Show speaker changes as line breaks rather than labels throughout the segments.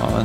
Ja,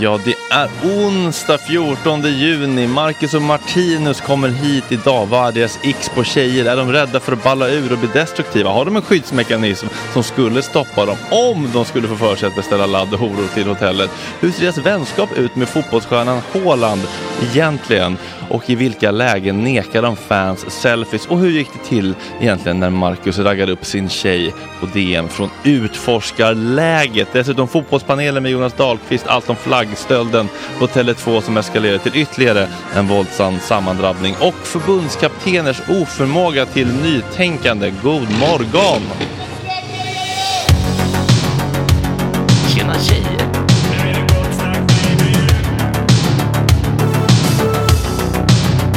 Ja, det är onsdag 14 juni. Marcus och Martinus kommer hit idag. Vad är deras x på tjejer? Är de rädda för att balla ur och bli destruktiva? Har de en skyddsmekanism som skulle stoppa dem om de skulle få för sig att beställa ladd och horor till hotellet? Hur ser deras vänskap ut med fotbollsstjärnan Haaland egentligen? och i vilka lägen nekar de fans selfies och hur gick det till egentligen när Marcus raggade upp sin tjej på DN från Utforskarläget. Dessutom Fotbollspanelen med Jonas Dahlqvist, allt om flaggstölden på Tele2 som eskalerade till ytterligare en våldsam sammandrabbning och förbundskapteners oförmåga till nytänkande. God morgon!
Tjena tjejer!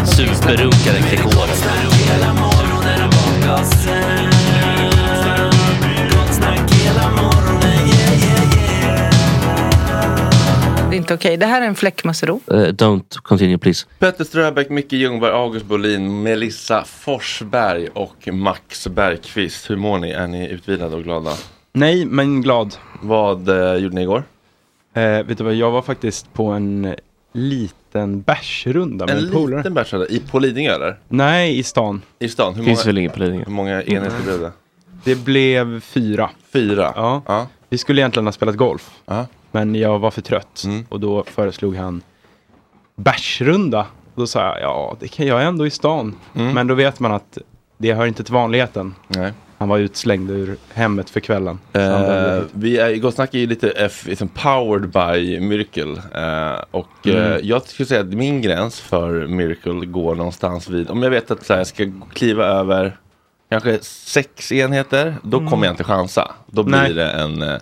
Superrunkaren Gregor.
Det är inte okej. Det här är en fläckmussero.
Eh,
Uh, don't continue please.
Petter Ströbeck, Micke Ljungberg, August Bolin, Melissa Forsberg och Max Bergqvist. Hur mår ni? Är ni utvilade och glada?
Nej, men glad.
Vad eh, gjorde ni igår?
Eh, vet du vad, jag var faktiskt på en eh, liten bärsrunda med
En
en polare.
liten bärsrunda i på Lidingö eller?
Nej, i stan.
I stan? Hur
Finns
många,
väl ingen på Lidingö?
hur många enheter blev det?
Det blev fyra.
Fyra?
Ja. Vi skulle egentligen ha spelat golf,
Ja. Mm.
men jag var för trött. Och då föreslog han bärsrunda. Och då sa jag, ja det kan jag ändå i stan.
Mm.
Men då vet man att det hör inte till vanligheten.
Nej.
Han var utslängd ur hemmet för kvällen. Så han
Eh,
behövde-
vi är, igår snackade ju lite F, liksom powered by Miracle. Eh, och
Mm.
eh, jag skulle säga att min gräns för Miracle går någonstans vid, om jag vet att så här, jag ska kliva över kanske sex enheter, då kommer jag inte chansa. Då blir
Mm. Nej.
det en eh,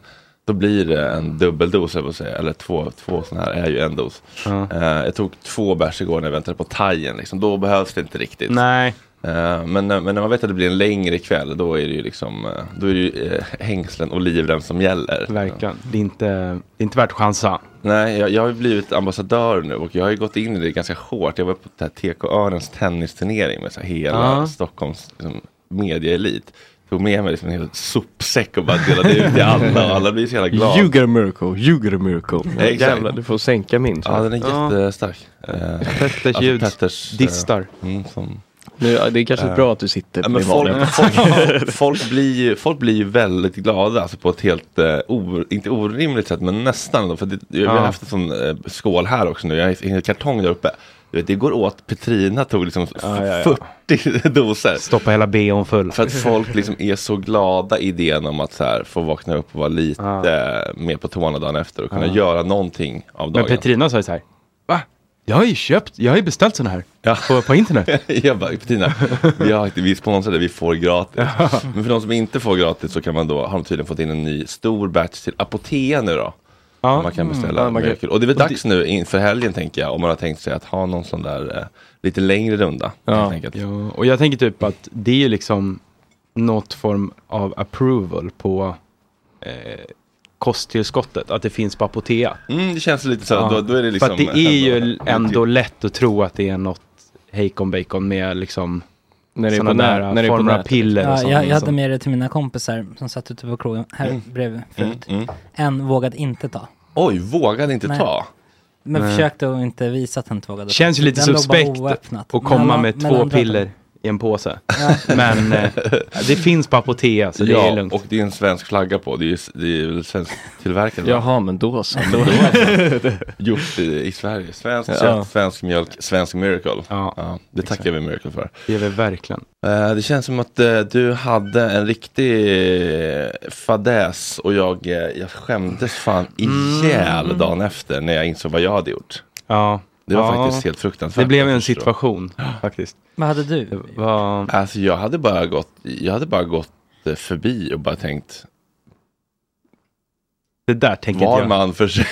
då blir det en dubbeldos, jag vill säga. eller två, två sådana här är ju en dos. Eh, jag tog två bärs igår när jag väntade på thaien, liksom. då behövs det inte riktigt.
Nej,
Eh, Men, när- men när man vet att det blir en längre kväll då är det ju liksom eh, Då är det ju eh, hängslen och livrem som gäller.
verkligen. Det är inte, det är inte värt att chansa.
Nej, jag, jag har ju blivit ambassadör nu och jag har ju gått in i det ganska hårt. Jag var på det här TK-Örnens tennisturnering med så här hela
Ja.
Stockholms liksom, medieelit. Tog med mig liksom en hel sopsäck och bara delade ut till alla och alla blir så jävla glada.
You get a miracle, you get a miracle.
Exakt.
Jävlar, du får sänka min.
Ja,
Ja,
den är
Ja.
jättestark. Eh,
Petters
alltså
ljud
Petters, eh,
distar.
Mm, som
nu, ja, det är kanske bra att du sitter
Ja,
på
men
din vanliga
folk, folk, folk, blir ju, folk blir ju väldigt glada alltså på ett helt, eh, or, inte orimligt sätt, men nästan. ändå, För det, Vi har
Ja.
haft en sån eh, skål här också nu, jag har en kartong där uppe. Du vet, det går åt, Petrina tog liksom
Ja, ja,
40 doser.
Stoppa hela BHn full.
För att folk liksom är så glada i idén om att så här, få vakna upp och vara lite eh, mer på tårna dagen efter och kunna göra någonting av
Men
dagen.
Petrina sa ju så här. Va? Jag har ju köpt, jag har ju beställt sådana här.
Ja.
På, på internet.
Jag bara, Petrina, vi, har, inte- vi sponsrar det, vi får gratis. Men för de som inte får gratis så kan man då, har de tydligen fått in en ny stor batch till Apotea nu då.
Ja.
Man kan beställa
Mm. ja, man kan-
Miracle. Och det är väl dags nu inför helgen tänker jag, om man har tänkt sig att ha någon sån där eh, lite längre runda. helt enkelt.
Ja, och jag tänker typ att det är ju liksom något form av approval på eh, kosttillskottet. Att det finns på Apotea.
Mm, det känns lite så,
Ja.
då, då är det
För
liksom.
att det är ju
lite-
ändå lätt att tro att det är något hejkon bacon med liksom
När det är på
sådana
nä-
där
när det är på
former av
nätet.
piller och
Ja,
sånt.
jag, jag hade
liksom.
med det till mina kompisar som satt ute på krogen här bredvid förut.
Mm, mm.
En vågade inte ta.
Oj, vågade inte
Nej.
ta.
Men försökte att inte visa att han inte vågade.
Känns ju lite
Den låg bara
suspekt
oöppnat.
att komma
Mellan-
med två
mellan
piller i en påse. Men eh, det finns på Apotea så det
ja,
är lugnt.
och det är en svensk flagga på. Det är ju det är väl svensk tillverkad. va?
Jaha, men då så.
Gjort i, i Sverige. Svensk
Ja.
kött, svensk mjölk, svensk miracle.
Ja.
det tackar vi miracle för.
Det är väl verkligen.
Eh, Det känns som att eh, du hade en riktig eh, fadäs och jag, eh, jag skämdes fan
Mm.
ihjäl dagen efter när jag insåg vad jag hade gjort.
Ja.
Det var
ja.
faktiskt helt fruktansvärt.
Det blev en
Jag förstår.
situation faktiskt.
Vad hade
Det
du?
var...
Alltså jag hade bara gått, jag hade bara gått eh, förbi och bara tänkt,
Det där tänker inte
var
jag.
man för sig.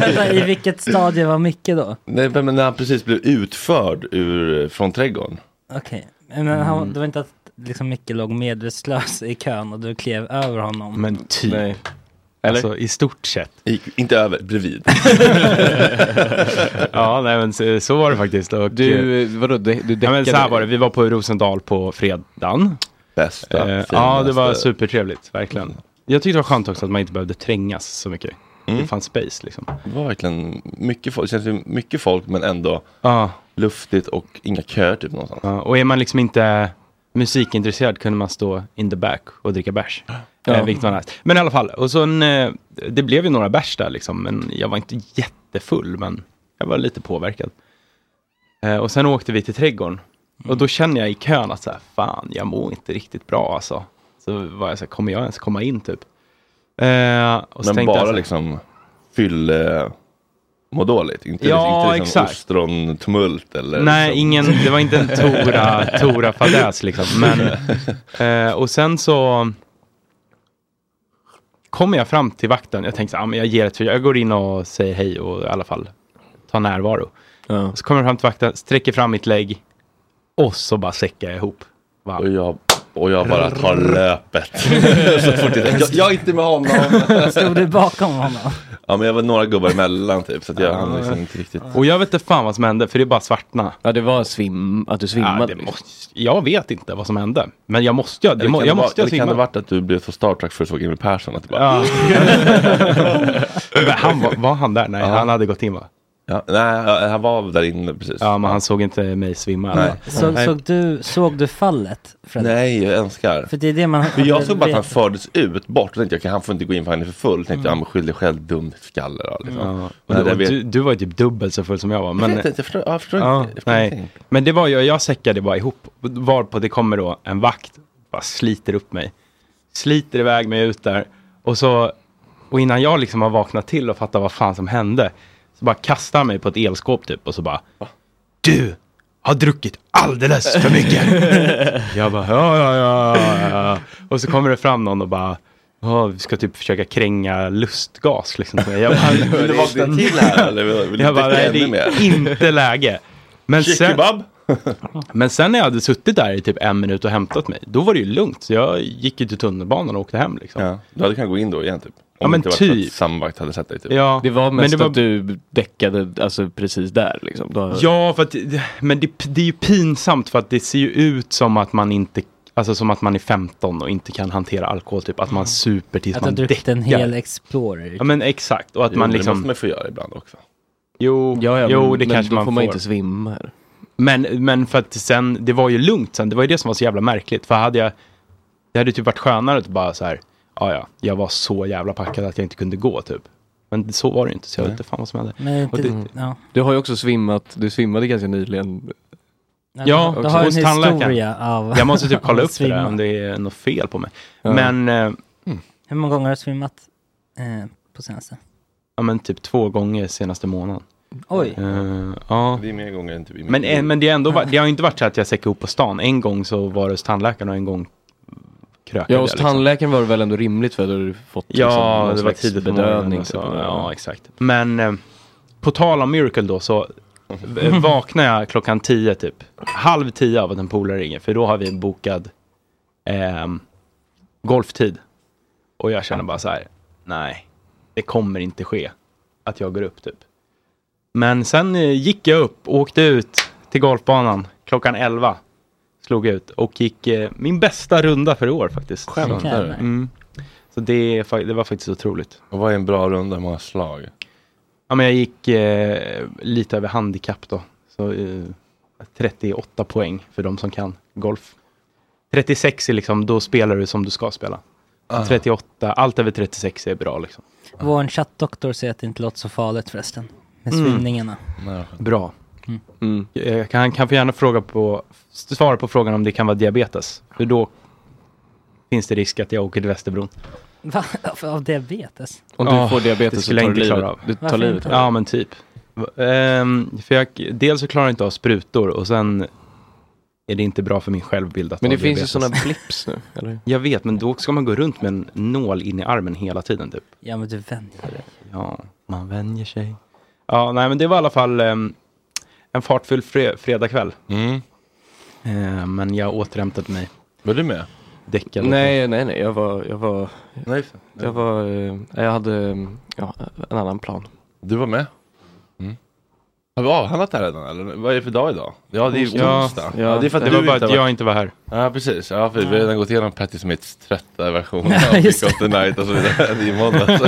Vänta, i vilket stadie var Micke då?
Nej men när han precis blev utförd ur, eh, från trädgården.
Okej, men han,
Mm.
det var inte att liksom Micke låg medvetslös i kön och du klev över honom?
Men typ.
Nej. Eller?
Alltså i stort sett.
Gick, inte över, bredvid.
Ja, nej men så, så var det faktiskt. Och, eh,
Du, eh, vadå, du, du
ja,
däckade?
men så här var det. Vi var på Rosendal på fredagen.
Bästa,
Eh, ja,
finaste.
det var supertrevligt. Verkligen. Jag tyckte det var skönt också att man inte behövde trängas så mycket.
Mm.
Det fanns space liksom.
Det var verkligen mycket folk, det känns ju mycket folk men ändå
Ja,
luftigt och inga köer typ någonstans.
ja. och är man liksom inte musikintresserad kunde man stå in the back och dricka bärs.
Ja.
Eh, vilket var nice. Men i alla fall, och sen, eh, det blev ju några bärs där liksom. Men jag var inte jättefull, men jag var lite påverkad. Eh, och sen åkte vi till trädgården. Och då känner jag i kön att så här, fan, jag mår inte riktigt bra alltså. Så var jag så här, kommer jag ens komma in typ? Eh, och så
Men
tänkte jag
bara
så här,
liksom fylle må dåligt? Inte,
Ja,
inte liksom
exakt.
ostrontumult eller?
Nej,
liksom...
ingen, det var inte en Tora, tora fadäs liksom. Men, eh, och sen så kommer jag fram till vakten. Jag tänkte så här, ah, men jag ger ett försök. Jag går in och säger hej och i alla fall tar närvaro. Så kommer jag fram till vakten, sträcker fram mitt lägg och så bara säckar jag ihop. Och,
jag, och jag bara tar löpet. så fort det, jag, jag är inte med honom.
Stod du bakom honom?
Ja, men jag var några gubbar emellan typ. Så att jag hann liksom inte riktigt.
Och jag vet inte fan vad som hände, för det är bara svartna. Ja, det var svim, att du
svimmade,
Ja, det måste, jag vet inte vad som hände. Men jag måste ju, det
Eller
må,
kan
jag
det
måste
vara-
ju
eller kan det
svimma.
varit att du blev så Star Trek för att du såg Emil Persson? Att du bara...
Ja. Men han, var, var han där? Nej,
Ja.
han hade gått in va?
Ja, nej, han var där inne precis.
Ja, men han såg inte mig svimma.
Nej.
Så, såg, du, såg du fallet? Fredrik?
Nej, jag önskar.
För det är det man...
För jag såg bara att han
vet.
fördes ut bort. Då tänkte jag, "Okej, han får inte gå in för han är för full. Då tänkte jag,
Mm.
"Ja, men skyll dig själv, dum skalle då. Liksom.
Ja.
Men
Och
det
du,
där vet-
du, du var ju typ dubbelt så full som jag var. Men,
Jag vet inte, jag förstår, jag förstår
ja,
inte. Jag förstår
nej.
ingenting.
Men det var ju, jag säckade bara ihop. Varpå det kommer då en vakt, bara sliter upp mig. Sliter iväg mig ut där. Och så, och innan jag liksom har vaknat till och fattar vad fan som hände. Så bara kastar han mig på ett elskåp typ och så bara. Du har druckit alldeles för mycket. jag bara, ja, ja, ja, ja, ja. Och så kommer det fram någon och bara, "Ja, vi ska typ försöka kränga lustgas liksom. till mig." Jag bara,
Vill du vakna till här, eller vill- vill du
jag bara,
dricka
nej, det
ännu
är
mer?"
inte läge. Men
Shish
sen,
kebab?
men sen när jag hade suttit där i typ en minut och hämtat mig, då var det ju lugnt. Så jag gick ju till tunnelbanan och åkte hem liksom.
Ja, du hade kunnat gå in då igen typ. Om
Ja, men
det inte var för att
typ.
Samvakt hade sett dig typ.
Ja,
Det var
men
mest
det var-
att du däckade alltså, precis där liksom. Då...
Ja, för att, men det, det är ju pinsamt för att det ser ju ut som att man inte Alltså som att man är 15 och inte kan hantera alkohol, typ att man super tills
Att du har
man
druckit
däckar.
en hel Explorer.
Ja men exakt, och att
Jo,
man
men det
liksom...
måste man få göra ibland också.
Jo,
ja,
jo
men-
det
men
kanske
då
man
får
får.
man inte svimma här.
Men, men för att sen, det var ju lugnt sen, det var ju det som var så jävla märkligt. För hade jag, det hade ju typ varit skönare att bara så här, ja ja, jag var så jävla packad att jag inte kunde gå typ. Men så var det ju inte, så jag vet inte fan vad som hände.
Men
Och
inte,
det-
ja.
Du har ju också svimmat, du svimmade ganska nyligen.
Ja,
du har
hos
en
tandläkaren.
historia av
Jag måste typ
av
kolla
att
upp det där,
svimma.
om det är något fel på mig.
Ja.
Men, eh,
Hur många gånger har du svimmat eh, på senaste?
ja men typ två gånger senaste månaden.
Oj.
Eh, ja.
Det är mer gånger än typ i min
Men, eh,
liv.
men det, är ändå, va- det har ju inte varit så att jag säckade ihop på stan. En gång så var det hos tandläkaren och en gång krökade
Ja,
jag.
hos
liksom.
tandläkaren var det väl ändå rimligt för då hade du fått liksom,
Ja,
någon
det var
slags
tidigt på morgonen
bedövning.
och så.
typ.
Ja, exakt. Men eh, på tal om Miracle då så eh, vaknar jag klockan tio typ. Halv tio av att en polare ringer för då har vi en bokad ehm, golftid. Och jag känner bara så här, nej, det kommer inte ske att jag går upp typ. Men sen eh, gick jag upp och åkte ut till golfbanan klockan 11. Slog ut och gick eh, min bästa runda för i år faktiskt.
Skämtar du?
Mm. Så det, är fa- det var faktiskt otroligt.
Och vad är en bra runda, hur många slag?
Ja, men jag gick eh, lite över handikapp då. Så, eh, 38 poäng för de som kan golf. 36 är liksom, då spelar du som du ska spela.
Ah.
38, allt över 36 är bra liksom.
Vår chattdoktor säger att det inte låter så farligt förresten. Med
Mm.
svimningarna.
Bra.
Mm.
Jag kan, han kan få gärna fråga på, svara på frågan om det kan vara diabetes. För då finns det risk att jag åker till Västerbron.
Va? Av diabetes?
Om du får diabetes
det
så
skulle
tar
jag
du livet-
Ah, inte klara av.
du tar Varför livet inte? av dig.
Ja, men typ. Ehm, för jag, dels så klarar jag inte av sprutor och sen är det inte bra för min självbild att
Men
ha
det finns ju
diabetes.
sådana blips nu, eller?
Jag vet, men då ska man gå runt med en nål in i armen hela tiden typ.
Ja men du vänjer dig.
Ja, man vänjer sig. Ja, nej men det var i alla fall ehm, en fartfylld fre- fredagkväll. Eh, men jag återhämtade mig.
Var du med?
Däckade.
Nej, nej, nej, jag var, jag var,
Nej,
jag var, eh, jag hade eh, ja, en annan plan.
Du var med? Har vi avhandlat det här redan eller? Vad är det för dag idag? Ja det är ju
Ja,
onsdag.
ja, det var bara att jag inte var här.
Ja precis, ja, för vi har redan gått igenom Patti Smiths trötta version av
Ja, just
Pick of the Night och så vidare. Det är ju måndag. så.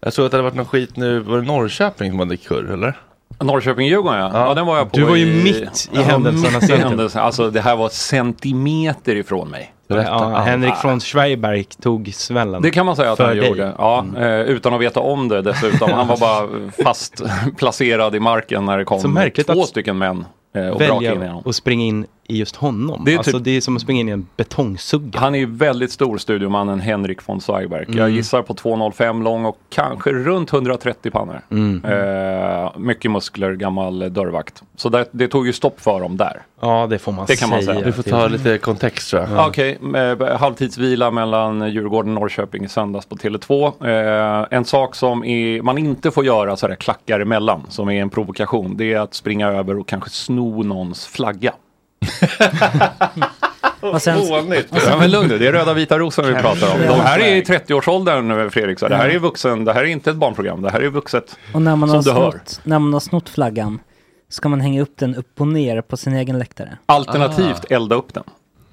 Jag såg att det hade varit någon skit nu, var det Norrköping som hade kurr eller?
Norrköping-Djurgården ja. ja. den var jag på
Du var ju mitt i
Ja,
händelsernas
mitt i
centrum.
händelsen. Alltså det här var centimeter ifrån mig.
Ja, Henrik från Schweiberg tog svällen.
Det kan man säga att
för
han
dig.
gjorde. Ja, eh, utan att veta om det dessutom. Han var bara fast placerad i marken när det kom
Så märkligt
två
att
stycken män eh, och brakade in i
Välja
honom.
att springa in i just honom.
Det är
alltså,
typ-
det är som att springa in i en betongsugga.
Han är ju väldigt stor studiomannen Henrik von Zweigbergk. Jag
Mm.
gissar på 2,05 lång och kanske runt 130 pannor.
Mm.
Eh, mycket muskler, gammal eh, dörrvakt. Så där, det tog ju stopp för dem där.
Ja, det får man
Det kan man
säga.
säga. Du får ta lite
kontext tror
Ja. Okej, eh, halvtidsvila mellan Djurgården och Norrköping i söndags på Tele2. Eh, en sak som är, man inte får göra så här klackar emellan, som är en provokation, det är att springa över och kanske sno någons flagga.
Och sen,
Ja, men lugn nu, det är röda vita rosor vi pratar om. De här är i 30-årsåldern Fredrik, så det här är vuxen, det här är inte ett barnprogram, det här är vuxet.
och när man,
som
har
du hör.
snott, när man har snott flaggan ska man hänga upp den upp och ner på sin egen läktare.
Alternativt elda upp den.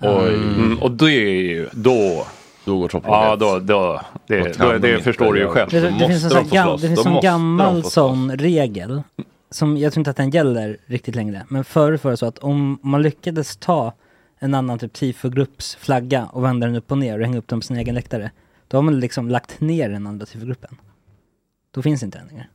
Oj.
Mm, och det är ju då...
Då går
Ah.
Ja, då, då, det, då, det förstår du ju själv.
Det, det finns en, sån här gam, det finns en gammal sån regel. Som jag tror inte att den gäller riktigt längre. Men förr var det så att om man lyckades ta en annan typ TIFO-grupps flagga och vända den upp och ner och hänga upp den på sin egen läktare. Då har man liksom lagt ner den andra TIFO-gruppen. Då finns inte den längre.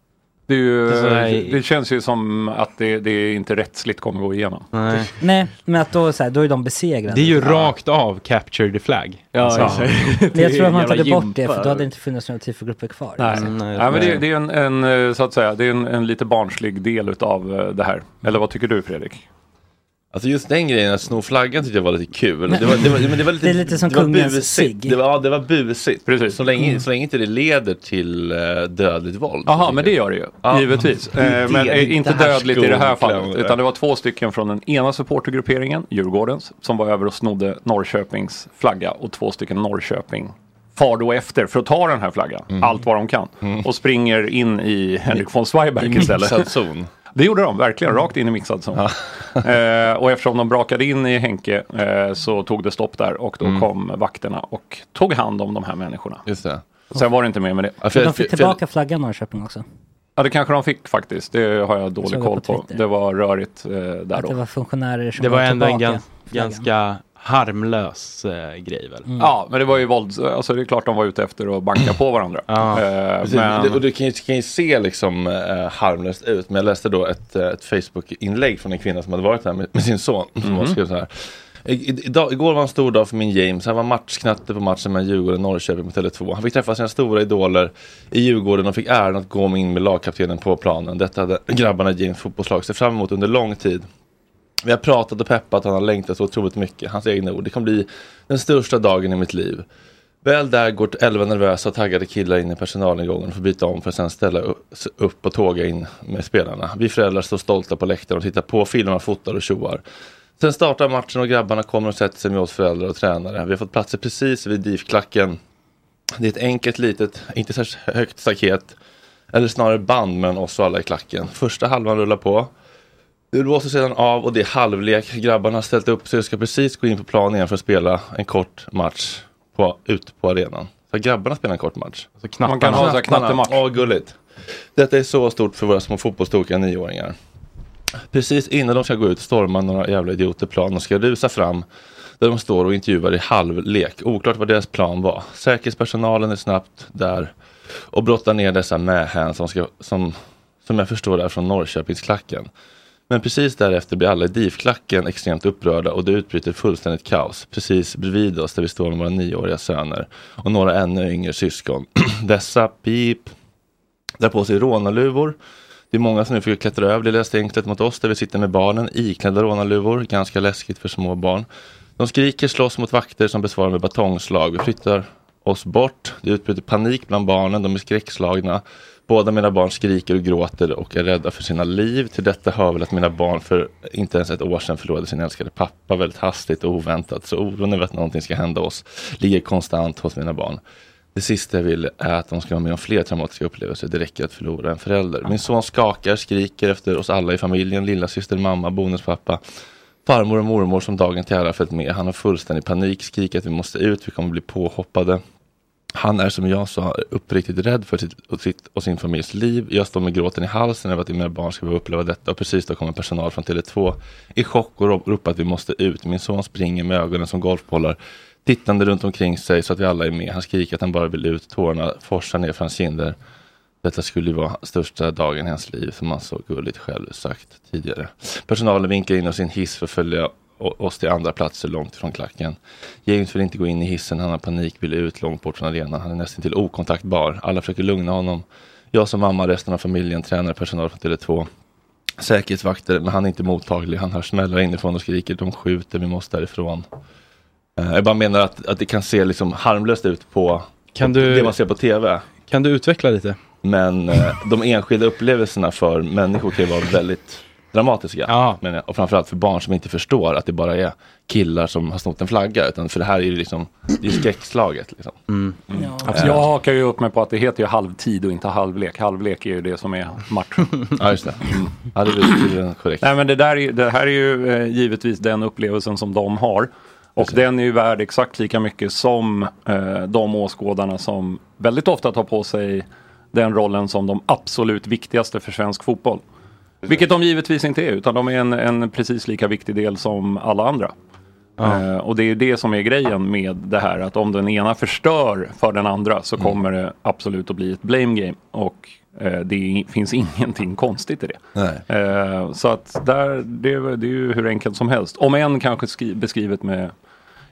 Det, är ju,
Det är så här-
det känns ju som att det, det inte rättsligt kommer gå igenom.
Nej.
Nej, men att då, så här, då är de besegrade.
Det är ju rakt av capture the flag. Alltså.
Ja, exakt.
Men jag
Det är
tror att man
jävla
tagit bort det
gympa.
för då hade det inte funnits några TIFO-grupper kvar.
Nej, nej, men det, det är en, en, eh, så att säga, det är en, en lite barnslig del utav eh, det här. Eller vad tycker du Fredrik?
Alltså just den grejen att sno flaggan tyckte jag var lite kul. Det var, det var, men det var lite,
Det är lite som
det var
kungens
busigt.
cigg.
Det var, ja, det var busigt.
Precis.
Så, länge,
Mm.
så länge inte det leder till eh, dödligt våld.
Jaha, men det gör det ju. Givetvis. Eh, men eh, inte dödligt i det här fallet. Utan det var två stycken från den ena supportergrupperingen, Djurgårdens, som var över och snodde Norrköpings flagga och två stycken Norrköping far då efter för att ta den här flaggan, allt vad de kan.
Mm.
Och springer in i Henrik von
I
Zweiberg
mixad
istället.
zon. Mm.
Det gjorde de, verkligen, rakt in i mixad zon. eh, och eftersom de brakade in i Henke eh, så tog det stopp där och då
Mm.
kom vakterna och tog hand om de här människorna.
Just det.
Sen var det inte mer med det.
Men de fick tillbaka flaggan Norrköping också.
Ja, det kanske de fick faktiskt. Det har jag dålig
såg det
koll
på
på. Det var rörigt eh, där
Att
då.
det var funktionärer som
Det var
var
ändå en
tillbaka. Mm.
gans, ganska harmlös eh, grej väl?
Ja, men det var ju våld. Alltså det är klart de var ute efter att banka på varandra. Eh,
Precis,
men...
det- Och det kan ju, kan ju se liksom eh, harmlöst ut. Men jag läste då ett, eh, ett Facebook-inlägg från en kvinna som hade varit här med, med sin son. Som
Mhm.
mm skrev så här. "I- i- Idag, igår var en stor dag för min James. Han var matchknatte på matchen mellan Djurgården och Norrköping på Tele2. Han fick träffa sina stora idoler i Djurgården och fick äran att gå med in med lagkaptenen på planen. Detta hade grabbarna i James fotbollslag sett fram emot under lång tid. Vi har pratat och peppat och han har längtat så otroligt mycket. Hans egna ord. Det kommer bli den största dagen i mitt liv. Väl där går elva nervösa och taggade killar in i personalingången och får byta om för att sen ställa u- s- upp och tåga in med spelarna. Vi föräldrar står stolta på läktaren och tittar på, filmar, fotar och tjoar. Sen startar matchen och grabbarna kommer och sätter sig med oss föräldrar och tränare. Vi har fått platser precis vid DIF-klacken. Det är ett enkelt litet, inte särskilt högt staket. Eller snarare band mellan oss och alla i klacken. Första halvan rullar på. Det blåser sedan av och det är halvlek. Grabbarna har ställt upp så de ska precis gå in på plan igen för att spela en kort match på, ut på arenan. Så grabbarna spelar en kort match.
alltså,
knattarna. Man kan ha så här knattematch.
Ja, gulligt. Detta är så stort för våra små fotbollstokiga nioåringar. Precis innan de ska gå ut stormar några jävla idioter plan och ska rusa fram där de står och intervjuar i halvlek. Oklart vad deras plan var. Säkerhetspersonalen är snabbt där och brottar ner dessa mähän som, ska, som, som jag förstår är från Norrköpingsklacken. Men precis därefter blir alla i DIF-klacken extremt upprörda och det utbryter fullständigt kaos precis bredvid oss där vi står med våra nioåriga söner och några ännu yngre syskon. Dessa pip drar på sig rånarluvor. Det är många som nu försöker klättra över det lilla stängslet mot oss där vi sitter med barnen iklädda rånarluvor. Ganska läskigt för små barn. De skriker, slåss mot vakter som besvarar med batongslag. Vi flyttar oss bort. Det utbryter panik bland barnen. De är skräckslagna. Båda mina barn skriker och gråter och är rädda för sina liv. Till detta hör väl att mina barn för inte ens ett år sedan förlorade sin älskade pappa väldigt hastigt och oväntat. Så oron över att någonting ska hända oss ligger konstant hos mina barn. Det sista jag vill är att de ska vara med om fler traumatiska upplevelser. Det räcker att förlora en förälder. Min son skakar, skriker efter oss alla i familjen. Lilla syster, mamma, bonuspappa. Farmor och mormor som dagen till ära följt med. Han har fullständig panik, skriker att vi måste ut, vi kommer bli påhoppade. Han är som jag sa uppriktigt rädd för sitt och, sitt och sin familjs liv. Jag står med gråten i halsen över att mina barn ska behöva uppleva detta och precis då kommer personal från Tele2 i chock och ro- ropar att vi måste ut. Min son springer med ögonen som golfbollar tittande runt omkring sig så att vi alla är med. Han skriker att han bara vill ut, tårarna forsar ner från hans kinder. Detta skulle ju vara största dagen i hans liv som han så gulligt själv sagt tidigare. Personalen vinkar in oss i en hiss för att följa o- oss till andra platser långt från klacken. James vill inte gå in i hissen, han har panik, vill ut långt bort från arenan. Han är nästan till okontaktbar. Alla försöker lugna honom. Jag som mamma, resten av familjen, tränare, personal från Tele2. Säkerhetsvakter, men han är inte mottaglig. Han hör smällar inifrån och skriker de skjuter, vi måste därifrån. Eh, Jag bara menar att, att det kan se liksom harmlöst ut på
Kan
på
du-
det man ser på tv.
Kan du utveckla lite?
Men eh, de enskilda upplevelserna för människor kan ju vara väldigt dramatiska. Men, eh, och framförallt för barn som inte förstår att det bara är killar som har snott en flagga. Utan för det här är ju liksom, det är skräckslaget. Liksom.
Mm. Alltså,
Absolut.
jag hakar ju upp mig på att det heter ju halvtid och inte halvlek. Halvlek är ju det som är matchen.
Ja, just det. Mm. Ja, det är tydligen korrekt.
Nej, men det, där är, ju- det här är ju eh, givetvis den upplevelsen som de har. Och den är ju värd exakt lika mycket som eh, de åskådarna som väldigt ofta tar på sig den rollen som de absolut viktigaste för svensk fotboll. Vilket de givetvis inte är, utan de är en, en precis lika viktig del som alla andra. Eh, och det är det som är grejen med det här, att om den ena förstör för den andra så
Mm.
kommer det absolut att bli ett blame game. Och eh, det finns ingenting konstigt i det.
Nej.
Eh, så att där, det, det är ju hur enkelt som helst. Om än kanske skri- beskrivet med,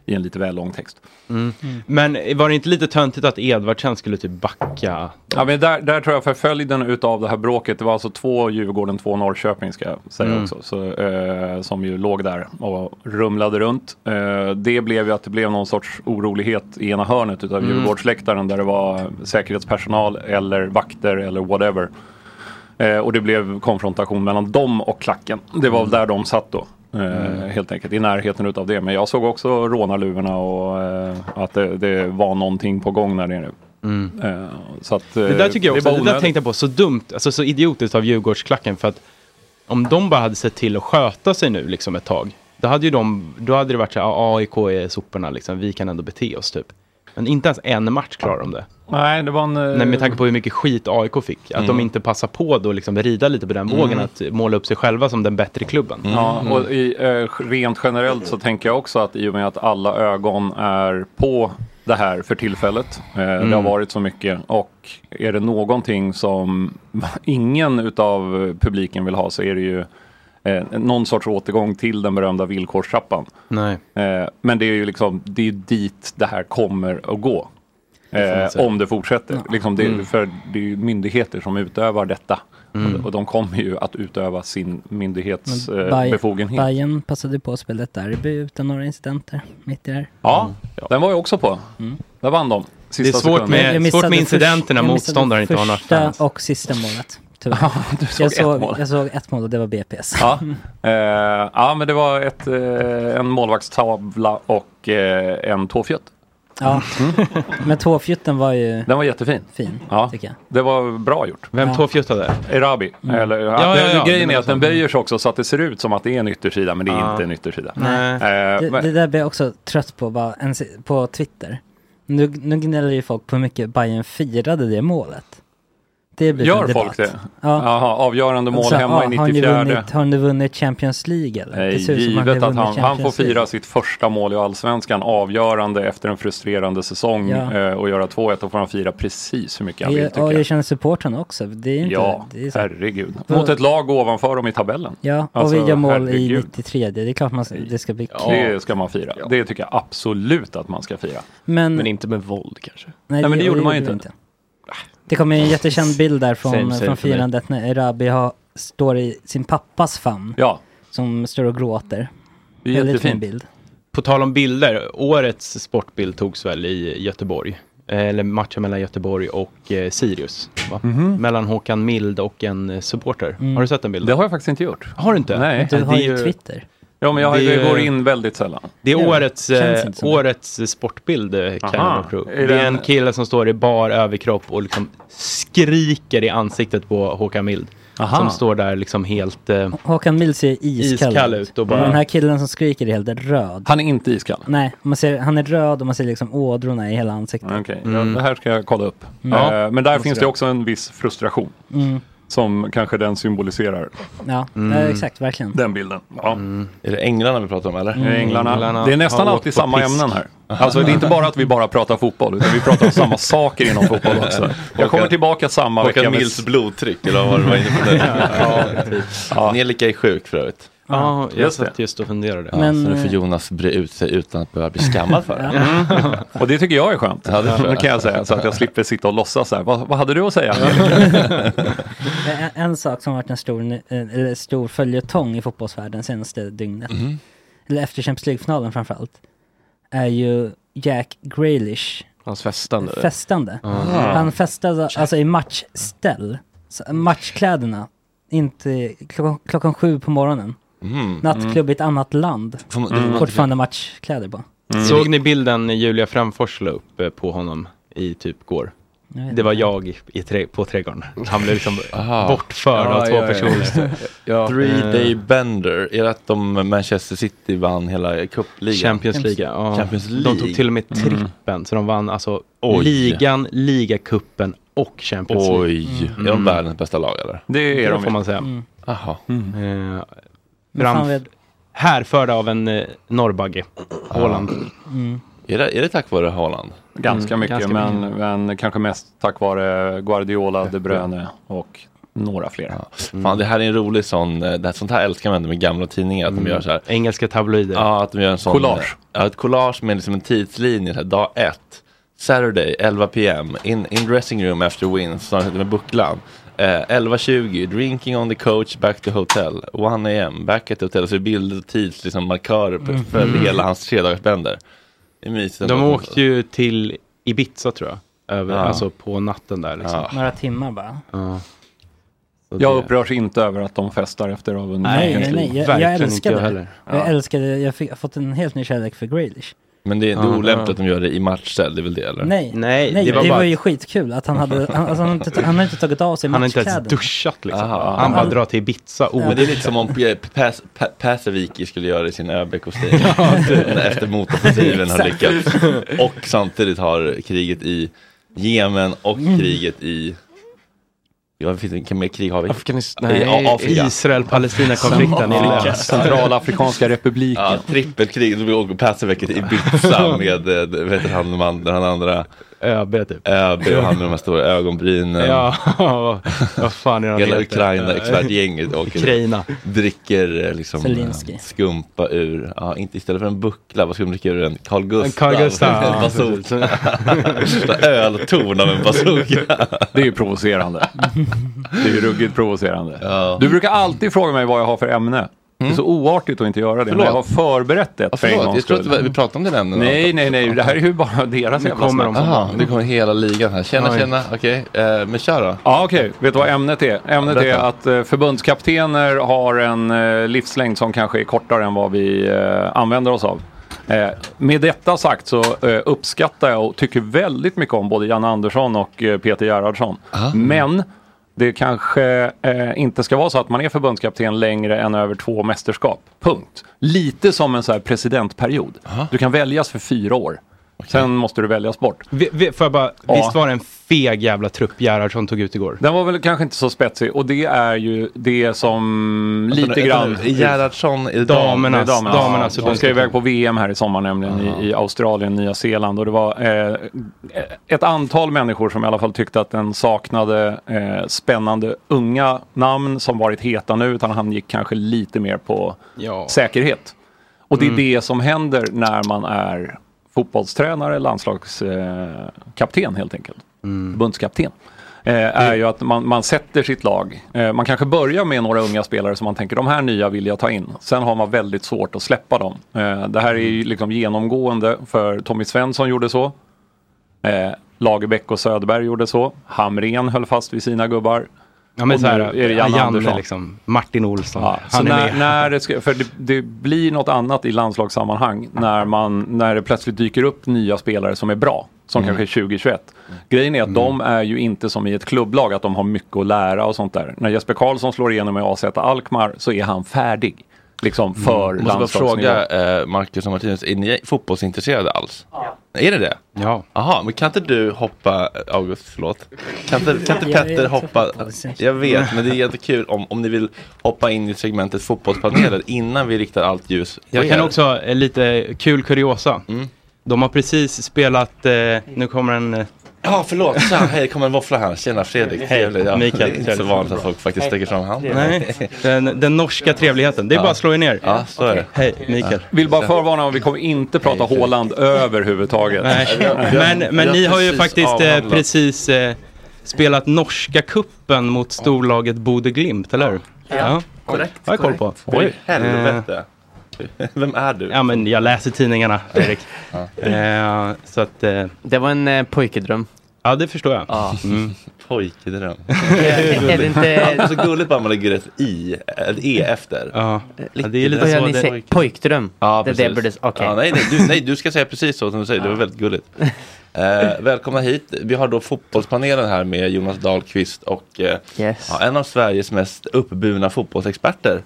i en lite väl lång text.
Mm. Men var det inte lite töntigt att Edvardsen skulle typ backa?
Ja, men där, där tror jag förföljden utav det här bråket, det var alltså två Djurgården, två Norrköping ska jag säga
Mm.
också, så, eh, som ju låg där och rumlade runt. Eh, det blev ju att det blev någon sorts orolighet i ena hörnet utav
Mm.
Djurgårdsläktaren där det var säkerhetspersonal eller vakter eller whatever. Eh, och det blev konfrontation mellan dem och klacken. Det var väl där de satt då. Eh,
Mm.
Helt enkelt i närheten utav det. Men jag såg också rånarluvorna och eh, att det, det var någonting på gång där nere. Eh, så att,
Mm. Det där tycker jag också, det där tänkte jag på, så dumt, alltså så idiotiskt av Djurgårdsklacken för att om de bara hade sett till att sköta sig nu liksom ett tag, då hade ju de, då hade det varit så här, "Ja, AIK är soporna liksom, vi kan ändå bete oss typ. Men inte ens en match klarar de det.
Nej, det var en... eh,
Nej, med tanke på hur mycket skit AIK fick, att
Mm.
de inte passar på då liksom rida lite på den
Mm.
vågen, att måla upp sig själva som den bättre klubben. Mm.
Ja, och i, eh, rent generellt så tänker jag också att i och med att alla ögon är på det här för tillfället. Eh, Det har
Mm.
varit så mycket och är det någonting som ingen utav publiken vill ha så är det ju eh, någon sorts återgång till den berömda villkorstrappan.
Nej.
Eh, men det är ju liksom, det är ju dit det här kommer att gå.
Det får man
Eh,
säga.
om det fortsätter. Liksom det,
Mm.
För det är ju myndigheter som utövar detta.
Mm.
Och, och de kommer ju att utöva sin myndighets
Men
eh,
Bayern-
befogenhet.
Bayern passade på att spela ett derby utan några incidenter mitt i det här.
Ja, den var jag också på. Där vann de. Mm. Sista
Det är svårt
sekunden.
med- Jag missade svårt med incidenter när
Jag missade
motståndaren inte har några
första
fans.
och sista målet. Tyvärr.
såg
jag,
ett
såg,
mål.
jag såg ett mål och det var BPS.
Ja. Eh, ja, men det var ett, eh, en målvaktstavla och eh, en tåfjutt.
Ja. Men tåfjutten var ju...
Den var jättefin.
Fin, tycker jag.
Det var bra gjort.
Vem
Ja.
tåfjuttade?
Erabi.
Mm.
Eller,
Ja,
att-
ja, ja,
grejen
det
är
var
att den böjer sig också så att det ser ut som att det är en yttersida, men det är
Ja.
inte en yttersida.
Nej.
Eh,
Det,
men-
det där blir jag också trött på, bara en, si- på Twitter. Nu, nu gnäller ju folk på hur mycket Bayern firade det målet. Det blir
Gör
en debatt.
folk det?
Ja.
Jaha, avgörande mål
Så,
hemma
ja,
i
har ni
94.
vunnit- Har ni vunnit Champions League eller?
Eh,
Det ser ut som ni
Givet
har
att han,
vunnit
han får
Champions League.
fira sitt första mål i allsvenskan avgörande efter en frustrerande säsong
Ja.
eh, och göra 2-1, då får han fira precis hur mycket han vill
Det,
tycker
och jag
jag.
känner supportrarna också. Det är inte,
Ja,
det är så-
herregud.
Vad-
Mot ett lag ovanför dem i tabellen.
Ja, och
Alltså,
vi gör mål i
herregud.
93. Det är klart man, ska- det ska bli kul.
Det ska man fira. Det tycker jag absolut att man ska fira.
Men- Men
inte med våld kanske?
Nej,
Nej,
det-
men det
det
gjorde man ju
gjorde
inte. Ah,
vi inte. Det kommer ju en jättekänd bild där från,
Same, same
från
för mig.
firandet när Erabi har, står i sin pappas famn.
Ja.
Som står och gråter.
Det är
Väldigt fin
jättefint.
bild.
På tal om bilder, årets sportbild togs väl i Göteborg? Eh, Eller matchen mellan Göteborg och eh, Sirius. Va?
Mhm.
Mellan Håkan Mild och en eh, supporter.
Mm.
Har du sett den bilden?
Det har jag faktiskt inte gjort.
Har du inte?
Nej.
Det är ju-
Ja, men jag, har-
Det är
jag
ju-
går in väldigt sällan.
Det är årets, eh,
Känns inte som det.
årets eh, sportbild, eh, Kyle
Aha.
Nordpro.
Är
Det är
den-
en kille som står i bar överkropp och liksom skriker i ansiktet på Håkan Mild.
Aha.
Som står där liksom helt... Eh,
Håkan Mild ser iskall,
Iskall ut och bara-
Men Den här killen som skriker är helt röd.
Han är inte iskall.
Nej, man ser, han är röd och man ser liksom ådrorna i hela ansiktet.
Okej, ja, det här ska jag kolla upp.
Mm.
Eh,
Ja,
men där
måste
finns det
jag.
också en viss frustration.
Mm.
Som kanske den symboliserar.
Ja,
Mm.
ja, exakt, verkligen.
Den bilden. Ja.
Är det änglarna vi pratar om eller?
Det är Änglarna. Det är nästan alltid samma ämnen här. Alltså det är inte bara att vi bara pratar fotboll, utan vi pratar om samma saker inom fotboll också. Jag kommer tillbaka samma
Håkan
vecka. med-
Mills blodtryck eller vad du var inne på nu.
typ.
ja. Angelica är sjuk för övrigt.
Ja, jag
Just Mm.
satt just och funderade.
Ja, så nu får Jonas bre ut sig utan att behöva bli skammad för det.
Mm. Och det tycker jag är skönt.
Ja, det tror jag.
kan jag säga, så att jag slipper sitta och låtsas så här. Vad, vad hade du att säga?
En, en sak som har varit en stor, ny- eh, eller stor följetong i fotbollsvärlden senaste dygnet,
Mm.
Mhm.
eller efter Champions League-finalen framförallt, är ju Jack Grealish
Hans festande.
festande.
Ja.
Ah.
Han festade alltså i matchställ, så- matchkläderna, inte klockan, klockan sju på morgonen.
Mm.
Nattklubb i ett annat land,
Får man- Mm.
fortfarande matchkläder på.
Såg ni bilden Julia Framfors la upp eh, på honom i typ går?
Jag vet
Det var jag i tre, på trädgården. Han blev liksom
Aha.
bortförd av två personer.
Three
Eh,
Day Bender. Är det att de Manchester City vann hela cupligan?
Champions League. Ja.
Champions League. Mm.
De tog till och med trippen, så de vann alltså
Oj.
ligan, ligacupen och Champions League. Mm.
Oj, är de världens bästa lag eller?
Det,
är de
får
ju.
man säga.
Mm. Aha.
Eh,
Men
fram-
fan vet-
Härförda av en eh, norrbagge, Haaland.
Mm.
Är, det, är det tack vare Haaland?
Ganska
Mm,
mycket,
ganska
men, men kanske mest tack vare Guardiola, De Bruyne och några fler.
Mm.
Fan, det här är en rolig sån, eh, det här, sånt här älskar man ändå med gamla tidningar. Att de
Mm.
gör så här.
Engelska
Typ.
tabloider.
Ja, att de gör en sån.
Collage.
Ja, ett collage med liksom en tidslinje. Så här, dag ett, Saturday 11 pm, in, in dressing room after wins, så han sitter med bucklan. Eh, 11.20, drinking on the coach back to hotel. 1 am, back at the hotel. Så bilder och tids, liksom markörer på-
Mm.
för
Mm.
hela hans tredagarsbänder. Det är mysigt. ändå.
De åkte ju till Ibiza tror jag. Över,
Ja.
Alltså på natten där liksom.
Några timmar bara.
Ja. Så
Jag
det-
upprörs inte över att de festar efter av en
Nej, nej, nej. Jag, jag älskar det. Jag,
Ja.
älskar det. Jag, fick, jag har fått en helt ny kärlek för Grealish.
Men det är, det är
Ja,
olämpligt
ja.
att de gör det i matchställ, det är väl det eller?
Nej, nej, det, var, ju skitkul att han hade, han, alltså, han, har inte, han har inte tagit av sig
Han har inte ens
matchkläderna.
duschat liksom.
Aha.
Han bara drar till Ibiza
Ja. Men det är lite som om P- Päs- P- Päseviki skulle göra i sin ÖB-kostym. Efter motoffensiven har
Exakt.
lyckats. Och samtidigt har kriget i Jemen och
Mm.
kriget i... Ja, det finns vilka mer krig har vi?
Afghanistan.
I
Nej,
A- Afrika.
Israel-Palestina-konflikten i
Ja.
Centralafrikanska republiken.
Ja, trippelkrig. Så vi åker Päseviki till Ibiza med, eh, vet du, han, man, den andra...
ÖB typ.
ÖB och han med de här stora ögonbrynen.
Ja, vad fan är han
Hela
heter?
Ukraina, expertgänget åker
Ukraina.
dricker eh, liksom,
Zelensky.
eh, skumpa ur, ja, inte istället för en buckla, vad skulle de dricka ur en? Carl Gustaf?
Carl Gustaf,
en
ja,
bazooka.
precis.
Värsta Öltorn av en bazooka.
Det är ju provocerande. Det är ju ruggigt provocerande. Du brukar alltid fråga mig vad jag har för ämne. Det är så oartigt att inte göra det.
Mm. Förlåt.
Men jag har förberett det
Ja,
för en
förlåt,
gångs
jag tror att
skull.
vi vi pratade om det nämnden.
Nej, nej, nej. Det här är ju bara deras
Nu
jävla
kommer de
snack.
som Aha, vanligt. nu kommer hela ligan här. Tjena,
Oj.
tjena, okej. Eh, men kör då.
Ja, okej. Vet du vad ämnet är? Ämnet är
Berätta.
att eh, förbundskaptener har en eh, livslängd som kanske är kortare än vad vi eh, använder oss av. Eh, Med detta sagt så eh, uppskattar jag och tycker väldigt mycket om både Janne Andersson och eh, Peter Gerhardsson. Men det kanske eh, inte ska vara så att man är förbundskapten längre än över två mästerskap. Punkt. Lite som en så här presidentperiod. Du kan väljas för fyra år. Sen måste du väljas bort.
Vi, vi, får jag bara,
Ja.
visst var det en feg jävla trupp Gerhardsson tog ut igår?
Den var väl kanske inte så spetsig och det är ju det som
Alltså,
Vänta nu,
lite
vänta
grann...
nu. Gerhardsson är dam-
damernas,
damernas-
damernas.
damernas
Ja, de ska ju iväg på VM här i sommar nämligen i, i Australien, Nya Zeeland och det var eh, ett antal människor som i alla fall tyckte att den saknade eh, spännande unga namn som varit heta nu utan han gick kanske lite mer på
Ja.
säkerhet. Och det är
Mm.
det som händer när man är fotbollstränare, landslagskapten eh, kapten helt enkelt.
Mm.
Förbundskapten. Eh, är ju att man, man sätter sitt lag. Eh, man kanske börjar med några unga spelare som man tänker de här nya vill jag ta in. Sen har man väldigt svårt att släppa dem. Eh, det här är ju liksom genomgående för Tommy Svensson gjorde så. Eh, Lagerbäck och Söderberg gjorde så. Hamrén höll fast vid sina gubbar.
Ja, men
Och
så här,
nu är det
Janne
Janne Andersson.
liksom, Martin Olsson.
Så
Han är
när,
med.
när det ska, för det, det blir något annat i landslagssammanhang när, man, när det plötsligt dyker upp nya spelare som är bra, som
Mm.
kanske är 2021. Grejen är att de är ju inte som i ett klubblag, att de har mycket att lära och sånt där. När Jesper Karlsson slår igenom i AZ Alkmaar så är han färdig.
Mm.
Liksom för
Jag måste bara
landslagsnivå.
fråga eh, Marcus och Martinus, är ni fotbollsintresserade alls? Är ni det?
Ja.
Jaha, men kan inte du hoppa, eh, August, förlåt. Kan inte, kan inte
Jag är
Petter
inte
hoppa? Jag vet, men det är jättekul om, om ni vill hoppa in i segmentet fotbollspaneler innan vi riktar allt ljus på
Jag kan
er.
också, eh, lite kul kuriosa.
Mm.
De har precis spelat, eh, nu kommer en... eh,
Ja, förlåt. Så, hej, det kommer en våffla här. Tjena Fredrik.
Hej,
Trevligt. Ja,
Mikael.
Det är inte så
Trevligt.
vanligt att folk faktiskt sträcker fram handen.
Nej, den, den norska trevligheten. Det är
Ja.
bara att slå er ner.
Ja, så är det.
Hej, Mikael.
Vill bara förvarna om vi kommer inte prata Haaland överhuvudtaget.
Nej. Men, men ni har ju faktiskt eh, precis eh, spelat norska kuppen mot storlaget Bode Glimt, eller hur?
Ja. Korrekt,
har jag koll på. Eh,
korrekt. Oj, helvete. Vem är du?
Ja, men jag läser tidningarna, Erik.
Ja.
eh, så att, Det var en eh, pojkedröm. Ja, det förstår jag.
Ja.
Mm.
Pojkedröm.
Är- är det inte-
Ja, så gulligt bara man lägger ett i, ett e efter.
Eh,
Ja,
Lite
det är lite
där.
så. Ni säger pojkdröm.
Ja,
Det är
precis.
det borde- okej.
ja, nej, nej, du, nej, du ska säga precis så som du säger. Det var väldigt gulligt. Eh, välkomna hit. Vi har då fotbollspanelen här med Jonas Dahlqvist och eh, ja, en av Sveriges mest uppburna fotbollsexperter.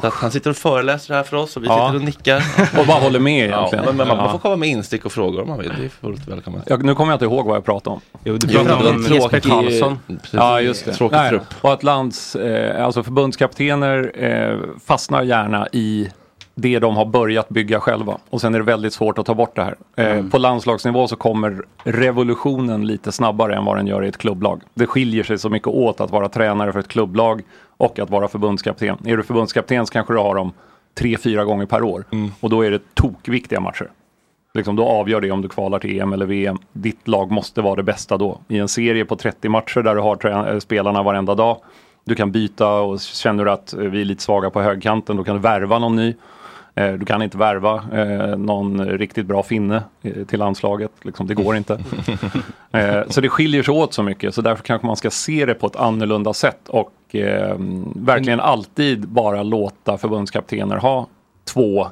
Så att han sitter och föreläser här för oss och vi
Ja.
sitter och nickar.
Och bara håller med
Ja,
egentligen.
men, men man, man
Ja.
får komma med instick och frågor om man vill. Det är fullt välkommet.
Jag, nu kommer jag inte ihåg vad jag pratade om.
Jo,
du pratade om Jesper Karlsson. Precis.
Ja, just det.
Tråkig
Nej,
trupp.
Och att lands, eh, alltså förbundskaptener eh, fastnar gärna i det de har börjat bygga själva. Och sen är det väldigt svårt att ta bort det här. Eh, På landslagsnivå så kommer revolutionen lite snabbare än vad den gör i ett klubblag. Det skiljer sig så mycket åt att vara tränare för ett klubblag och att vara förbundskapten. Är du förbundskapten så kanske du har dem tre, fyra gånger per år. Och då är det tokviktiga matcher. Liksom då avgör det om du kvalar till EM eller VM. Ditt lag måste vara det bästa då. I en serie på 30 matcher där du har trä- eh, spelarna varenda dag. Du kan byta och känner du att eh, vi är lite svaga på högkanten då kan du värva någon ny. Eh, Du kan inte värva eh, någon riktigt bra finne eh, till landslaget. Liksom, det går inte. Eh, Så det skiljer sig åt så mycket så därför kanske man ska se det på ett annorlunda sätt och eh, verkligen alltid bara låta förbundskaptener ha två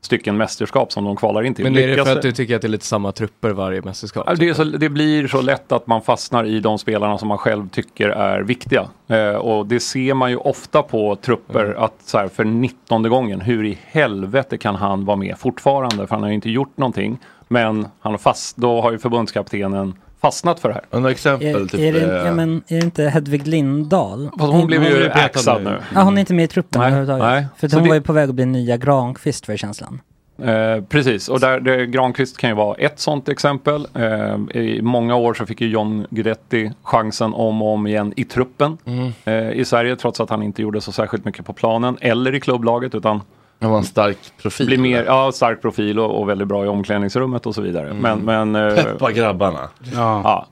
stycken mästerskap som de kvalar in till.
Men är det
Lyckas
för att du tycker att det är lite samma trupper varje mästerskap?
Ja, Det, är så, det blir så lätt att man fastnar i de spelarna som man själv tycker är viktiga. Eh, och det ser man ju ofta på trupper
Mm.
att så här, för 19 gången, hur i helvete kan han vara med fortfarande? För han har ju inte gjort någonting. Men han har fast, då har ju förbundskaptenen fastnat för det här.
Några exempel? typ, eh,
Är, är, det, ja, men, är det inte Hedvig Lindahl?
Fast hon blev ju Hon blev petad axad nu. nu.
Ja, hon är inte med i truppen
Nej,
överhuvudtaget.
nej.
För att
Så
hon
det-
var ju på väg att bli nya Granqvist för känslan.
Eh, precis, och där, det, Granqvist kan ju vara ett sånt exempel. Eh, I många år så fick ju John Guidetti chansen om och om igen i truppen
Mm.
eh, i Sverige trots att han inte gjorde så särskilt mycket på planen eller i klubblaget utan
Han var en stark profil.
blir mer, ja, stark profil och, och väldigt bra i omklädningsrummet och så vidare.
Mm.
Men, men, eh,
Peppa grabbarna.
Ja.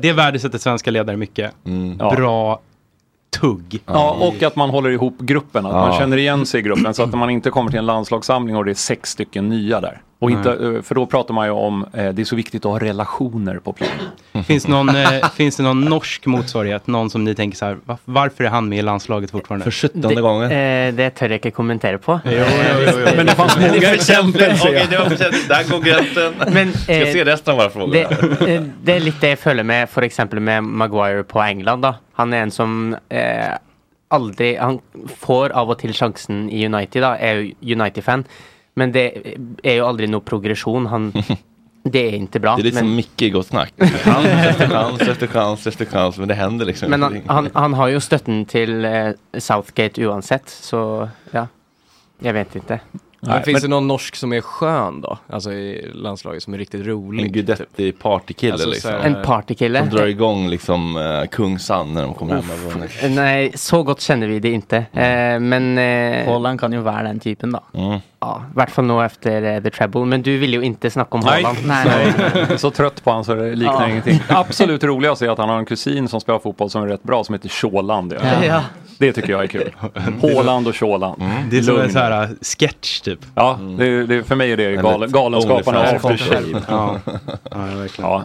Det värdesätter svenska ledare mycket.
Mm.
Bra tugg.
Ja, och att man håller ihop gruppen, att man
Ja.
känner igen sig i gruppen så att man inte kommer till en landslagssamling och det är sex stycken nya där. Och inte, eh, för då pratar man ju om, eh, det är så viktigt att ha relationer på planen.
Finns, någon, eh, finns det någon norsk motsvarighet? Någon som ni tänker så här, "Va- varför är han med i landslaget fortfarande? För
Det- Eh, det tør jeg ikke kommentere på.
jo, jo, jo.
Men det fanns många exempel, ser jag. Okej, det var förtjänstligt. Där går gränsen. Ska
eh,
jag se resten av våra frågor?
Det, eh, det er litt det jeg føler med f.eks. med Maguire på England. da. Han er en som eh, aldri Han får av og til sjansen i United, da. Er jo United-fan. Men det er jo aldri noe progresjon. Han Det er ikke bra.
Det är lite som
men,
Micke i Gott Snack. Chans efter chans efter chans efter chans. Men det händer liksom
men han,
ingenting.
han, han har jo støtten til eh, Southgate uansett, så ja. Jeg vet ikke.
Men finns det någon norsk som är skön då? Alltså i landslaget som är riktigt rolig?
En Guidetti-partykille
Alltså, så
liksom.
här- En
partykille.
Som drar igång liksom eh, Kungsan när de kommer hem. och vunnit.
Nei, så godt kjenner vi det ikke. Eh, men Haaland kan jo være den typen, da.
Mm.
Ja, I hvert fall nå etter eh, The Treble. Men du ville jo ikke snakke om Haaland.
Jag är Så trött på honom så det liknar
Ja.
ingenting. Absolut roligast är att han har en kusin som spelar fotboll som är rätt bra som heter Tjåland.
Ja. Ja.
Det tycker jag är kul. Håland och Tjåland.
Mm.
Det är som en
Lugn.
så här eh, sketch typ.
Ja, det, det, för mig är det gal,
Eller
Galenskaparna
Onlyfans.
after shave.
Ja. Ja, verkligen.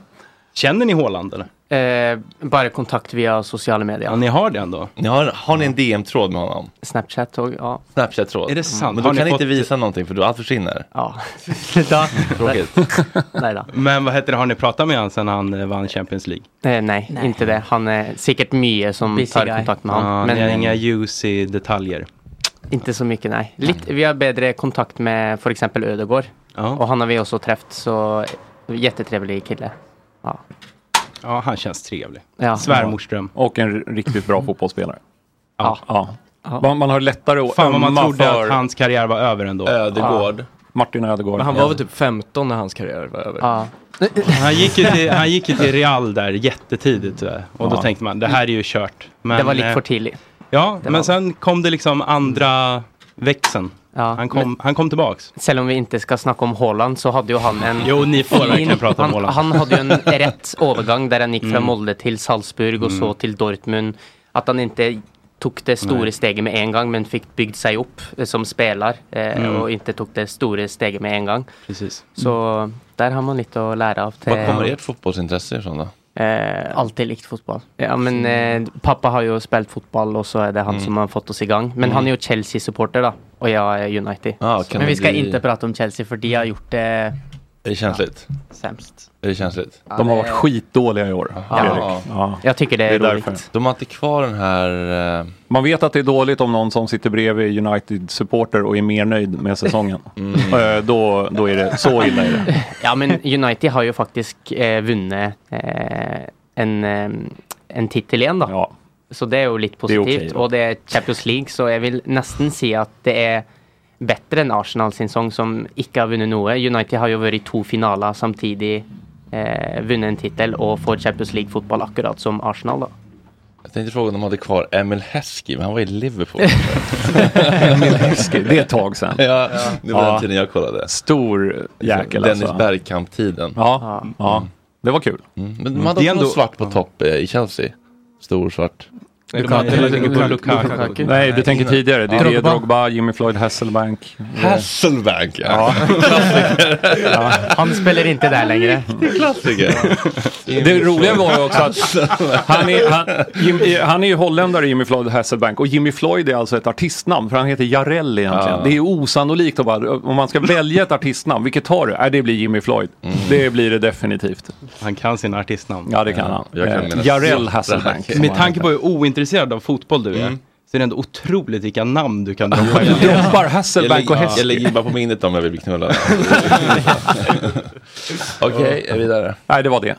Känner ni Håland eller?
Eh, bara kontakt via sociala medier.
Ja, ni har det ändå?
Ni har, har ni en DM-tråd med honom?
Snapchat och ja.
Snapchat-tråd?
Är det sant?
Men då
Har ni
kan ni inte
fått-
visa någonting för då allt försvinner.
Ja. Sluta.
Tråkigt.
Nej då.
Men vad heter det, har ni pratat med honom sen han eh, vann Champions League?
Eh, nej,
Nej.
inte det. Han är säkert Mie som
Busy
tar
guy.
kontakt med honom.
Ja, ni har inga juicy detaljer? Mm.
Inte så mycket, nej. Lite, vi har bättre kontakt med för exempel Ödegård. Och han har vi också träffat, så jättetrevlig kille. Ja.
Ja, han känns trevlig.
Ja.
Svärmorsdröm.
Och en r- riktigt
Mm.
bra fotbollsspelare.
Ja.
ja. Man, man har lättare att
Fan vad man
ömma
trodde
för
att hans karriär var över ändå.
Ödegård. Martin Ödegård.
Men han var
Ja.
väl typ 15 när hans karriär var över.
Ja.
Han gick, ju till, han gick ju till Real där jättetidigt. tyvärr. Och då
Ja.
tänkte man, det här är ju kört.
det var lite
eh,
för tidigt.
Ja, men
Det var- Mm.
sen kom det liksom andra växeln. han, kom,
men-
han kom tillbaks.
Även om vi inte ska snacka om Holland så hade ju han en...
Jo, ni får verkligen prata om
han,
Haaland.
Han hade ju en rätt övergång där han gick
Mm.
från Molde till Salzburg och
Mm.
så till Dortmund. Att han inte tog det stora
Nej.
steget med en gång men fick byggt sig upp eh, som spelare eh,
Mm.
och inte tog det stora steget med en gång.
Precis.
Så där har man lite att lära av. till-
Var kommer ert fotbollsintresse ifrån då?
Eh, alltid likt fotboll. Ja, men,
Mm.
eh, pappa har ju spelat fotboll och så är det han
Mm.
som har fått oss igång. Men
Mm.
han är ju Chelsea-supporter då och jag är United.
Ah,
Ja, kan
men
det
vi ska
bli-
inte prata om Chelsea för de har gjort det
Är det känsligt?
sämst.
Är det känsligt?
De har varit Ja, det-
skitdåliga i år.
Ja. Jag tycker det är roligt.
De har inte kvar den här... eh,
Man vet att det är dåligt om någon som sitter bredvid United-supporter och är mer nöjd med säsongen. Eh, då, då är det så illa. Är det.
Ja men United har ju faktiskt eh, vunnit eh, en, eh, en titel igen då. Så det är ju lite
Det är
positivt.
okej då.
och det är Champions League så jag vill nästan säga att det är bättre än Arsenal sin säsong som inte har vunnit något. United har ju varit i två finaler samtidigt, eh, vunnit en titel och får Champions League fotboll akkurat som Arsenal då.
Jag tänkte fråga om de hade kvar Emil Heskey, men han var i Liverpool.
Emil Heskey, det är ett tag sedan.
Ja, det var
Ja.
den tiden jag kollade.
Stor jäkel
Dennis
alltså.
Bergkamp-tiden.
Ja, ja. det var kul.
Men de hade också någon svart på topp eh, i Chelsea. Stor svart.
Lukaku. Lukaku.
Lukaku.
Nej, du tänker
innan.
tidigare. Det är
Drogba.
Drogba, Jimmy Floyd, Hasselbank.
Hasselbank, ja.
Han spelar inte där längre.
Klassiker.
Det roliga var ju också att han är, han, Jim, han är ju holländare Jimmy Floyd Hasselbank och Jimmy Floyd är alltså ett artistnamn för han heter Jarell egentligen.
Ja.
Det är osannolikt att bara, om man ska välja ett artistnamn, vilket tar du? Nej, det blir Jimmy Floyd. Det blir det definitivt.
Han kan sina artistnamn.
Ja, det kan han.
jag kan
Eh,
mina-
Jarell Hasselbank. som
Med
han
tanke på
heter.
hur ointresserad av fotboll du är.
Mm.
Så är det ändå otroligt vilka namn du kan droppa.
Du droppar Hasselbank och Heskey.
Jag lägger bara på minnet om jag vill bli knullad. Okej, är vidare.
Nej, det var det.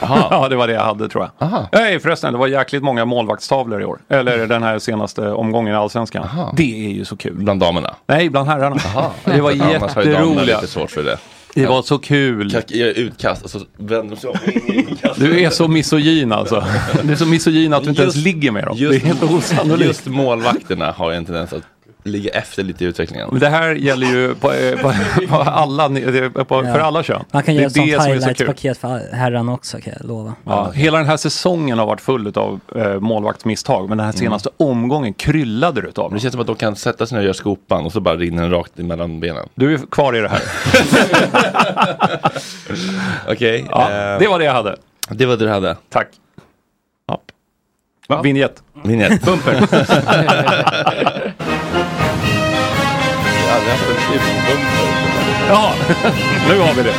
ja, det var det jag hade tror jag. Nej, förresten, det var jäkligt många målvaktstavlor i år. Eller den här senaste omgången i Allsvenskan. Det är ju så kul.
Bland damerna?
Nej, bland herrarna. Det var
Annars har ju damerna
jätteroliga.
lite svårt för det.
Det var så kul.
Kack- Jag är utkast och så vänder de sig om. Inkast.
Du är så misogyn alltså. Du är så misogyn att du inte ens
Just-
ligger med dem. Det är
Just,
helt osannolikt.
just målvakterna har ju en tendens att ligga efter lite i utvecklingen.
Men det här gäller ju på, eh, på, på alla, ni- det- på, för alla kön.
Man kan
det
göra
är
ett sånt
det som är så kul.
highlights-paket för herrarna också kan jag lova.
Ja, hela den här säsongen har varit full av eh, målvaktsmisstag, men den här senaste omgången kryllade du av.
Mm. Det känns som att de kan sätta sig ner och göra skopan och så bara rinner den rakt mellan benen.
Du är kvar i det här.
Okej.
Ja,
eh,
det var det jag hade.
det var det du hade.
Tack. Vinjett.
Vinjett.
Bumper. ja, nu har vi det.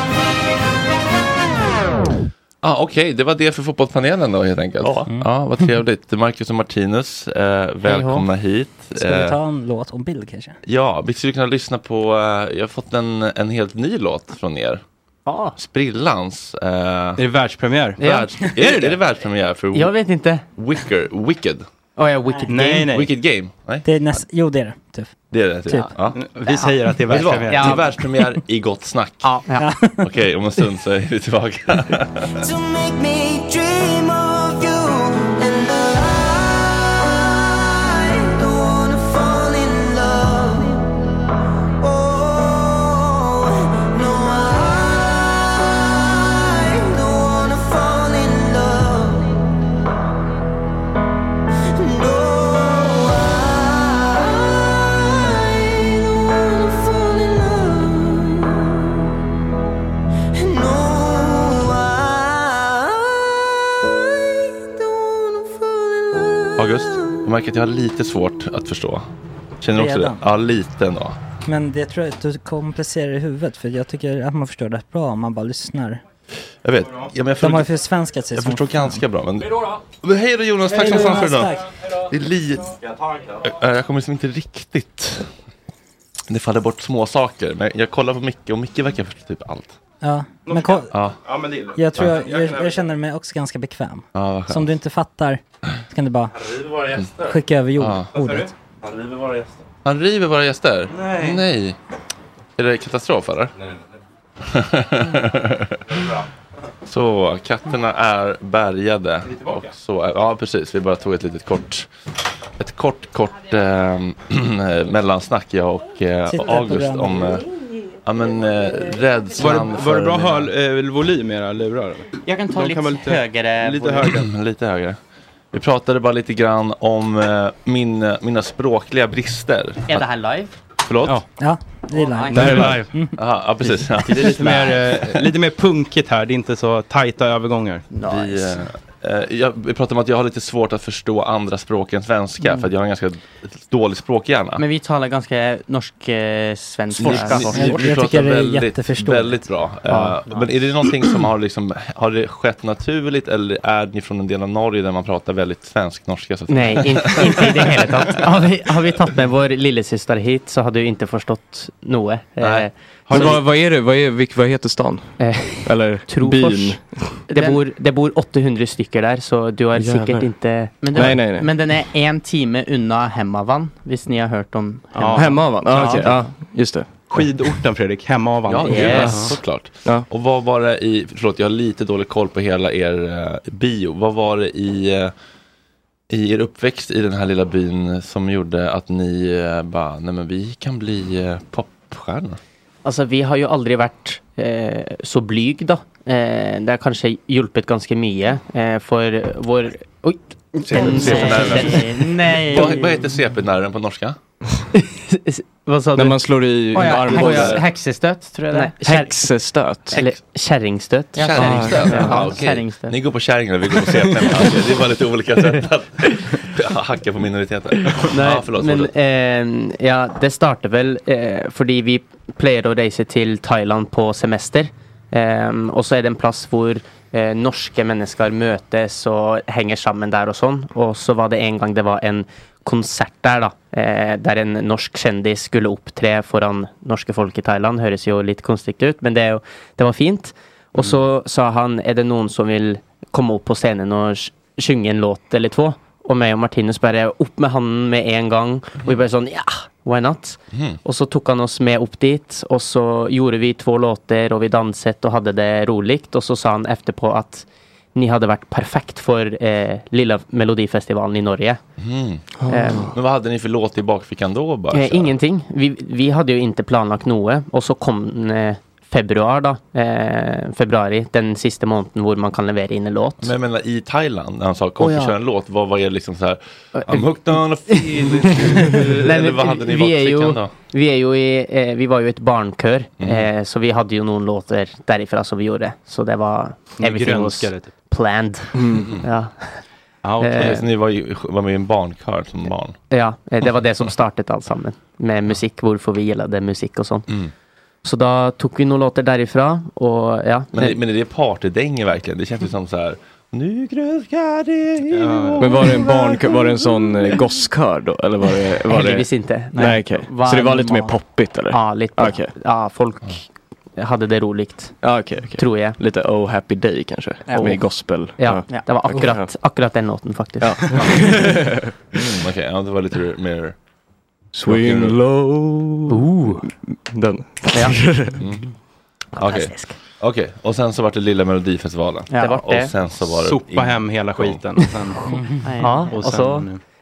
Ah, Okej, det var det för fotbollspanelen då helt enkelt. Mm. Ja, vad trevligt. Marcus och Martinus, eh, välkomna hit.
Ska vi
Eh,
ta en låt om Bill kanske?
Ja, vi skulle kunna lyssna på, eh, jag har fått en, en helt ny låt från er.
Ja.
Sprillans. eh,
Är det världspremiär?
världs- är, det, är det världspremiär för
Jag vet inte.
Wicker, Wicked?
Oh, ja, Wicked
Nej,
Game.
nej.
Wicked Game? Nej,
Det är näst, jo det är det, typ.
det är det.
Typ.
Ja.
Vi säger att det är
Vet du vad?
världspremiär.
Det är världspremiär i Gott Snack.
Ja, ja.
Okej, om en stund så är vi tillbaka.
to make me dream of you and I don't wanna fall in love. Oh, no, I don't wanna fall in love. No, I don't wanna fall in love. No, I
August, jag märker att jag har lite svårt att förstå. Känner du också det?
Redan?
Ja, lite ändå.
Men det tror jag att du kompenserar i huvudet för jag tycker att man förstår det bra om man bara lyssnar.
Jag vet. Ja, men jag
De har
förstår-
ju försvenskat sig
Jag
som
förstår
fan.
ganska bra. Men... Men Hej då Jonas, tack som fan för idag. Det är lite... Jag, jag kommer liksom inte riktigt... Det faller bort små saker. Men jag kollar på Micke och Micke verkar förstå typ allt.
Ja, men ko-
Ja.
Jag tror jag,
Ja.
jag, jag känner mig också ganska bekväm.
Ja, vad skönt.
så om du inte fattar så kan du bara
river våra gäster.
skicka över jord,
Ja.
ordet.
Han river våra gäster.
Han river våra gäster?
Nej.
Nej. Är det katastrof eller?
Nej,
så katterna är bärgade.
vi tillbaka?
Och så är, ja, precis. Vi bara tog ett litet kort, ett kort, kort eh, mellansnack jag och eh,
Sitter på
August
den.
om eh, ja, men, eh,
Var
rädslan
det, var det bra
mina-
höl, eh, volym i era lurar?
Jag kan ta
De
lite
vara
högre
Lite
volym.
högre.
lite högre. Vi pratade bara lite grann om eh, min, mina språkliga brister.
Är det här live?
Förlåt? Ja.
Ja, det är live.
Det här är live.
Aha, ja, precis. Ja.
Det är lite mer, eh, lite mer punkigt här. Det är inte så tajta övergångar.
Vi, eh, eh, jag vi pratar om att jag har lite svårt att förstå andra språk än svenska
Mm.
för att jag har en ganska dålig språkhjärna.
Men vi talar ganska eh, norsk-svenska.
Ni- ni- ni pratar väldigt- Väldigt bra.
Ja.
Eh, Men är det någonting som har, liksom, har det skett naturligt eller är ni från en del av Norge där man pratar väldigt svensk-norska? så att-
Nej, in, inte i det hela tatt. Har vi, har vi tagit med vår lillasyster hit så har du inte förstått något. Eh,
Har,
så Eh,
vad, vad är det? Vad, är, vilk, vad heter stan? Eller byn?
Trofors. Det bor, det bor 800 stycken där så du har
Jävlar.
säkert inte... Men,
Nej, nej, nej.
men den är en timme undan Hemavan, om ni har hört om
Ja. Hemavan, ja, okej. Ja, just det.
Skidorten Fredrik, hemavan.
Ja,
Yes.
ja, såklart. Och vad var det i, förlåt jag har lite dålig koll på hela er eh, bio, vad var det i, eh, i er uppväxt i den här lilla byn som gjorde att ni eh, bara, nej men vi kan bli eh, popstjärnor?
Alltså vi har ju aldrig varit eh, så blyg da. Eh, det har kanske hjulpet ganska mye eh, för vår... Oj! Den- den- Nej!
Vad, vad heter CP-nerven på norska?
Vad sa
När man slår i
Åh, ja,
armbågar.
häx- Häxestöt tror jag det
Nej, Häxestöt.
Eller kärringstöt.
Kärringstöt?
Ja,
Ah, okej.
kärringstöt.
Ni går på kärringar och vi går på CP. Alltså, det var lite olika sätt att hacka på minoriteter.
Nej,
ja, förlåt,
men
fortsätt.
ehm, ja, det starter väl eh, fordi vi pleier å reise till Thailand på semester. Ehm, och så är det en plats hvor eh, norske mennesker mötes och hänger sammen där och sånn. Och så var det en gång det var en konsert där da. Eh, der en norsk kändis skulle opptre foran norske folk i Thailand. Høres jo litt konstigt ut, men det, er jo- det var fint. Och
Mm.
så sa han, är det någon som vill komma upp på scenen och sj- sjunga en låt eller två? Och mig och Martinus bara, upp med handen med en gång. Och vi bara sån, ja, why not?
Mhm.
Och så tog han oss med upp dit och så gjorde vi två låtar och vi dansade och hade det roligt. Och så sa han efterpå att ni hade varit perfekt för eh, lilla melodifestivalen i Norge.
Mm.
Ehm,
Men vad hade ni för låt i bakfickan då? Bara,
Eh, ingenting. Vi, vi hade ju inte planlagt något och så kom eh, februari då. Eh, februari, den sista månaden hvor man kan leverera in en låt.
Men jag menar i Thailand, när han sa kom
Åh,
vi
ja.
kör en låt, vad var er liksom så här I'm
eh,
hooked on a feeling Eller vad hade ni i
vi, är
bakfickan
ju,
då?
vi, är ju i, eh, vi var ju ett barnkör, eh, så vi hade ju någon låtar därifrån som vi gjorde. Så det var
Ni
everything was
grönskade, typ.
planned. Ja.
Okay.
Eh,
Så ni var, ju, var med i en barnkör som barn?
Ja, eh, det var det som startade allt sammen med musik, varför vi gillade musik och sånt. Så då tog vi några låtar därifrån och ja.
Men, det- men är det partydänger verkligen? Det känns ju som så här Nu grönskar det i vår
Men var det en barnkör, var det en sån eh, gosskör då? Eller var det, var det...
Heldigvis inte.
Nej,
Nej.
okej.
Var
Så det var lite mer
normal.
poppigt eller?
Ja, lite pop.
Okej.
Ja, folk hade det roligt.
Ja, okej, okej.
Tror jag.
Lite Oh Happy Day kanske?
Ja.
Med gospel.
Ja, det var akkurat, akkurat den låten faktiskt.
mm, Okej, ja, det var lite mer
Swing low. Ooh. Den.
Ja.
Mm. Okej, Okej, och sen så var det lilla melodifestivalen
Ja. Det var det.
Och sen så var det
Sopa
in-
hem hela skiten. Och sen,
Ja, och så...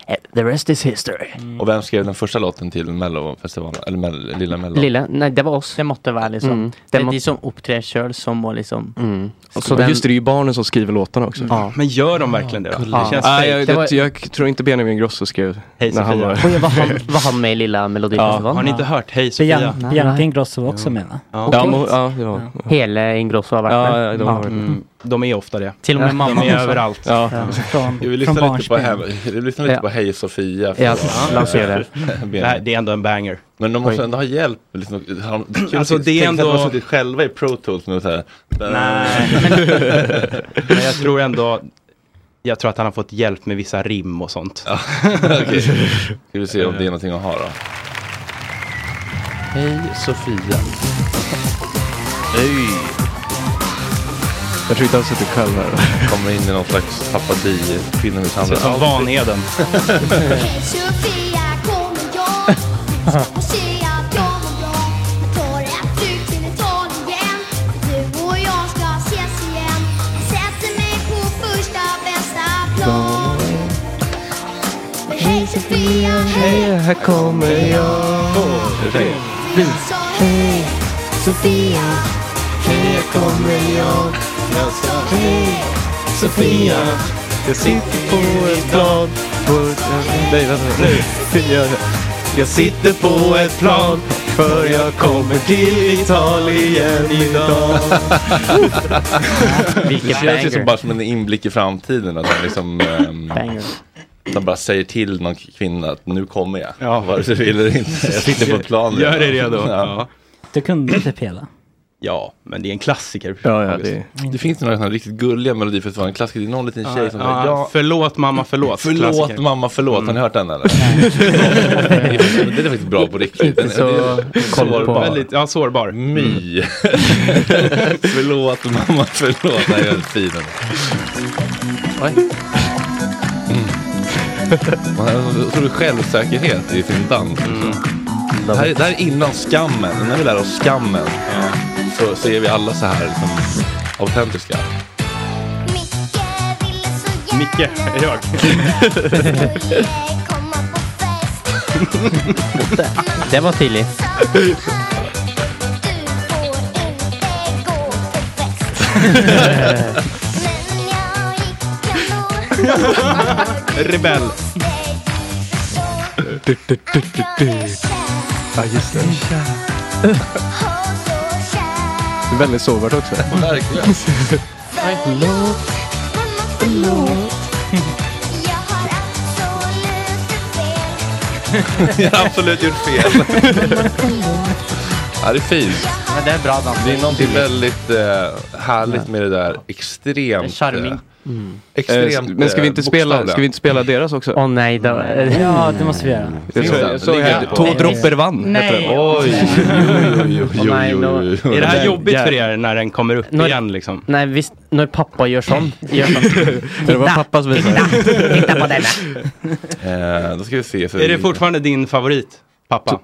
eh, The rest is history.
Och vem skrev den första låten till mellofestivalen? Eller mell, lilla mello?
Lilla, nej det var oss. Det måste vara liksom.
Mm.
Det
Det
är
må-
de som uppträder själv som må liksom.
Mm.
Så
Så
den-
Just det, det är ju barnen som skriver låtarna också.
Men gör de verkligen det då?
Ja.
Det känns
Nej,
fake.
jag, jag, jag tror inte Benjamin Grosso skrev
Hej,
när han
Sofia.
var...
Oj, var han, var han med i Lilla Melodifestivalen?
Ja, har ni inte hört Hej, Sofia?
Bian- Bianca Ingrosso var också med va?
Ja, men- ja, det var-
Hela Ingrosso har varit
Ja,
med.
ja, de har varit med.
Mm.
De är ofta det.
Till och med
de
mamma
är
också.
överallt.
Ja. Ja. Från-
Jag vill lyssna
från
lite på, hem,
barnsben.
jag vill lyssna lite
Ja.
på Hej Sofia.
Ja, lansera. Nej, det är ändå en banger.
Men de måste
Oj.
ändå ha hjälp. Liksom, har de- kul
Alltså,
att-
det är
tänk att De
ändå-
har suttit själva i Pro Tools nu så här.
Nej, men jag tror ändå... Jag tror att han har fått hjälp med vissa rim och sånt.
Okej. Ska vi se om det är någonting att ha då. Hej Sofia. Hej.
Jag tror inte han sitter själv här.
Kommer in i någon slags apati,
Ser
kvinnomisshandel.
ut som Vanheden.
Hej Sofia, hej,
här kommer jag.
så hej Sofia, hej här kommer jag. Jag sa hej
Sofia,
jag sitter på ett
plan.
Nej, vänta nu. Jag, jag sitter på ett plan för jag kommer till Italien idag.
Det känns ju som bara som en inblick i framtiden. Att han liksom, ehm,
Banger.
att han bara säger till någon kvinna att nu kommer jag. Vare sig du vill eller inte. Jag sitter på ett plan. nu.
Gör dig redo.
Ja.
Ja.
Du kunde typ hela.
ja, men det är en klassiker. August.
det... finns några sådana riktigt gulliga melodifestivalen-klassiker. Det är någon liten
Ja,
tjej som
ja,
säger ja.
Förlåt mamma, förlåt.
Förlåt
Klassiker.
mamma, förlåt. Har ni hört den eller? det är faktiskt bra på riktigt. Den,
Så-
den är
Sårbar.
sårbar.
Väldigt, ja, sårbar. Mm.
My. förlåt mamma, förlåt. Nej, jag är fin. Mm. Man har en otrolig självsäkerhet i sin dans. liksom.
Mm.
Det, här, är- det här är innan skammen. När vi lär oss skammen så, så är vi alla så här liksom, autentiska.
Micke, är det jag?
Det var tidigt.
Rebell.
Ja, just det. Det är väldigt sårbart också.
Verkligen. Jag har absolut gjort fel. ja, det är fint.
Men det är bra dans.
Det är någonting väldigt eh, härligt med det där extremt...
Charming.
eh, Extremt
men ska vi inte
eh,
spela,
bokstavliga.
ska vi inte spela deras också?
Åh nej. Då,
Ja, det måste vi göra.
Jag
Finns
såg-
den?
jag såg
Ligger
här,
den på?
Två droppar vann
Nej.
heter den.
Oj, oj, oj, oj,
nej,
oj, oj, oj.
Är det här jobbigt för
jävlar.
er när den kommer upp
Några-
igen liksom?
Nej, visst. När pappa gör sån. Gör sån.
Det var pappa som visade.
Titta, titta på denna.
Eh, då ska vi se. Så
Är det fortfarande din favorit, pappa?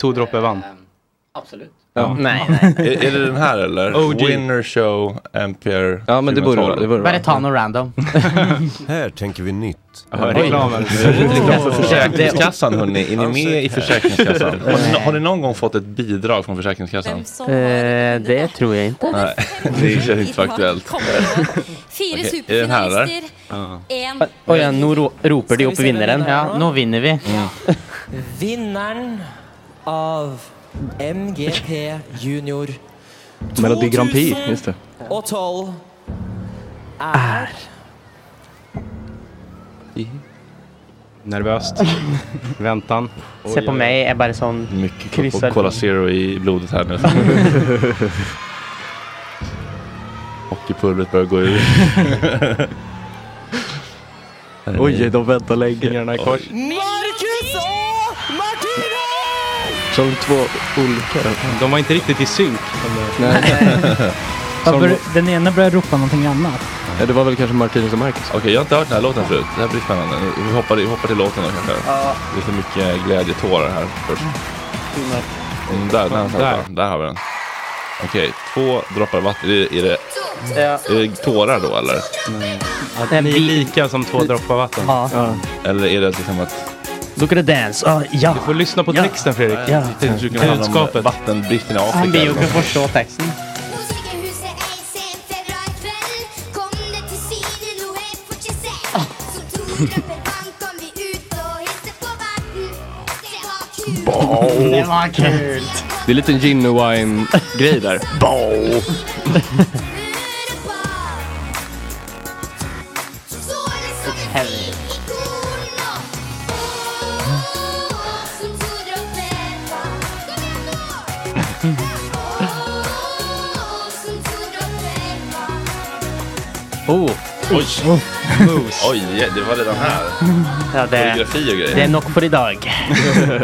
To droppe vann.
Ehm,
Absolut.
Ja.
Nej, nej. nej.
Är, är det den här eller?
OG.
Winner Show Empire
Ja, men det borde
2012.
vara- det borde
Bara ta någon random.
Här tänker vi nytt.
Oj. Det är lite reklam för Försäkringskassan hörni, är ni med i Försäkringskassan? Har ni, har ni någon gång fått ett bidrag från Försäkringskassan?
Eh, det tror jag inte.
Nej, det känns inte så aktuellt.
Fire
Okej, är den här eller?
superfinalister. En.
Oj, ja, nu ro-
Ska
ropar de
vi
upp
se
vinnaren.
vem det är
Ja,
då?
nu vinner vi.
Vinneren av MGP Junior
Melodi Grand Prix, just det.
og tolv er
Nervöst. Väntan.
Se på mig, är bara sån
Mycket
kryssar.
Kryssar. Cola Zero i blodet här nu. Hockeypulvret börjar gå ur.
Oj, de väntar länge.
Fingrarna i kors.
Markus og Martinus!
Som två olika.
De var inte riktigt i synk.
Ja, för Den ena börjar ropa någonting annat.
Ja, det var väl kanske Martinus och Marcus.
Okej, jag har inte hört den här låten förut. Det här blir spännande. Vi hoppar, vi hoppar till låten då kanske. Det är så mycket glädjetårar här först. Mm, där, där, där, där. där har vi den. Okej, två droppar vatten. Är det, är, det, är det tårar då eller?
Att
Eh,
ni är lika som två droppar vatten.
Ja.
Eller är det liksom att...
Look at the dance. Ah, ja.
Du får lyssna på
Ja.
texten Fredrik.
Ja.
Jag tänkte att det skulle handla om
Budskapet.
Vattenbristen i
Han
Afrika.
blir ju
eller
kan
något.
förstå texten. Det var kul.
Det är lite en gin och wine grej där.
Oh.
Oj! Oj, det var redan här.
Ja, det,
Koreografi och grejer.
det är nog för idag.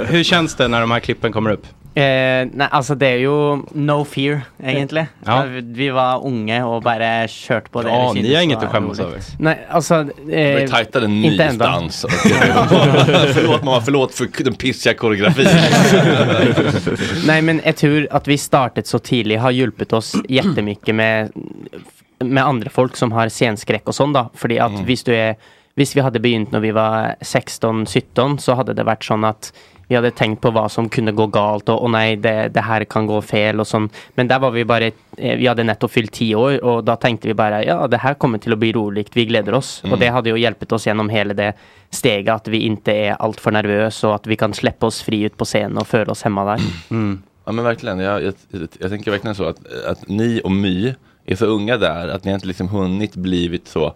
Hur känns det när de här klippen kommer upp?
Eh, nei, altså det er jo no fear, egentlig.
Ja.
Eh, Vi var unge og bare kjørte på det.
Ja,
vi syntes
ni har inget
var
att skämmas
roligt.
över.
Nei, altså
Det var ju
eh,
tajtare än
inte ändå.
nysdans. Och- förlåt mamma, förlåt för den pissiga koreografin.
Nei, men jeg tror at vi startet så tidlig har hjulpet oss jättemycket med, med andre folk som har scenskrekk og sånn, da. Fordi at hvis du er Hvis vi hadde begynt når vi var 16-17, så hadde det vært sånn at vi hadde tenkt på hva som kunne gå galt, og å nei, det, det her kan gå feil, og sånn. Men der var vi bare eh, Vi hadde nettopp fylt ti år, og da tenkte vi bare ja, det her kommer til å bli rolig, vi gleder oss.
Mm.
Og det hadde jo hjulpet oss gjennom hele det steget, at vi ikke er altfor nervøse, og at vi kan slippe oss fri ut på scenen og føle oss hemma der.
Ja men verkligen, jag, jag, jag, jag tänker verkligen så att, att ni och My är så unga där att ni har inte liksom hunnit blivit så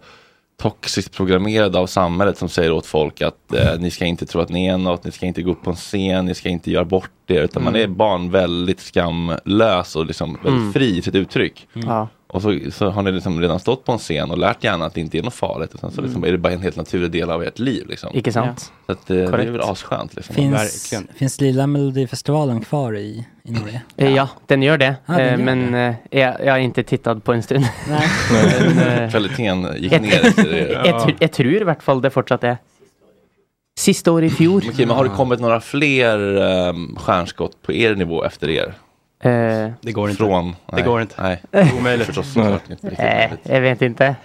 toxiskt programmerade av samhället som säger åt folk att eh, ni ska inte tro att ni är något, ni ska inte gå upp på en scen, ni ska inte göra bort er. Utan man
Mm.
är barn väldigt skamlös och liksom väldigt
Mm.
fri i sitt uttryck.
Mm. Ja.
Och så, så har ni liksom redan stått på en scen och lärt gärna att det inte är något farligt. Utan så liksom
Mm.
är det bara en helt naturlig del av ert liv. Liksom.
Icke sant?
Så att, eh, det är
Korrekt.
väl asskönt. Liksom.
Finns, finns lilla melodifestivalen kvar i, i Norge?
Ja, den gör det.
Ja, den
Eh,
gör
men eh, jag, jag har inte tittat på en stund.
Nej.
Men, eh,
Kvaliteten gick
jag-
ner efter det.
jag, tr- jag tror i vart fall det fortsatt är. Sista året i fjor.
Okej, men har det kommit några fler um, stjärnskott på er nivå efter er?
Eh,
Det går inte.
Från?
Det
nej,
går inte.
Nej,
Omöjligt.
Förstås,
Nej.
såklart inte riktigt
eh,
möjligt.
jag vet inte.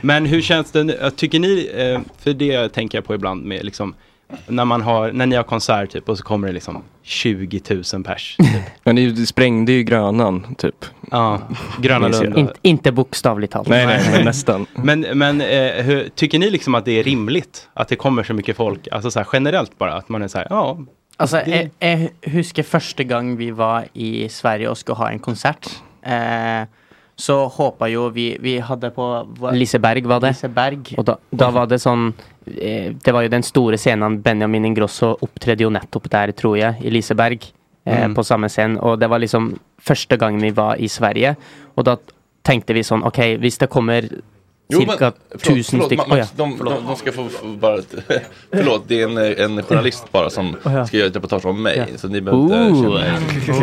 Men hur känns det, nu? tycker ni, eh, för det tänker jag på ibland med liksom, när man har, när ni har konsert typ och så kommer det liksom 20 000 pers.
Men det, det sprängde ju Grönan typ.
Ja, Gröna
Minns jag.
Lund.
In, inte bokstavligt talat.
Nej, nej, men nästan.
Men, men eh, hur, tycker ni liksom att det är rimligt att det kommer så mycket folk? Alltså så här generellt bara, att man är så här, ja.
Altså,
det-
jeg, jeg Alltså, eh, husker første gang vi var i Sverige og skulle ha en konsert. Eh, så håpa jo vi Vi hadde på hva-
Liseberg var det.
Liseberg. Og da, da var det sånn eh, Det var jo den store scenen Benjamin Ingrosso opptredde jo nettopp der, tror jeg, i Liseberg. Eh,
Mm.
På samme scenen. Og det var liksom første gang vi var i Sverige. Og da tenkte vi sånn OK, hvis det kommer ca. 1000
förlåt,
stykker
Max, de, de, de ska få, få bara, förlåt, det är en, eh, en journalist bara som
Åh, Oh, ja.
ska göra ett reportage om mig.
Ja.
Så ni behöver inte
Ooh.
känna er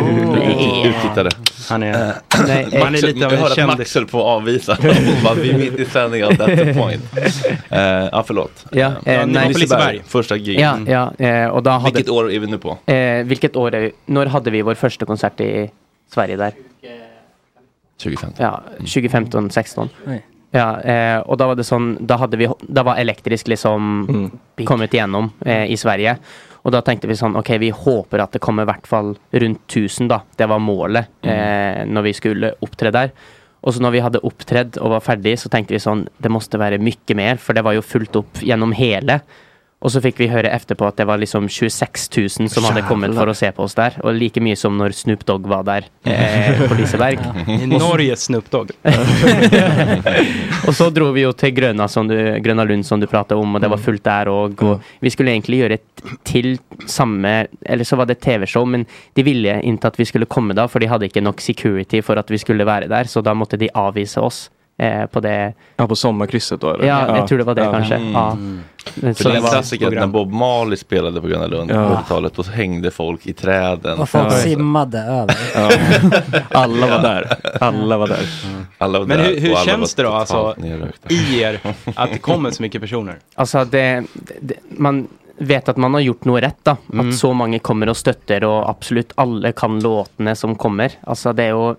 ut-
Ooh.
uttittade.
Han
Eh,
är,
Nej,
Max,
man är lite
jag
av en
hör att
kändis.
Max höll på att avvisa. Hon bara, vi är mitt i sändningen, that's the point. Eh, ja, förlåt.
Ja,
Eh,
eh, nej.
Liseberg, första gig. Mm.
Ja, ja, eh, og da hadde
Vilket år är vi nu på?
Eh, vilket år är vi? När hade vi vår första konsert i Sverige där?
2015.
Ja, 2015, 16.
Nej.
Ja, eh, och då var det sån, då hade vi, då var elektrisk liksom kommit igenom eh, i Sverige. Och då tänkte vi sån, okej vi hoppas att det kommer i vart fall runt 1000 då. Det var målet eh, när vi skulle uppträda där. Och så när vi hade uppträtt och var färdiga så tänkte vi sån, det måste vara mycket mer för det var ju fullt upp genom hela. Och så fick vi höra efterpå att det var liksom 26 000 som hade kommit
Jävlar.
för att se på oss där. Och lika mycket som när Snoop Dogg var där eh, på Liseberg.
I Norge Snoop Dogg.
Och så drog vi ju till Gröna, som du, Gröna Lund som du pratade om och det var fullt där och, och vi skulle egentligen göra ett till samma, eller så var det ett tv-show men de ville inte att vi skulle komma då för de hade inte nog security för att vi skulle vara där så då måste de avvisa oss eh, på det.
Ja, på sommarkrysset då eller?
Ja, jag tror det var det kanske. Ja.
Mm.
Men
För
så
det är
det
en
var-
klassiker när Bob Marley spelade på Gröna Lund
Ja.
på 80-talet, då hängde folk i träden.
Och folk
Ja.
simmade över.
Ja.
Alla var där. Alla var där.
Alla var
Men
där
hur, hur
och alla
känns
var
det då alltså
totalt nerökta.
i er att det kommer så mycket personer?
Alltså det, det, man vet att man har gjort något rätt då.
Mm.
Att så många kommer och stöttar och absolut alla kan låtarna som kommer. Alltså det är ju...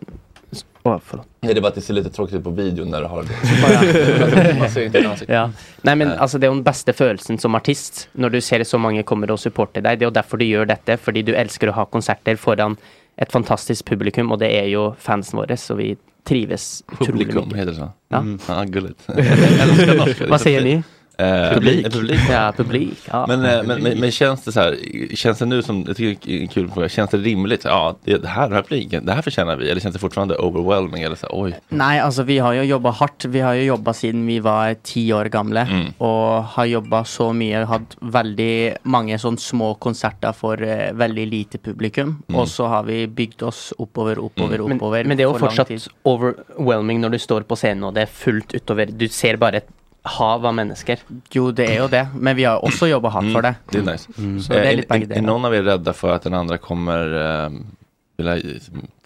Åh, förlåt.
Nej, det är bara att det ser lite tråkigt ut på videon när du har det. Man ser inte ditt ansikte.
ja. Nei, men
Nej.
altså, Det er jo den beste følelsen som artist, når du ser så mange kommer og supporter deg. Det er jo derfor du gjør dette, fordi du elsker å ha konserter foran et fantastisk publikum, og det er jo fansen våre, så vi trives utrolig
Publikum
mye.
heter det så.
Ja.
Mm. Ja, gulligt. Jag älskar norska. det är
Vad
så
säger
fint. Eh,
Publik.
eh, publik.
Ja, publik. Ja.
Men, eh, men, men,
Publik.
men känns det så här, känns det nu som, jag tycker det är en kul fråga, känns det rimligt? Ja, det det här, den här publiken, det här förtjänar vi. Eller känns det fortfarande overwhelming? Eller så här, oj.
Nei, altså alltså, vi har jo jobba hardt. Vi har jo jobba siden vi var ti år gamle.
Mm.
Og har jobba så mye. Hatt veldig mange sånn små konserter for eh, veldig lite publikum.
Mm.
Og så har vi bygd oss oppover,
Mm.
oppover,
Men,
oppover.
men det er jo
for lang
fortsatt
tid.
overwhelming når du står på scenen og det er fullt utover. Du ser bare et hav av mennesker.
Jo, det er jo det. Men vi har også jobba hardt for det.
Mm. Det är nice.
Så det
Eh,
er litt begge
är, är
deler.
någon av er rädda för att den andra kommer eh, vilja eh,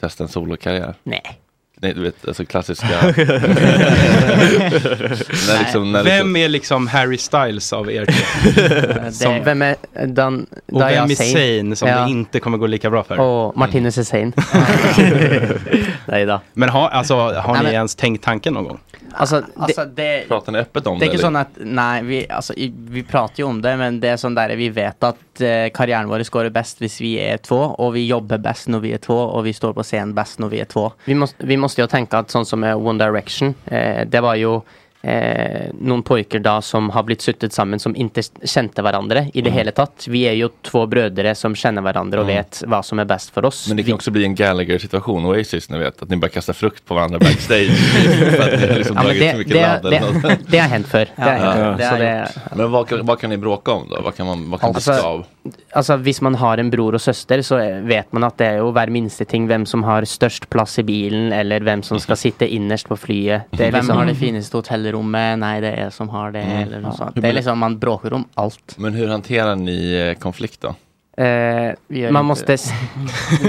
testa en solokarriär?
Nej.
Nej, du vet, alltså klassiska... när liksom, när liksom,
Vem är liksom Harry Styles av er två?
Det,
Som-
hvem er Dan
och
Daya
vem är Zayn som
Ja.
det inte kommer gå lika bra för? Mm.
Og Martinus Hussein. Nej då.
Men har, alltså, har
Nej,
ni
men-
ens tänkt tanken någon gång?
Altså,
Altså,
Alltså, det
Pratar ni öppet om
det
det?
är inte
eller?
sånn at Nei, vi, altså, i- vi prater jo om det, men det er sånn der vi vet at eh, karrieren vår går best hvis vi er två, og vi jobber best når vi er två, og vi står på scenen best når vi er två.
Vi, måste, vi måste ju tänka att sånt som är One Direction, eh, det var ju eh, någon pojkar då som har blivit suttit samman som inte kände varandra i det
Mm.
hela tatt. Vi är ju två bröder som känner varandra och
Mm.
vet vad som är bäst för oss.
Men det kan också bli en Gallagher-situation, Oasis, ni vet, att ni bara kastar frukt på varandra backstage. för att ni har liksom
Ja, men
dragit
det-
så mycket
det-
ladd eller
det-
något.
det har hänt förr. Det har hänt förr. Det Alltså-
så
har
det-
jag
Men vad, kan- vad kan ni bråka om då? Vad kan man vad kan man bli av?
Altså, altså Alltså, Hvis man har en bror og søster, så eh, vet man at det er jo hver minste ting hvem som har størst plass i bilen, eller hvem som skal sitte innerst på flyet. Det er
Hvem
liksom,
Mhm.
Mm.
har det fineste hotellrommet? Nei, det er jeg som har det, eller noe sånt. Det er liksom, man bråker om alt.
Men hur hanterar ni eh, konflikt då?
Eh,
gör
man
inte
måste... s-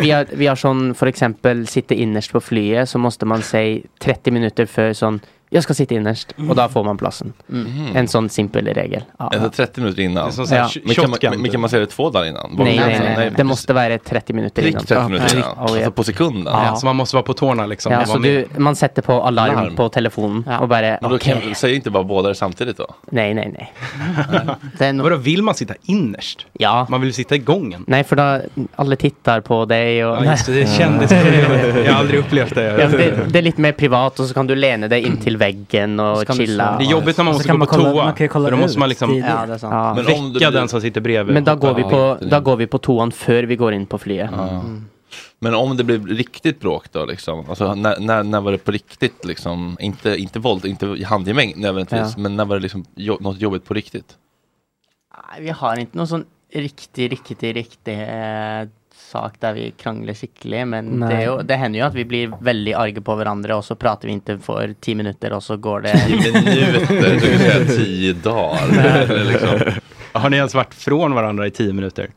vi, har, vi har sånn for eksempel sitte innerst på flyet, så måste man si 30 minutter før sånn jag ska sitta innerst,
Mm.
och då får man platsen.
Mhm.
En sån simpel regel. Ja.
Alltså 30 minuter innan?
Det är som så här Ja.
men, kan man,
shotgun.
men, men kan man säga det två dagar innan?
Nej, nej, nej, nej. Det måste vara 30 minutter
Prick
innan.
30 minuter
Ja.
innan. Alltså på sekunden.
Ja. Så
man måste vara på tårna liksom.
Ja, så du, man sätter på alarm,
Larm.
på telefonen och bara
Men då
okej.
kan, säger inte bara båda det samtidigt då?
Nej, nej, nej.
Vadå, vill man sitta innerst?
Ja.
Man vill ju sitta i gången.
Nej, för då alla tittar på dig och...
Ja, just det, det är kändisproblemet. Jag har aldrig upplevt det.
Ja, det. Det är lite mer privat och så kan du lena dig in till väggen och
kan du
chilla.
slappna Det är jobbigt när man av. måste gå på toa, för då måste man liksom Ja, det är sant. väcka Men om du- den som sitter bredvid.
Men då går, vi
Ja,
på, då går vi på toan för vi går in på flyet.
Men om det blir riktigt bråk då liksom? Alltså när, när, när var det på riktigt liksom? Inte, inte våld, inte handgemäng nödvändigtvis.
Ja.
Men när var det liksom jo, något jobbigt på riktigt?
Nei, vi har ikke noe sånn riktig, riktig, riktig eh, sak der vi krangler skikkelig, men
Nei.
det, er jo, det hender jo at vi blir veldig arge på hverandre, og så prater vi ikke for ti minutter, og så går det
minuter, du kan säga tio dagar. Eller liksom.
Har ni ens varit från varandra i tio minuter?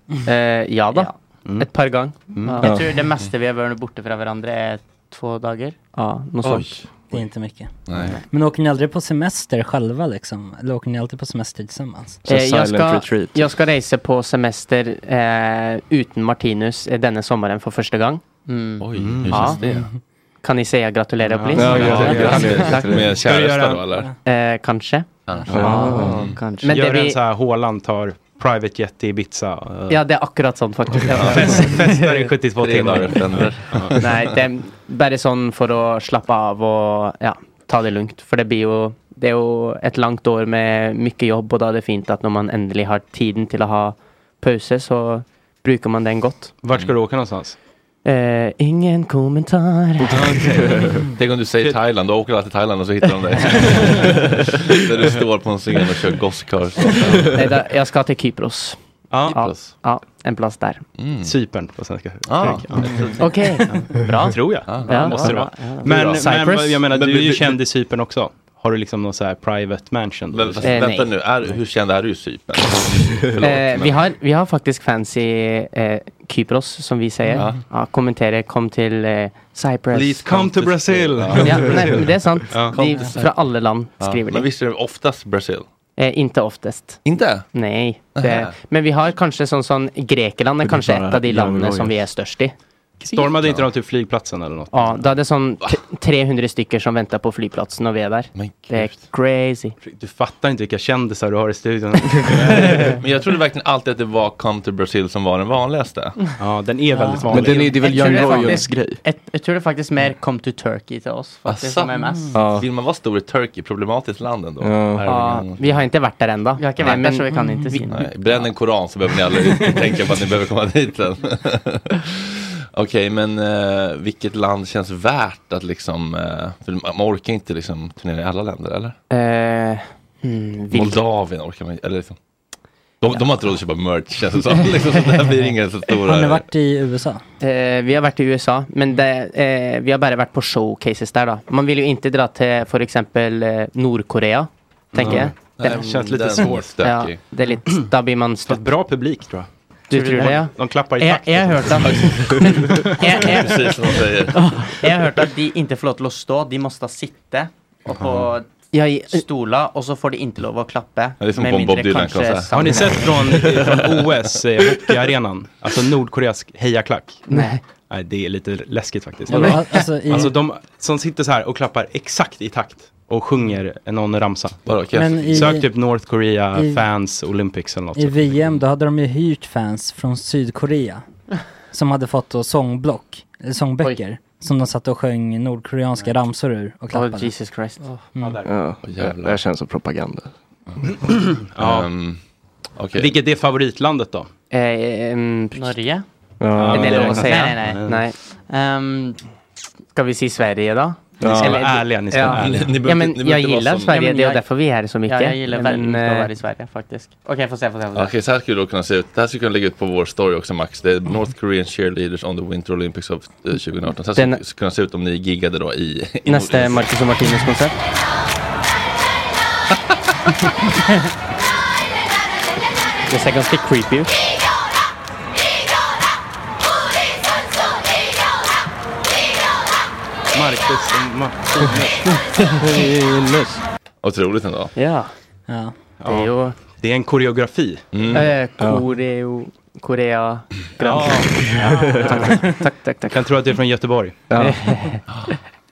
ja da.
Ett par gånger.
Mm.
Jeg tror det meste vi har vært borte fra hverandre, er to dager.
Ja,
något sånt.
Det är inte mycket.
Nej.
Men åker ni aldrig på semester själva liksom? Eller åker ni alltid på semester tillsammans?
Eh, jag, ska, jag ska resa på semester eh, utan Martinus eh, denna sommaren för första gången.
Oj, hur
Ja.
känns det?
Kan ni säga gratulerar
Ja,
please?
ja, ja, gratulerar.
Tack.
Med käresta då, eller?
Eh, kanske.
Ja,
kanske.
Men
Men
Gör
det
en
vi-
så här, Haaland tar private jet till Ibiza. eh,
Ja, det är akkurat sånt faktiskt.
Fest, festar i 72
Tre dagar
timmar.
efter.
Ja.
Nej, det är bara sån för att slappa av och ja, ta det lugnt. För det blir ju, det är ju ett långt år med mycket jobb och då är det fint att när man äntligen har tiden till att ha pauser så brukar man den gott.
Vart ska du åka någonstans?
Eh, ingen kommentar.
Tänk om du säger Thailand, då åker alla till Thailand och så hittar de dig. Där du står på en scen och kör gosskör.
Nej, då, jag ska till Kypros.
Ja.
Ja, ja, en plats där.
Mm.
Cypern på svenska.
Ah.
Ja.
Okej. Bra.
Tror jag.
Ja.
Ah.
Ja, måste det vara.
Ja.
Men,
Bra.
men
Cyprus?
vad- jag menar,
Men
du är
vi-
ju
vi-
känd i Cypern också. Har du liksom någon så här private mansion?
Men, fast, Eh, vänta nej. nu, är- hur känd är du i Cypern? Förlåt,
Eh, vi,
men-
har, vi har faktiskt fans i eh, Kypros, som vi säger.
Ja.
Ja. kommentera, kom till eh, Cyprus.
Please come Come to to Brazil. Brazil.
Ja,
Come to
nej,
Brazil.
men det är sant.
Ja. Come
De,
to Cyprus.
från alla land
Ja,
skriver
Men
de.
visst är det oftast Brasil?
Eh, inte oftast.
Inte?
Nej.
Aha.
Det, men vi har kanske sån som Grekland är kanske
bara
ett av de
Young
landen som
Royals.
vi är störst i.
Stormade inte de typ flygplatsen eller något?
Ja, det hade sån t- 300 stycken som väntade på flygplatsen och vi är där. Det är crazy.
Du fattar inte vilka kändisar du har i studion.
Men jag trodde verkligen alltid att det var Come to Brazil som var den vanligaste.
Ja, den är väldigt
Ja.
vanlig.
Men den är- det är väl Jag tror Young det Royals faktiskt.
grej.
Ett, jag tror det faktiskt mer kom to Turkey till oss. Faktiskt, som är mest.
Vill man vara stor i Turkey, problematiskt land ändå. Här är
Ja,
ingen-
vi har inte varit där ändå. Vi har inte
Nej,
varit där
men-
så mm, vi kan inte se.
Nej, bränn en koran så behöver ni aldrig tänka på att ni behöver komma dit sen. Okej, men eh, vilket land känns värt att liksom, eh, för man orkar inte liksom turnera i alla länder eller?
Eh, hmm, vilket-
Moldavien orkar man inte, eller liksom. De, de har inte råd att köpa merch känns det som. Liksom, så där blir ingen så stora.
Har ni varit i USA?
Eh, vi har varit i USA, men det, eh, vi har bara varit på showcases där då. Man vill ju inte dra till för exempel eh, Nordkorea, tänker
Mm.
jag.
Nej, det känns lite Den svårt. är
Ja,
stökig.
det är lite, där blir man stökig.
Bra publik tror jag.
Du tror det ja.
De klappar i
Jag-
takt. liksom?
Jag har hört att... Jag- jag-
Precis som de säger.
Jag har hört att de inte får lov till att stå, de måste sitta och på stolar och så får de inte lov att klappa.
Ja, det är som
Med
på en
mindre
Bob Dylan
kanske
konsert. Har ni
samma-
sett från, från OS, eh, hockeyarenan? Alltså Nordkoreas hejaklack?
Nej.
Nej, det är lite läskigt faktiskt.
Ja, men alltså i-
Alltså de som sitter så här och klappar exakt i takt och sjunger någon ramsa.
Men i-
Sök typ North Korea
i-
fans Olympics eller något.
I VM då hade de ju hyrt fans från Sydkorea. Som hade fått då sångblock, eh, sångböcker. Som de satt och sjöng nordkoreanska ramsor ur och klappade.
Oh, Jesus Christ.
Mm.
Ja, det det här känns som propaganda. Ehm,
Ja. Vilket är favoritlandet då?
Eh, ehm, Norge?
Ja,
det
det
menar jag att
räknas
säga.
inte.
Nej, nej,
Nej.
nej. Ehm, ska vi säga Sverige då?
Ni ska
Eller-
vara ärliga, ni ska vara ärliga. Ni behöver
ja,
inte-
men
ni
jag
behöver inte
gillar
vara som-
Sverige,
Ja, men
det är
jag-
ju därför vi är här så mycket.
Ja, jag gillar väldigt
Men,
mycket att
eh,
vara i
Sverige faktiskt. Okej, okay, får se, får se, får se.
Okej, så här skulle det då kunna se ut. Det här skulle kunna lägga ut på vår story också Max. Det är
Mm.
North Korean cheerleaders on the Winter Olympics of eh, 2018. Så här skulle
Den-
det kunna se ut om ni giggade då i... i
Nästa
Nordkorea.
är Marcus och Martinus konsert. Det ser ganska creepy ut.
Marcus och Martinus.
Otroligt ändå.
Ja.
ja.
Det är ju...
Det är en koreografi.
Eh,
Mm.
Koreo... Korea... Grand tack, tack, tack.
Kan tro att det är från Göteborg.
Ja.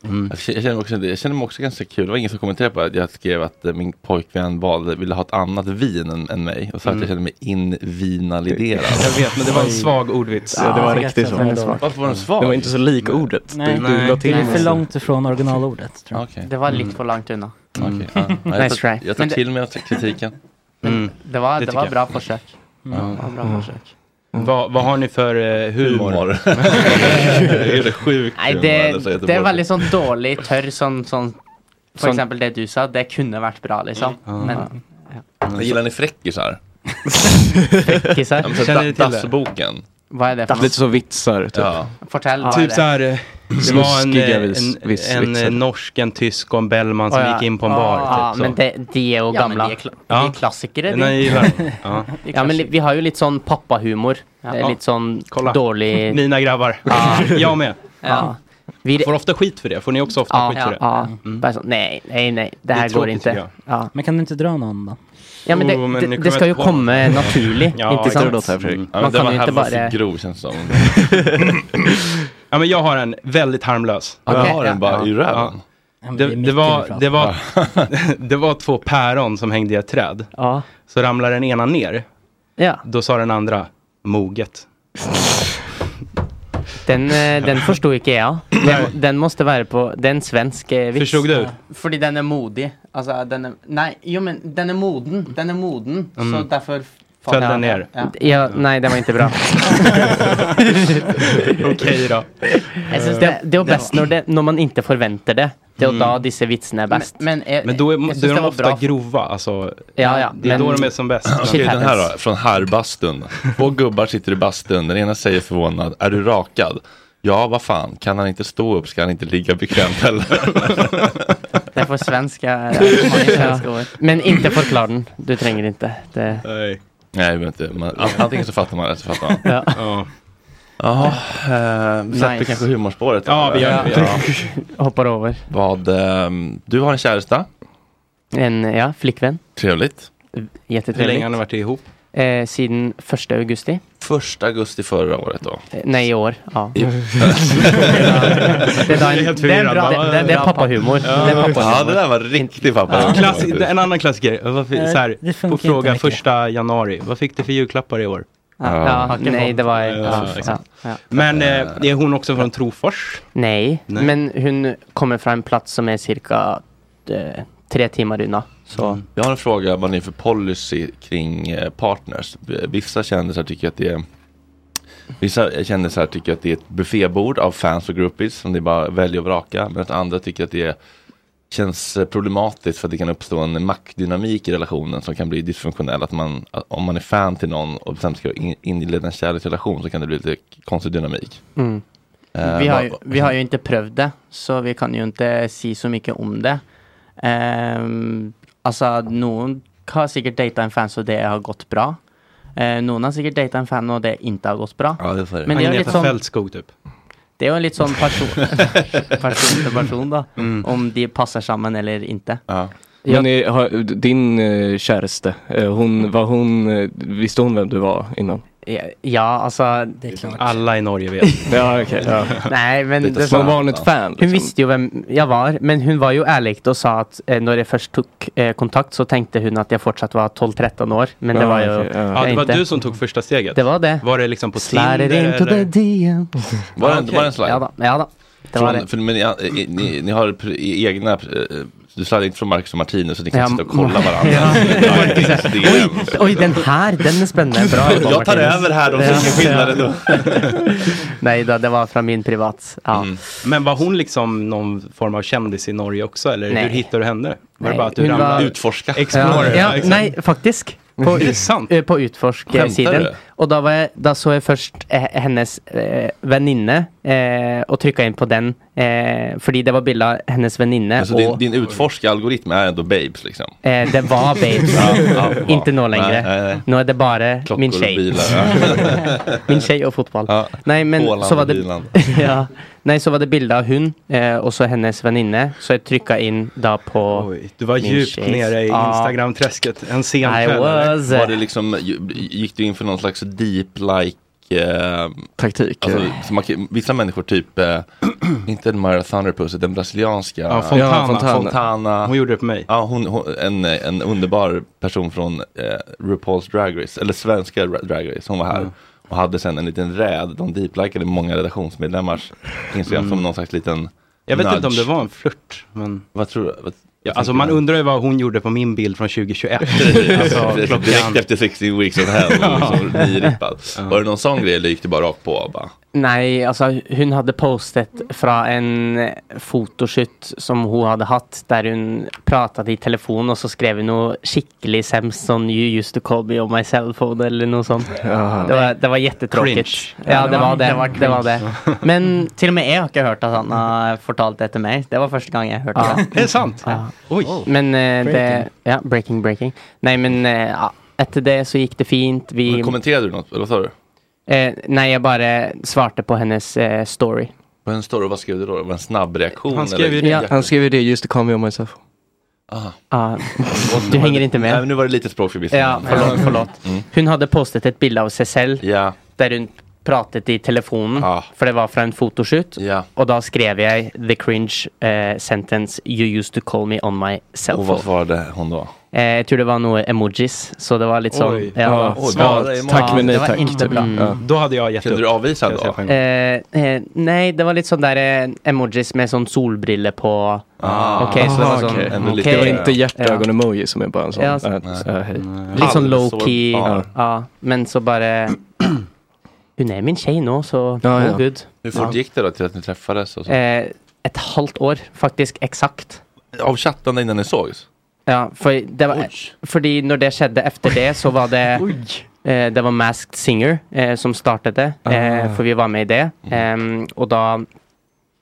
Mm. Jag känner- jag känner, också, det- jag känner mig också ganska kul. Det var ingen som kommenterade på att jag skrev att eh, min pojkvän valde, ville ha ett annat vin än, än mig. Och så att
Mm.
jag kände mig invinaliderad.
Jag vet, men det var en svag ordvits.
Ja, det var riktigt
den är svag.
så.
Varför var den svag?
Det var inte så lik ordet.
Nej,
Du- du la
det
till alltså.
är
något.
för långt ifrån originalordet. Tror jag.
Det var lite för långt undan.
Ah, Okej, Ah. ja. Nej, jag
Mm. Nice
tar-
try.
Jag tar
Men det-
till mig av kritiken.
Mm.
Det var,
Det
det
tycker
var
jag.
bra försök.
Ja.
Det var bra försök.
Vad, vad har ni för eh, humor?
Humor.
är
det sjukt?
Nej, det, det är väldigt sånn dålig, törr sån, sån för
Sån-
exempel det du sa, det kunde varit bra liksom. Men,
Jag gillar ni fräckisar?
Fräckisar?
Ja, men så
Känner ni
da- typ.
till det?
Dassboken.
vad är det för något?
Lite så vitsar typ.
Ja.
Fortell. vad är
Typ
det?
så här, eh, det var en, eh,
Snuskiga vis-
en,
vis-
en,
vitsar.
en norsk, en tysk och en Bellman som
Ja, ja.
gick in på en bar.
Ja,
typ, så.
men det, de är ju
Ja, men
gamla.
det är
de,
kla-
är
Ja.
klassiker. är de.
Nej, jag gillar det. Ja.
ja, men li- vi har ju lite sån pappahumor. Det är Lite sån
Kolla.
dålig...
Mina grabbar. Jag med.
Ja. Vi-
Får ofta skit för det. Får ni också ofta
Ja,
skit för det?
ja,
Mm.
ja. Bara så, nej, nej, nej, det här går
tråkigt, tycker
inte.
jag.
Ja.
Men kan du inte dra någon då?
Ja, men det,
Oh, men
det,
nu
det
kommer
ska
jag
ju
på något.
komma naturligt,
Ja,
inte sant?
exakt. Mm.
Ja, men den
Man kan
var
ju inte
halva
bara...
för grov känns det som.
Ja, men jag har en väldigt harmlös.
Ja, du Okej. har den bara i röven.
Ja, men
Det,
det är
det,
mitt
var,
inifrån.
det, var, det var två päron som hängde i ett träd.
Ja.
Så ramlade den ena ner.
Ja.
Då sa den andra moget.
Den, eh, den förstod inte jag. Den, den måste vara på, den svensk eh, vits.
Förstod du?
För den är modig. Alltså, den är, nej, jo men den är moden. Den är moden. Så
Mm.
därför...
Föll den ner?
Ja. Ja, nej, den var inte bra.
Okej då.
Jag syns det, det är bäst när, det, när man inte förväntar det. Det är då dessa vitsarna är bäst. Men,
Mm.
eh,
Men då är, då är de ofta grova. Alltså,
Ja, ja,
Det är då
men-
de är som bäst.
Okej, den här då, från herrbastun. Två gubbar sitter i bastun. Den ena säger förvånad, är du rakad? Ja, vad fan, kan han inte stå upp ska han inte ligga bekvämt heller.
Det är för svenska, det är för många svenska ord. Men inte förklara den. Du tränger inte. Det,
Nej.
Nej, men inte. Man, an- antingen så fattar man eller så fattar man.
ja.
Ja.
Jaha, eh, vi släpper
Nice.
kanske humorspåret.
Ja, vi gör det.
Ja.
Hoppar över.
Vad, ehm, du har en käresta,
En ja, flickvän.
trevligt.
Hur länge har
Jättetrevligt.
ni varit ihop?
eh, siden 1. augusti.
1 augusti förra året då?
Eh, Nej, i år. Ja. det, är en, det är en bra, det, det är pappahumor.
Ja,
det är pappahumor.
ja, det där var riktig pappa.
Klass, en annan klassiker. Vad fi-
Eh,
så här, på
det funkar
fråga
inte mycket.
första januari. Vad fick du för julklappar i år?
Ja, Ja. hacka nej, på. det var-
Ja,
ja,
exakt.
ja, ja.
Men eh, är hon också från Trofors?
Nej,
Nej.
men hon kommer från en plats som är cirka eh, tre timmar undan. Så.
Mm.
Jag har en fråga vad ni har för policy kring eh, partners. B- Vissa kändisar tycker att det är Vissa kändisar tycker att det är ett buffébord av fans och groupies som det bara väljer och vraka. Medan andra tycker att det är, känns eh, problematiskt för att det kan uppstå en maktdynamik i relationen som kan bli dysfunktionell. Att man, att om man är fan till någon och bestämt ska in- inleda en kärleksrelation så kan det bli lite konstig dynamik.
Mm.
Eh,
Vi har,
vad-
ju, vi har ju inte prövd det, så vi kan ju inte säga så mycket om det. Um, alltså, någon har säkert dejtat en fan så det har gått bra. Eh, någon har säkert dejtat en fan och det inte har gått bra.
Ja, det får
Men det är ju lite
Agneta
sån,
Fältskog typ.
det är ju lite sån person, person till person då,
Mm.
om de passar samman eller inte.
Men eh, har, din eh, käraste, eh, hon, var hon, eh, visste hon vem du var innan?
Ja, alltså. Det
är klart.
Alla i Norge vet.
ja, okej. ja.
Nej, men
Lite
det
så.
sa-
Men var hon ett fan,
Hon visste ju vem jag var, men hon var ju ärlig och sa att eh, när jag först tog eh, kontakt så tänkte hon att jag fortsatt var 12-13 år. Men det
Ja,
var ju
okej, ja.
jag
Ja, det var
inte.
du som tog första steget.
Det var det.
Var det liksom på
Slide it
Tinder?
into the
Eller?
DM.
Var det, var det en slide?
Ja, då, ja, då. Det var
Från,
det.
För, men, ja, i- ni, ni har pr- i- egna, eh, du sladdar inte från Marcus och Martinus så ni kan
Ja,
sitta och kolla
ja.
varandra. Det är-
Oj, oj, den här, den är spännande. Bra jobbat,
Jag tar
Martinus.
över här om det är ingen skillnad ändå.
Nej, då, det var från min privat. Ja.
Mm. Men var hon liksom någon form av kändis i Norge också? Eller
Nej.
hur hittade du henne? Var det
Nej,
bara att du
hon var-
ramlade?
Utforska.
Explorer.
Ja, ja,
exakt.
nej, faktiskt. På,
Är det
ut- eh, på
Skämtar
utforsk-sidan.
du?
Och då, var jag, då såg jag först eh, hennes eh, väninne eh, och tryckte in på den. Eh, för det var bilder av hennes väninne.
Alltså
och,
din, din utforska-algoritm är ändå babes liksom.
eh, det var babes.
Ja, ja,
Inte nå längre.
Nej, nej, nej.
Nu är det bara min
och
tjej.
bilar, ja.
min tjej och fotboll. Nej, men
Åland
så var
och
det...
Biland.
ja. Nej, så var det bilder av hon eh, och så hennes väninne. Så jag tryckte in då på
Du var
min
djupt
tjejs.
nere i
Ja.
Instagram-träsket en sen
I
kväll. eller?
was.
Var det liksom, ju- gick du in för någon slags deep-like
Taktik.
Alltså, som man, kan- vissa människor typ, eh, inte den Mara Thunderpussy, den brasilianska.
Ja, Fontana.
Fontana.
Hon gjorde det på mig.
Ja, hon, hon, en, eh, en underbar person från eh, RuPaul's Drag Race, eller svenska Ra- Drag Race, hon var
Mm.
här. Och hade sen en liten räd, de deeplikade många redaktionsmedlemmars Instagram
Mm.
som någon slags liten
Jag vet inte om
nudge.
det var en flört. Men...
Vad tror du? Vad,
Ja, alltså man undrar ju vad hon gjorde på min bild från 2021.
Alltså, direkt efter 16 weeks of hell, liksom, nyrippad. Var det någon sån grej eller gick det bara rakt på? och Bara?
Nej, alltså hon hade postat från en fotoshoot som hon hade haft där hon pratade i telefon och så skrev hon något skickligt sämst som you used to call me on my cell phone eller något sånt. Det var, det var jättetråkigt.
Cringe.
Ja, det var det.
Det var
det, var det.
cringe.
Men till och med jag har inte hört att han har fortalt det till mig. Det var första gången jag hörde det.
Är det sant? Oj.
Men eh, det,
Breaking.
ja, breaking, breaking. Nej, men eh, ja, efter det så gick det fint. Vi,
Men kommenterade du något? Eller vad sa du?
eh, nej, jag bara svarte på hennes eh, story.
På en story, vad skrev du då? Var det en snabb reaktion?
Han skrev
eller?
ju det. Ja.
Han skrev ju det, just to call me on myself.
Ah.
Ja,
Och nu
du
var
hänger
det-
inte med.
Nej, men nu var det lite språkförbistring.
Ja, förlåt, förlåt.
Mm.
Hon hade postat ett bild av sig själv
Ja.
där hon pratade i telefonen för det var från en fotoshoot.
Ja.
Och då skrev jag the cringe eh, sentence you used to call me on my cell
Och vad
phone.
svarade hon då?
Eh, jag tror det var några emojis, så det var lite så.
Oj. Ja,
det var-
svara emojis. Tack, men nej
det var
tack,
Inte
typ.
bra.
Mm. Då hade jag gett
Kunde
upp.
du avvisa då?
säga.
Eh, eh, nej, det var lite sån där eh, emojis med sån solbrille på.
Ah.
Okej, så det var
Aha,
sån.
okej.
okej.
Det var inte
Ja.
hjärtögon-emoji som är bara en sån.
Ja, så-
äh, äh, hej.
Litt sånn low-key.
Ja.
Ja. men så bare Hun er min tjej nå, så
Ja, ja.
all good.
Hur fort gick det då till att ni träffades? Och så?
Eh, ett halvt år, faktisk. Exakt.
Av chattande innan ni sågs?
Ja, for det var, fordi når det skjedde efter det, så var det eh, Det var Masked Singer eh, som startet det, eh,
Ah.
for vi var med i det.
Mhm.
Em, og da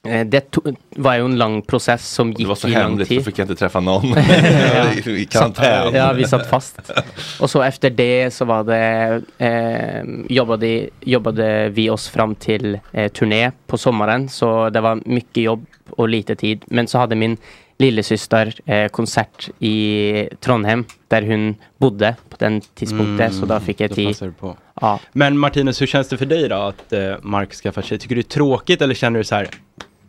eh, Det to, var jo en lang prosess som
Det
gikk
var så
i lang
hemligt, så
tid.
fick jag inte träffa någon. I- I karantän.
Satt- Ja, vi satt fast. Och så efter det så var det, eh, jobbade, jobbade vi oss fram till eh, turné på sommaren. Så det var mycket jobb och lite tid. Men så hade min lillesøsterkonsert i Trondheim, der hun bodde på den tidspunktet,
Mm,
så da fikk jeg
då
tid.
passar det på.
Ja.
Men Martinus, hur känns det för dig då att eh, Mark skaffar sig? Tycker du det är tråkigt eller känner du så här,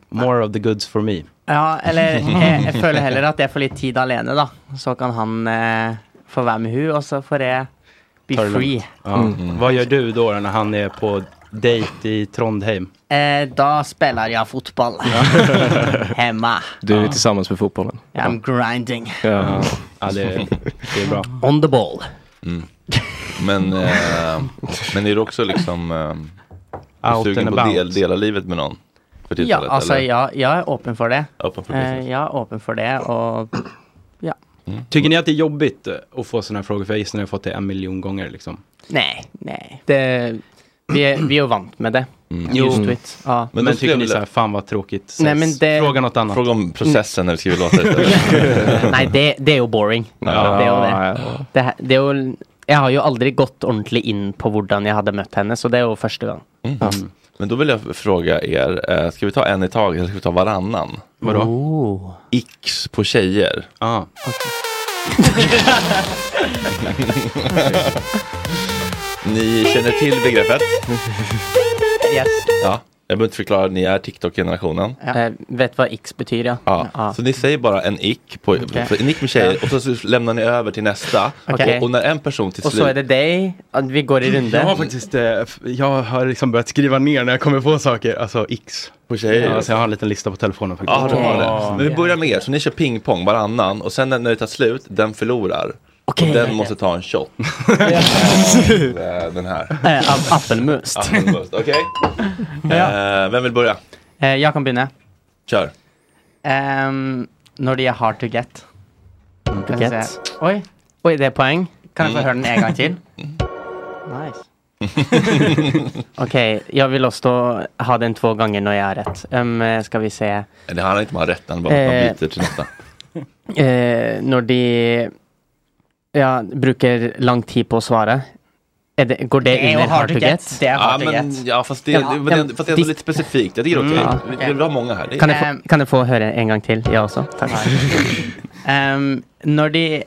more of the goods for me?
Ja, eller jeg, jeg føler heller at jeg får litt tid alene, da. Så kan han eh, få være med hun, og så får jeg be
Tar det lugnt.
free.
Ja.
Mm.
Vad gör du då när han är på dejt i Trondheim?
Eh, da spiller jeg fotball. Hemma.
Du är tillsammans med fotbollen.
I'm grinding.
Ja.
Ja, det, det är bra.
On the ball.
Men, eh, men är du också liksom eh,
Out
sugen
and
på att
about.
del, dela livet med någon? För
Ja, alltså,
tillfället?
altså,
eller?
ja, jeg er åpen for det.
Åpen for
eh,
business.
jeg er åpen for det, og ja.
Tycker ni att det är jobbigt eh, att få sådana här frågor? För jag gissar att ni har fått det en miljon gånger. Liksom.
Nei, nei. Det, vi, er, vi er jo vant med det.
Mm.
Used to it. Ja.
Men,
Men
tycker ni
det-
så här, fan vad tråkigt.
Nej, men det-
Fråga något annat.
Fråga om processen när du skriver låtar
Mm.
istället.
Nei, det, det er jo boring.
Ja.
det er jo
Ja,
det. det, her- det er jo, jeg har jo aldri gått ordentlig inn på hvordan jeg hadde møtt henne, så det er jo første gang.
Mm. Men då vill jag fråga er, eh, ska vi ta en i taget eller ska vi ta varannan?
Vadå? Oh.
X på tjejer.
Ja.
ni känner till begreppet?
Yes.
Ja. Jag behöver inte förklara, ni är TikTok-generationen.
Eh, vet hva X betyr, ja.
Ja. Så ni säger bara en ick, på,
Okej.
för en ick med tjejer och så, så lämnar ni över till nästa.
Okej.
Och, och när en person till
Og så er det deg. at Vi går i runde.
Jag har faktiskt eh, f- jag har liksom börjat skriva ner när jag kommer på saker, alltså X.
På tjejer?
Ja, så jag har en liten lista på telefonen faktiskt.
Ja, de har det. Men vi börjar med er, så ni kör pingpong varannan och sen när när det tar slut, den förlorar.
Okej.
Och den måste ta en shot. Eh, den här.
Eh, av appelmust.
Appelmust, okej. Eh, vem vill börja?
Eh, jeg kan begynne.
Kör.
Ehm, når de er hard to get. Skal vi
get.
se. Oi. Oi, det er poeng. Kan jeg få
Mm.
høre den en gang til? Nice. Ok, jeg vil også ha den to ganger når jeg har rett. Ehm, skal vi se.
Eh, Det handlar inte om att ha rätt, det handlar bara om att
Eh.
man byter till nästa.
Eh, når de ja, bruker lang tid på å svare, er det, går det,
Det er jo
under hard to get?
ja, men, ja, fast det,
Ja,
det, men, det, fast det är ändå
de-
lite specifikt. Jag tycker det är
Mm.
okej. Vi- Vi har många här. Det är-
Kan jeg, få, kan jeg få høre en gang til, jeg også? Takk. Em, når Ehm, de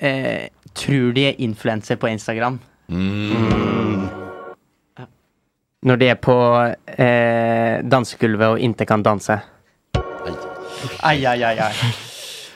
eh, tror de er influenser på Instagram
Mm.
Når de er på eh, dansegulvet og inte kan danse. Ai, ai, ai, ai.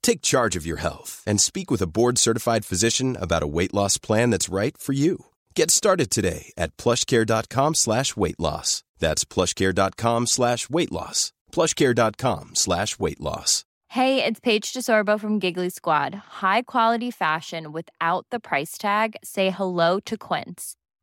Take charge of your health and speak with a board-certified physician about a weight loss plan that's right for you. Get started today at plushcare.com slash weight loss. That's plushcare.com slash weight loss. plushcare.com slash weight loss.
Hey, it's Paige DeSorbo from Giggly Squad. High quality fashion without the price tag. Say hello to Quince.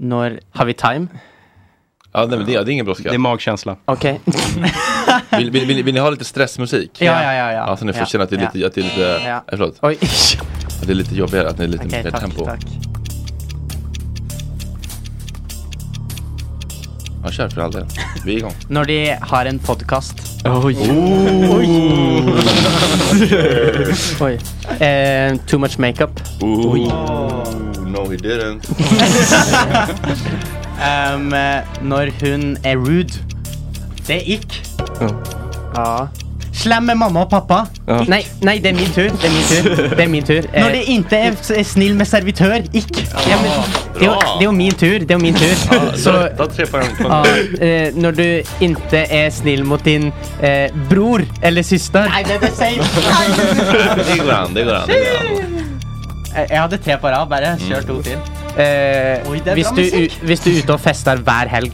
Når Har vi time?
Ja, nej, men det, det är ingen brådska. Det är
magkänsla.
Okej.
Vill, vill, vill, vill ni ha lite stressmusik?
Ja, ja, ja, ja.
så ni får
Ja,
känna att det är lite,
ja.
att det är lite,
Ja.
eh, förlåt.
Oj.
Att det är lite jobbigare, att ni är lite
Okej,
mer
tack,
tempo.
tack.
Ja, kör för all del. Vi är igång.
Når de har en podkast Oj. Oj. Eh, too much makeup.
Ooh. No he didn't.
Em, eh, når hun er rude. Det er ikk. Ja. Slem med mamma og pappa.
Ja.
Nei, nei, det er min tur. Det er min tur. Det er min tur. Eh,
Når det inte är är snill med servitör, ick.
ja, men, det, er jo, det er jo min tur. Det er jo min tur. Så,
Da träffar jag
ja, eh, når du inte er snill mot din eh, bror eller søster Nei, det er det
Det går an, det går an. Det går an.
Jeg hadde tre på rad, bare. Kjør to til.
det er
Eh, hvis,
bra
du,
musikk.
u- hvis du er ute og fester hver helg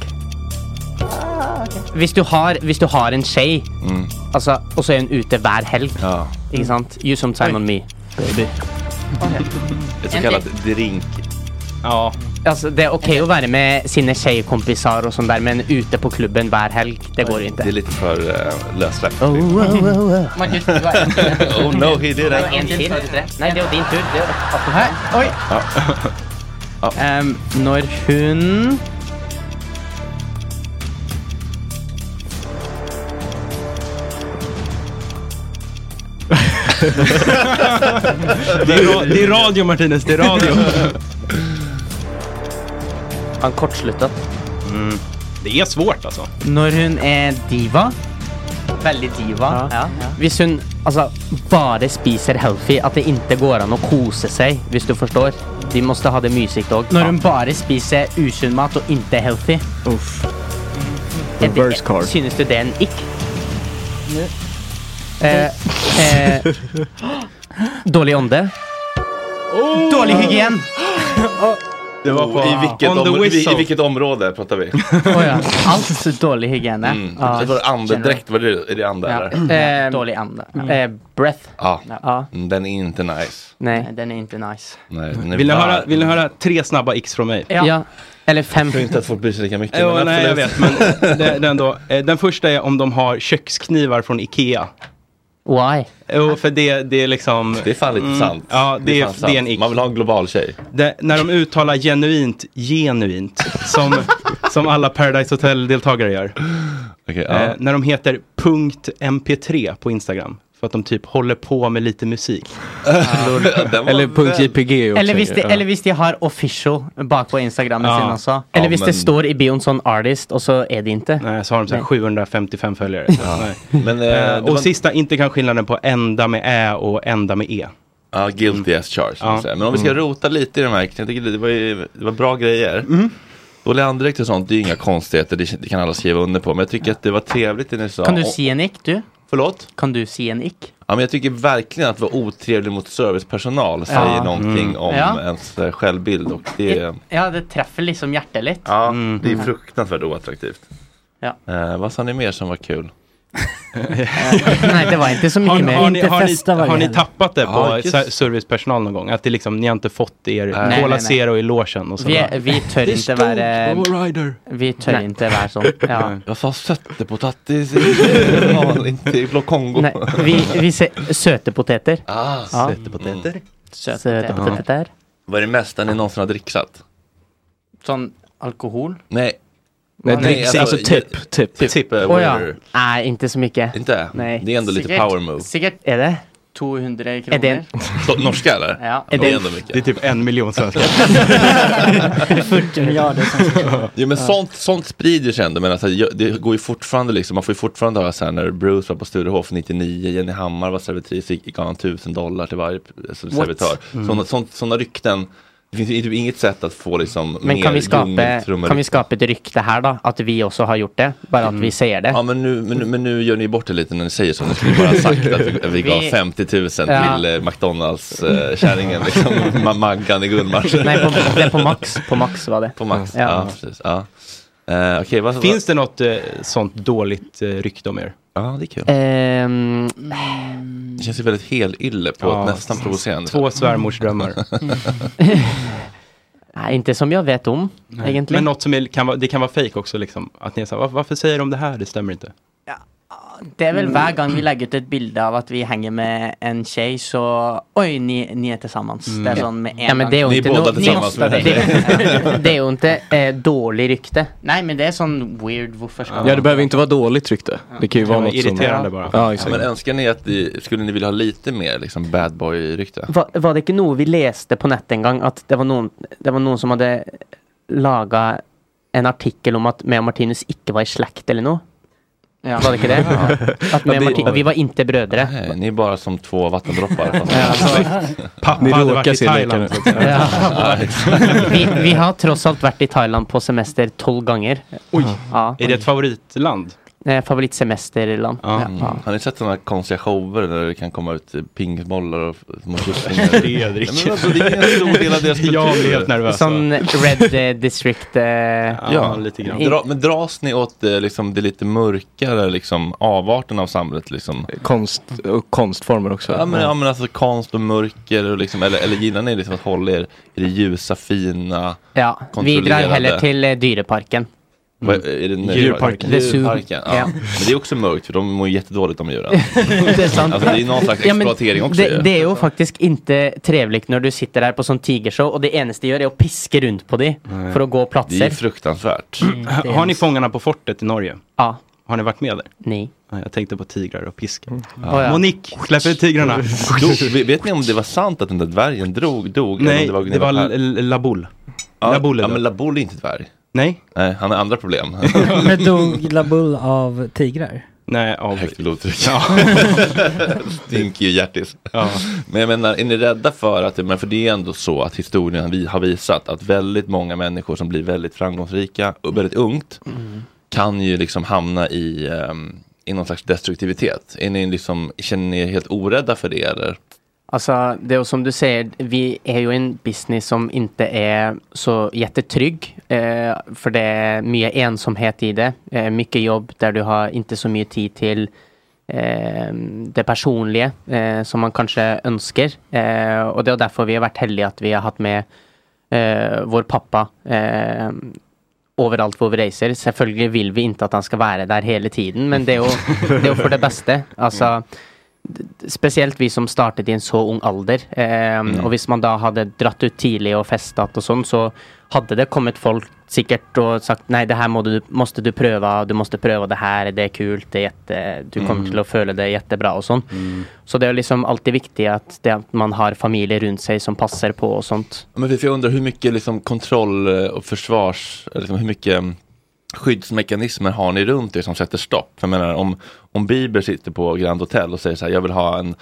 Ah, hvis, du har, hvis du har en skje, altså, og så er hun ute hver helg Ikke sant? You some time on me, baby.
Ett så kallat drink.
Ja. Altså, det er ok å være med sine tjejkompisar og sånn der, men ute på klubben hver helg, det går
Det
ikke.
är lite för uh, lössläppt.
Oh. Markus, du har en til.
Oh no he
Du har en
didn't.
til. Nei, det er jo din tur. Det er jo- Hæ? Oi! Em, Ehm, når hun
Det är, ra- det är radio Martinez, det är radio.
Han kortsluttet.
Det är svårt alltså.
Når hun er diva Veldig diva. Hvis hun altså, bare spiser healthy, at det ikke går an å kose seg, hvis du forstår. De måste ha det mysigt òg. Når hun bare spiser usunn mat og ikke healthy. Uff.
Reverse card.
Synes du det er en ick? Eh, eh, dårlig ånde. Dårlig hygien.
Det var
Oh,
på, I, vilket
On the
om, i,
whistle.
I vilket område pratar vi?
Å ja. Alt dårlig hygiene.
Mm. Ah, Mm. det var andedräkt, var det, är det ande?
Ja.
eller?
Eh, dårlig ande. Eh, breath.
Ja.
Ja.
Mm, Den är inte nice.
Nei, den er ikke nice.
Nej, den är
Vill ni
varm.
höra, vill ni höra tre snabba x från mig?
Ja. Eller fem.
Jag tror inte att folk bryr sig lika mycket.
Jo,
men
nej, jag
absolut.
vet, men det, det är ändå, eh, den första är om de har köksknivar från Ikea.
Why?
Jo, för det, det är liksom...
Det är fan lite
Mm,
sant.
Ja, det,
fan
är, det är en
sant.
ick.
Man vill ha en global tjej.
Det, när de uttalar genuint, genuint, som, som alla Paradise Hotel-deltagare gör.
Okej,
Eh,
ja.
när de heter punkt .mp3 på Instagram. För att de typ håller på med lite musik.
Den var
Eller punkt
väl-
.jpg också.
Eller hvis, de,
ja.
eller hvis de har official bak på Instagrammen
Ja.
sin også.
Ja,
Eller hvis
men-
det står i bioen sånn artist, og så er det ikke.
Nej, så har de så här
Nej.
755 följare. Nej.
Men, eh, det
Eh, och
var-
sista, inte kan skillnaden på ända med ä och ända med e.
Ja, ah, guilty as charged.
Ja. Mm.
Ja. Men om vi ska rota lite i de här, jag tycker det var, ju, det var bra grejer.
Mm.
Dålig andedräkt och sånt, det är ju inga konstigheter, det, det kan alla skriva under på. Men jag tycker att det var trevligt det ni sa.
Kan du
Och-
si en ick, du?
Förlåt?
Kan du si en ick?
Ja, men jag tycker verkligen att vara otrevlig mot servicepersonal säger
Ja.
någonting
Mm.
om
Ja.
ens eh, självbild. Och det, är-
Ja, det treffer liksom hjertet litt.
ja, det är fruktansvärt oattraktivt.
Mm. Ja.
Eh, vad sa ni mer som var kul?
Nei, det var ikke så mye
Har,
mer.
har, ni, har, ni, har ni tappat det på
Ja, just-
ser- servicepersonal någon gång? Att det liksom, ni har inte fått er
nej,
Cola
nej.
Zero i logen och så
Vi,
bara-
vi tør ikke være Vi tør
Nej.
ikke være sånn. Ja.
Jag sa söttepotatis i- Ja, inte i Kongo.
Nei, vi, vi ser søte poteter.
Ah,
Ja.
söttepotater.
Søte,
Söta
poteter.
Vad är det mesta ni någonsin har dricksat?
Sånn alkohol.
Nej.
Nej,
dricks- alltså tipp, tipp.
Tipp. eh,
Å typ. Oh, ja.
whatever.
Nei, ikke så mye.
Inte?
Nei.
Det är ändå lite power move.
Sikkert er det.
200
Er det en
kronor.
Så- Norska eller?
Ja.
Det
Är
är
det-
ändå mycket.
Det är typ en miljon
Alltså-
svenskar.
40 miljarder.
Jo men sånt, sånt sprider sig ändå. Men alltså, jag- det går ju fortfarande liksom, man får ju fortfarande höra så här när Bruce var på Sturehof 99, Jenny Hammar var servitris, fick- gav han 1000 dollar till varje eh, som
What?
servitör.
Mm.
Sådana, sånt, sådana rykten, det finns ju typ inget sätt att få liksom
Men kan vi, skape,
gungtrummor.
kan vi skape et rykte her, da? At vi også har gjort det? Bare at vi sier det?
Mm. Ja men nu, men, nu- men nu gör ni bort det lite när ni säger så. Ni skulle bara ha sagt att vi, vi gav
Vi-
50 000
Ja.
till eh, McDonalds-kärringen. liksom, Ma- Maggan i Gullmarsen.
Nei, på, det er på maks. På maks var det.
På Max. Ja,
Ja.
precis. Ja. Eh, okej, vad,
Finns det något eh, sånt dåligt eh, rykte om er?
vad? Ja, det är kul.
Ehm,
Det känns ju väldigt helylle på
Ja,
ett nästan provocerande
Mm.
Två svärmorsdrömmar.
nei, ikke som jeg vet om, egentlig.
Men något som är, kan vara, det kan vara fejk också liksom. Att ni är så här, "Var- varför säger de det här? Det stämmer inte.
Det är väl hver gång vi lägger ut ett bilde av att vi hänger med en tjej så oj, ni, ni är tillsammans. Det är sån med en
Ja, men det är ju
gång.
inte Ni är båda något- tillsammans med den
det, det är ju inte eh, dålig rykte. Nej, men det är sån weird, varför ska man-
Ja, det behöver inte vara dåligt rykte. Det kan ju vara något som...
e-
Ja,
Ja,
exakt.
men önskar ni att ni, skulle ni vilja ha lite mer liksom bad boy-rykte?
Var, var det inte något vi läste på nätet en gång att det var någon, det var någon som hade lagat en artikel om att Mea Martinus inte var i släkt eller något?
Ja.
Var det inte det?
Ja.
Att Mea
Ja, det-
Martin, vi var inte brödre.
Nej, ni är bara som två vattendroppar. fast-
Pappa
Ni
hade
råkar
varit i
se
Thailand.
likadant
så
ut.
att säga.
Ja.
Vi, vi har trots allt varit i Thailand på semester 12 gånger.
Oj,
Ja.
är det ett favoritland?
Eh, Favoritsemesterland. Ja.
Mm. Har ni sett sådana konstiga shower där det kan komma ut eh, pingisbollar och små kycklingar?
Fredrik.
Nej, men alltså, det är en stor del av deras kultur.
Jag blir helt nervös.
Sån Red eh, District. eh,
Ja, Dra, men dras ni åt eh, liksom, det lite mörkare liksom, avarten av samhället? Liksom?
Konst och konstformer också.
Ja men, ja, men alltså konst och mörker, och liksom, eller, eller gillar ni liksom att hålla er i det ljusa, fina,
Ja, vi drar
kontrollerade?
hellre till eh, dyreparken.
Vad är- Är det
Mm.
nöje-
Djurparken. The zoo.
Djurparken, ja.
Ja.
Men det är också mörkt för de mår ju jättedåligt de djuren.
det är sant.
Alltså det är någon slags
Ja, men
exploatering också
Det,
ju.
det är ju faktiskt inte trevligt när du sitter där på sån tigershow och det enda de gör är att piska runt på dig för att gå platser.
fruktansvärt.
det är
Har ni
hemskt.
Fångarna på fortet i Norge?
Ja.
Har ni varit med där?
Nej. Mm.
Jag tänkte på tigrar och piskar.
Ja. Ja.
Monique, släpp ut tigrarna.
Dog- vet- vet ni om det var sant att den där dvärgen drog, dog? eller
Nej,
om
det var
Laboul.
Labul.
Ja,
Laboul är
ja,
död.
men Laboul är inte dvärg.
Nej.
Nej, han har andra problem.
Men dog Labull av tigrar?
Nej, av...
Högt blodtryck. Stinker ju hjärtis. Men jag menar, är ni rädda för att, men för det är ändå så att historien vi har visat att väldigt många människor som blir väldigt framgångsrika och väldigt ungt kan ju liksom hamna i, ehm, i någon slags destruktivitet. Är ni liksom, känner ni er helt orädda för det eller?
Alltså, det är ju som du säger, vi är ju en business som inte är så jättetrygg. Eh, för det är mycket ensamhet i det. Eh, mycket jobb där du har inte så mycket tid till eh, det personliga eh, som man kanske önskar. Eh, och det är därför vi har varit heldiga att vi har haft med eh, vår pappa eh, överallt hvor vi reser. Selvfølgelig vill vi inte att han ska vara där hela tiden, men det är ju, det är ju för det bästa. Alltså, speciellt vi som startade i en så ung ålder. Eh, Och om man då hade dratt ut tidigt och festat och sånt så hade det kommit folk säkert och sagt nej det här må du, måste du pröva, du måste pröva det här, det är kul, det är jätte, du kommer
Mm.
till att följa det jättebra och sånt. Så det är liksom alltid viktigt att, det, att man har familjer runt sig som passar på och sånt.
Men för jag undrar hur mycket liksom kontroll eh, och försvars, eh, liksom hur mycket mm, skyddsmekanismer har ni runt er som sätter stopp? För jag menar om, om Bieber sitter på Grand Hotel och säger så här, jag vill ha en,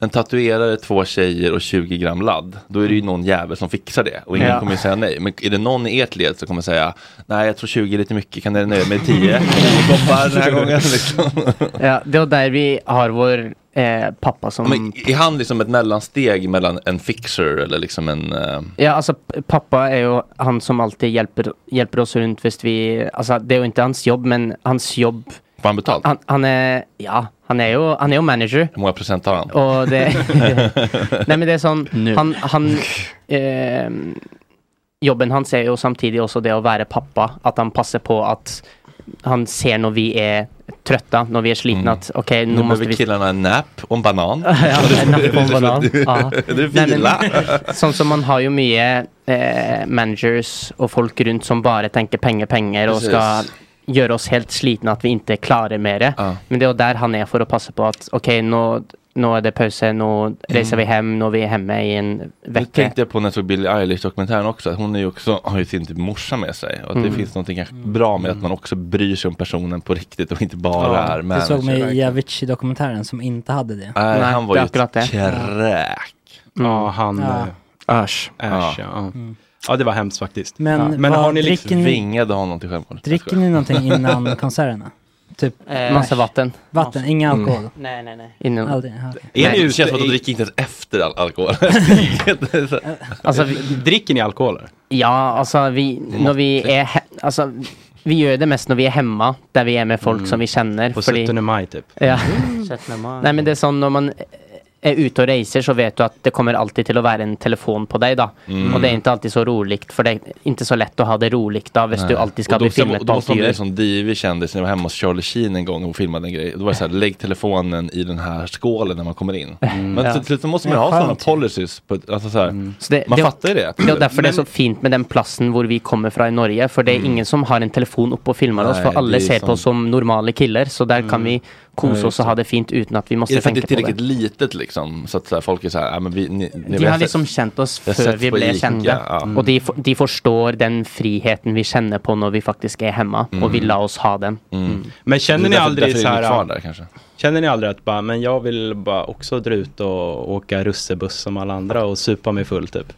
en tatuerare, två tjejer och 20 gram ladd. Då är det ju någon jävel som fixar det och ingen
Mm. Ja.
kommer ju säga nej. Men är det någon i ert led som kommer säga, nej jag tror 20 är lite mycket, kan ni nöja mig med 10? Toppar den här gången liksom.
Ja, det är där vi har vår eh, pappa som...
Men är han liksom ett mellansteg mellan en fixer eller liksom en... eh,
Ja, alltså p- pappa är ju han som alltid hjälper, hjälper oss runt fast vi, alltså det är ju inte hans jobb men hans jobb.
Får han betalt?
Han, han är, ja, han är ju, han är ju manager.
Hur många procent har han?
Och det, nej men det är sån, han, han ehm, jobben hans är ju samtidigt också det att vara pappa, att han passar på att han ser när vi är trötta, när vi är slitna att okej
Nu
nu måste
behöver
vi
killarna en nap och en banan.
Ja, en napp och en banan. Ja.
Det är
Nej, men-
vila.
Sånn som man har ju mycket eh, managers och folk runt som bara tänker pengar, pengar och ska
Precis.
göra oss helt slitna att vi inte klarar mer. det. Men det är ju där han är för att passa på att okej, nu, nu är det paus, nu reser vi hem, nu är vi hemma i en
Det
vecka.
tänkte Mm. jag på när jag såg Billie Eilish-dokumentären också. att Hon är ju också, har ju sin typ morsa med sig. Och att
Mm.
det finns någonting kanske bra med att man också bryr sig om personen på riktigt och inte bara
Ja,
är
Du
manager.
såg mig i Avicii-dokumentären som inte hade det.
Nej, han var ju ett kräk.
Ja, han...
Ja.
eh, Ash. Ash, ja. ja. Ja, det var hemskt faktiskt.
Men Ja.
liksom-
vad dricker ni-
Tvingade honom till självmord.
Dricker ni någonting innan konserterna? Typ
Eh, massa vatten.
Vatten, ingen
Mm.
alkohol?
Nej, nej, nej. Innan-
Mm.
Aldrig, ja,
Eh,
okej.
Är
Nej.
det känns som att de dricker inte ens efter all alkohol.
Alltså,
dricker ni alkohol?
Ja, alltså vi, när vi är, he- alltså, vi gör det mest när vi är hemma, där vi är med folk
Mm.
som vi känner.
På
fordi-
17 maj typ.
Ja.
Mm.
Sett med mig.
Nej men det är sån när man er ute og reiser, så vet du at det kommer alltid til å være en telefon på deg. da.
Mm.
Og det er ikke alltid så rolig, for det er ikke så lett å ha det rolig da, hvis du alltid
och
skal
då,
bli filmet
och då
på
måste man
alt du
bli en
gjør.
sån divig kändis. När jag var hemma hos Charlie Sheen en gång och hon filmade en grej. Då var det så här, lägg telefonen i den här skålen när man kommer in. Men
Mm. Ja.
till slut så måste man
Ja,
ha
skönt.
sådana policies. På, ett- alltså så här,
Så det-
man
det-
fattar ju det.
Det er jo derfor det er så fint med den plassen hvor vi kommer fra i Norge. For det er ingen som har en telefon oppe og filmer oss,
Mm. Nei,
for alle
det er
ser på
sant.
oss som normale killer. Så der kan vi
Ja,
kose
just
oss og ha det fint uten at vi
är det
måste
för att det är
tenke på
tillräckligt
det.
litet liksom? Så att så här, folk är så här, "Ja, men vi, ni, ni har
De har
sett-
liksom kjent oss
Jag har
før
sett
vi
på
ble
Ica,
kjente.
ja.
Og de, for- de forstår den friheten vi kjenner på når vi faktisk er hjemme, og
Mm.
vi la oss ha den. Mm.
Men känner ni aldrig så här...
kanske?
Känner ni aldrig att bara, men jag vill bara också dra ut och åka russebuss som alla andra og supa mig full typ?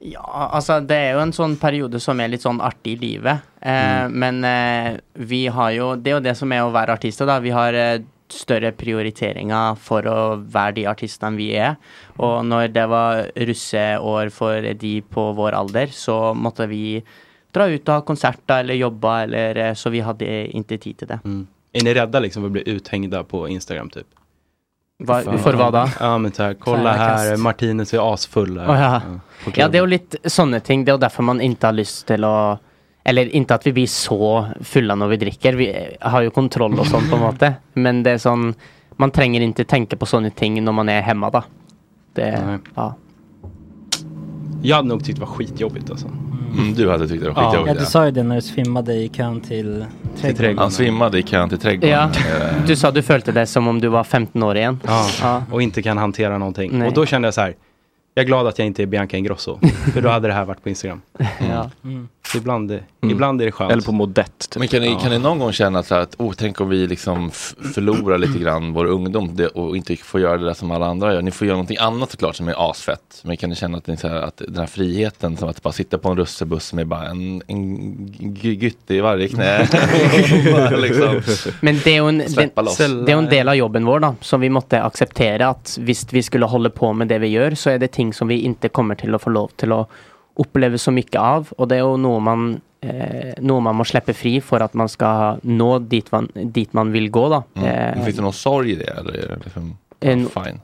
Ja, altså det er jo en sånn periode som er litt sånn artig i livet. Eh,
Mm.
Men eh, vi har jo Det er jo det som er å være artister, da. Vi har eh, større prioriteringer for å være de artistene vi er. Og
Mm.
når det var russeår for de på vår alder, så måtte vi dra ut og ha konserter eller jobba, eller, eh, så vi hadde ikke tid til det.
Är ni rädda liksom för att bli uthängda på Instagram typ?
Hva-
Fan.
for hva da?
Ja men så här, kolla
Tvärkast.
här, Martinus är asfull. här.
Å, ja.
på
ja,
klubben.
det er jo litt sånne ting. Det er jo derfor man ikke har lyst til å Eller ikke at vi blir så fulle når vi drikker. Vi har jo kontroll og sånn, på en måte. Men det er sånn Man trenger ikke tenke på sånne ting når man er hjemme, da. Det, ja.
Jag hade nog tyckt det var skitjobbigt alltså.
Mm, du hade tyckt det var
Ja.
Ja,
skitjobbigt.
du sa ju det när du svimmade i kön till trädgården.
Han svimmade i kön till trädgården.
ja.
Eh,
Du sa du følte deg som om du var 15 år igjen.
Ja, och inte kan hantera någonting.
Nej.
Och då kände jag så här, jag är glad att jag inte är Bianca Ingrosso. för då hade det här varit på Instagram.
Ja.
Så ibland,
Mm.
ibland är det skönt.
Eller på
modett.
Typ.
Men kan ni, kan ni någon gång känna så här att, oh, tänk om vi liksom f- förlorar lite grann vår ungdom det, och inte får göra det där som alla andra gör. Ni får göra någonting annat såklart som är asfett. Men kan ni känna att, ni, så här, att den här friheten som att bara sitta på en russebuss med bara en, en g- gytte i varje knä. Bara liksom.
Men det er, jo en, det,
Släppa loss.
det er jo en del av jobben vår da, som vi måtte akseptere at hvis vi skulle holde på med det vi gjør, så er det ting som vi ikke kommer til å få lov til å oppleve så mye av. Og det er jo noe man, eh, noe man må slippe fri for at man skal nå dit man, dit man vil gå. da.
Mm.
Eh,
Finns det någon sorg i det? Eller är det liksom,
En-
fine.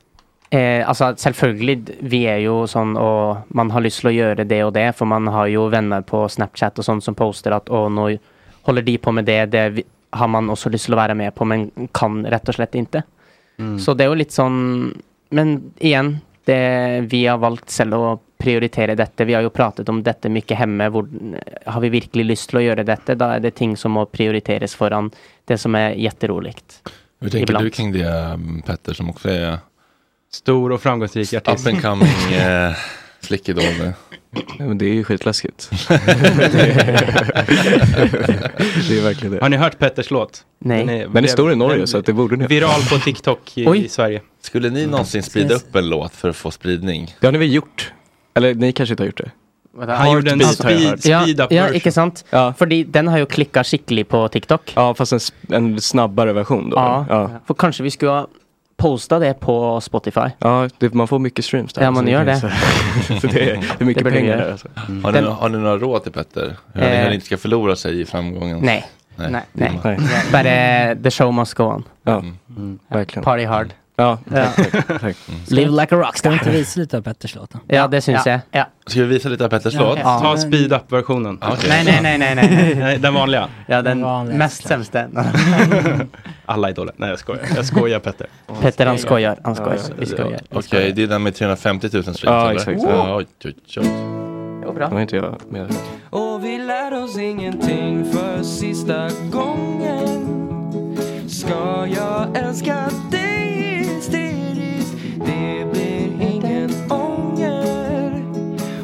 Eh, altså Selvfølgelig, vi er jo sånn og man har lyst til å gjøre det og det, for man har jo venner på Snapchat og sånn som poster at å, nå holder de på med det, det vi- har man også lyst til å være med på, men kan rett og slett ikke.
Mm.
Så det er jo litt sånn Men igjen, det, vi har valgt selv å prioritere dette. Vi har jo pratet om dette mye hjemme. Hvor, har vi virkelig lyst til å gjøre dette? Da er det ting som må prioriteres foran det som er gjetterolig.
Hur tänker
Ibland.
du kring det um, Petter som också är
Stor och framgångsrik artist.
up and coming eh, flickidol?
Nej, men det är ju skitläskigt. det är verkligen det.
Har ni hört Petters låt?
Nej.
Den är stor i Norge,
den-
så att det borde ni-
Viral på TikTok i,
Oj.
i Sverige.
Skulle ni
Mm,
någonsin sprida upp en låt för att få spridning?
Det har ni väl gjort? Eller ni kanske inte har gjort det?
Han gjorde en
Heartbeat har jag hört.
ja, ja, ikke sant? Fordi den har jo klikka skikkelig på TikTok.
Ja, fast en, s- en snabbare version då.
Ja,
ja.
For kanskje vi skulle ha posta det på Spotify.
Ja, det, man får mycket streams där.
Ja, man
Så
gör
kan-
det.
så- så det, är, det är mycket
Det blir
pengar
det.
där alltså.
Mm.
Har, ni,
Den-
har ni några råd till Petter? Hur han-
Eh.
hur han inte ska förlora sig i framgången?
Nej.
Nej.
Nej. Nej. Bare the show must go on.
Ja,
Mm.
verkligen.
Party hard.
Ja,
Ja. Live like a
Ska vi inte
rockstar.
visa lite av Petters låt då?
Ja, det syns jeg. Ja.
Ska vi visa lite av Petters
Ja,
låt?
Ja.
Ta speed up-versionen.
Okej.
Nei, nei, nei. nei, nei.
Nej, den vanliga.
Ja, den
vanliga,
mest sämsta.
Alla idoler. Nej jag skojar. Jag skojar Petter.
Petter han skojar. Han skojar. Vi skojar.
Okej, det är den med 350 000 streams
Ja,
eller?
exakt.
Ja, oj, oj, oj.
Det var bra.
Det var inte jag med.
Och vi lär oss ingenting för sista gången Ska jag älska dig hysteriskt? Det blir ingen ånger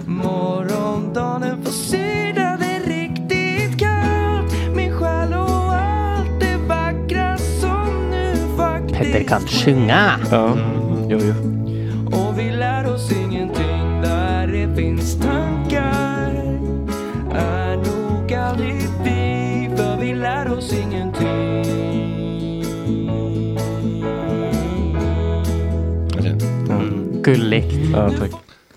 Morgondagen på sidan är riktigt kallt Min själ och allt det vackra som nu
Petter
faktiskt
kan synge.
Ja, jo, jo.
Och vi lär oss ingenting där det finns tankar Är nog aldrig vi, för vi lär oss ingenting
Gullig.
Ja, tack.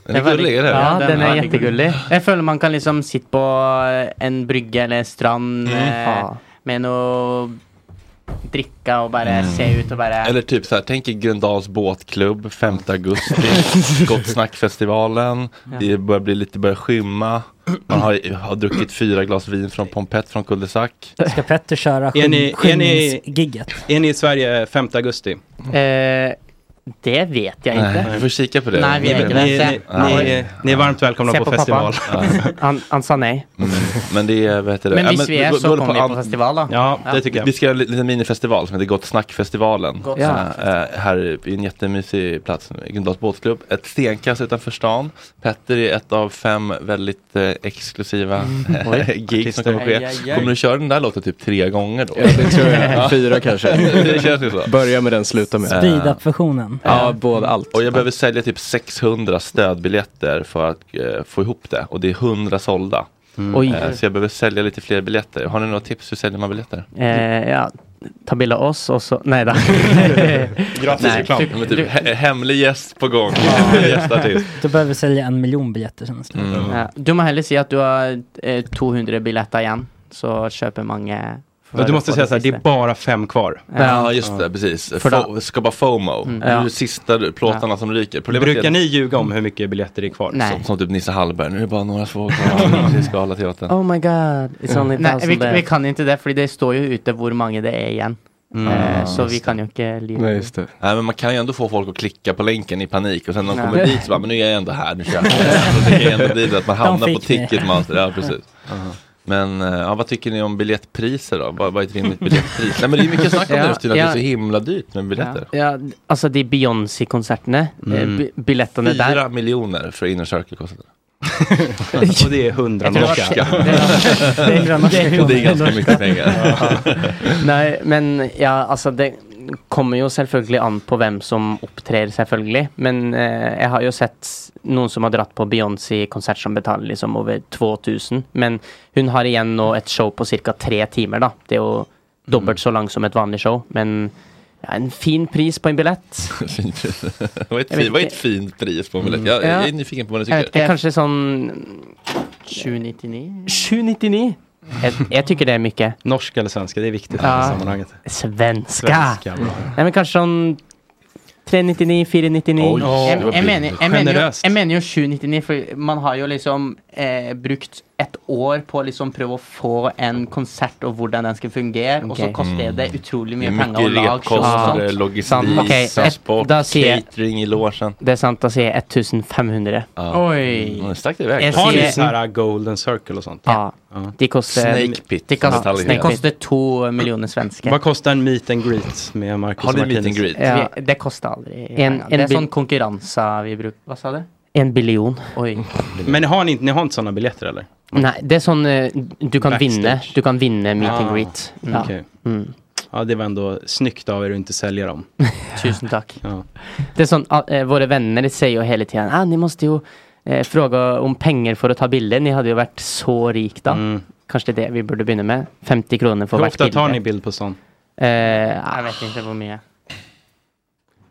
Den är gullig, eller?
Ja,
Ja,
den
den
er
er
jättegullig. Jeg føler man kan liksom sitte
Mm.
på en brygge eller strand eh, med noe eh, dricka och bara
Mm.
se ut och bara...
Eller typ så här, tänk i Gröndals båtklubb 5 augusti, Gott snackfestivalen,
Ja.
det börjar bli lite, börjar skymma, man har, har druckit fyra glas vin från Pompett från Kuldesack.
Ska Petter köra
Är ni- är ni-
skymningsgigget?
Är ni i Sverige 5 Eh, augusti?
Eh, det vet jag
Nej,
inte.
vi får kika på det.
Nej, vi
Ni-
vet inte.
ni- ni- ni- ni är varmt välkomna
Se
på
pappa.
festival.
han, han sa nej.
Men det är, vad heter det?
Men
Ja,
visst vi är
gå-
så
gå- gå
kommer vi
an-
på festival då. Ja.
Vi ska göra en liten minifestival som heter Gott Snack-festivalen.
Gott
Ja.
snack.
Eh, här i en jättemysig plats, Gröndals båtklubb. Ett stenkast utanför stan. Petter är ett av fem väldigt eh, exklusiva
Mm.
eh,
Oj.
gig som kommer att
Aj,
ske.
aj, aj.
Kommer du köra den där låten typ tre gånger då?
Ja, det tror jag.
Ja.
Fyra kanske.
det känns ju så.
Börja med den, sluta
Äh.
med den.
Eh,
Speed-up-versionen.
Ja, både allt. Och jag behöver sälja typ 600 stödbiljetter för att eh, få ihop det. Och det är 100 sålda.
Mm. Oj.
Eh, så jag behöver sälja lite fler biljetter. Har ni några tips? Hur säljer man biljetter?
Eh, ja. Ta bild av oss och så... Nej då. Nej,
reklam.
typ-
Men typ, he- hemlig gäst på gång. Gästartist.
Du behöver sälja en miljon biljetter sen.
Mm.
Ja, du må heller si at du har eh, 200 billetter igjen, så kjøper mange. for
Ja, Du måste
å få
säga så här, det är
siste.
bara fem kvar.
Ja. Ja,
just det, precis.
För
Fo- skapa FOMO.
Mm.
Det är ju sista plåtarna
Ja.
som ryker.
Brukar ni ljuga om hur mycket biljetter det är kvar?
Nej.
Som, som typ Nisse Hallberg, nu är det bara några få kvar. Vi ska hålla teatern.
Oh my god, it's only
Nei,
thousand
vi-
there.
vi
Vi kan ikke det, fordi det står jo ute hvor mange det er igjen.
Mm.
Eh,
så
så
vi
vi
kan jo ikke lyve.
Nej, just Nej, men man kan ju ändå få folk att klicka på länken i panik och sen när de
Ja.
kommer dit så bara, men nu är jag ändå här, nu kör jag. Så det kan ju ändå bli det att man
De
hamnar på
fick mig.
Ticketmaster. Ja, precis. Men eh, ja, vad tycker ni om biljettpriser då? Vad, vad är ett rimligt biljettpris? Nej men det är mycket snack om det
Ja,
just tydligen, att det är
ja.
så himla dyrt med biljetter.
Ja, altså de Beyoncé-konsertene,
Mm.
mm. billettene der
Fyra miljoner för inner circle kostar det.
Och det är hundra
Jag tror att-
norska.
Det är-
Och det är ganska mycket pengar.
Nei, men ja, altså det kommer jo selvfølgelig an på hvem som opptrer, selvfølgelig. Men eh, jeg har jo sett noen som har dratt på Beyoncé-konsert som betaler liksom over 2000. Men hun har igjen nå et show på ca. tre timer, da. Det er jo dobbelt så langt som et vanlig show. Men ja, en fin pris på en billett.
fin pris. Vad är ett,
Jag vet
fin, vad är ett
inte.
fint pris på en biljett? Jag, jag är nyfiken på vad ni
Jeg vet
tycker.
ikke, Kanskje sånn 799? 799? Jeg, jeg tykker det er mye.
Norska eller svenska, det är viktigt i det här
Ja.
sammanhanget.
Svenska!
Svenska, bra.
Nei, men kanskje sånn 399, 499
Oj,
jeg,
det var
jeg, mener, jeg, mener jo,
generøst.
jeg mener jo 799, for man har jo liksom eh, brukt et år på å liksom prøve å få en konsert og hvordan den skal fungere, og så
Ok.
koster det utrolig
Det är
mye penger å
mycket
lage show og
repkostnader,
sånt.
logistik,
Sant. Ok, et-
transport,
da sier jeg-
catering i logen.
Det er sant, da sier jeg 1500. Oi!
Mm, stack det
Jeg
iväg.
Har ni
sier-
så här Golden Circle och sånt?
Ja. De koster
Snake Pit.
De koster,
Ja, Snake
de koster to millioner svenske.
Vad kostar en meet and greet med Marcus
Har ni meet
Martinez?
and greet? Ja. Vi- det kostar aldri En,
en
det er
bil-
sånn konkurranse vi bruker. Hva sa du? En billion. Oi.
Men har ni, ni har inte sådana biljetter eller?
Nei, det er sånn eh, du kan
Backstage.
vinne. Du kan vinne meet and greet.
Ja.
Ja.
okej.
Mm.
ja, det var ändå snyggt av er att inte sälja dem.
Tusen tack.
Ja.
Det är sån, eh, våra vänner säger ju hela tiden, ah, ni måste ju eh, fråga om pengar för att ta bilder. Ni hade ju varit så rik då. Kanske det är det vi borde börja med. 50 kronor för
Mm. Hur
vart
ofta
bild.
tar ni bild på sånt?
Eh, jag vet inte hur mycket.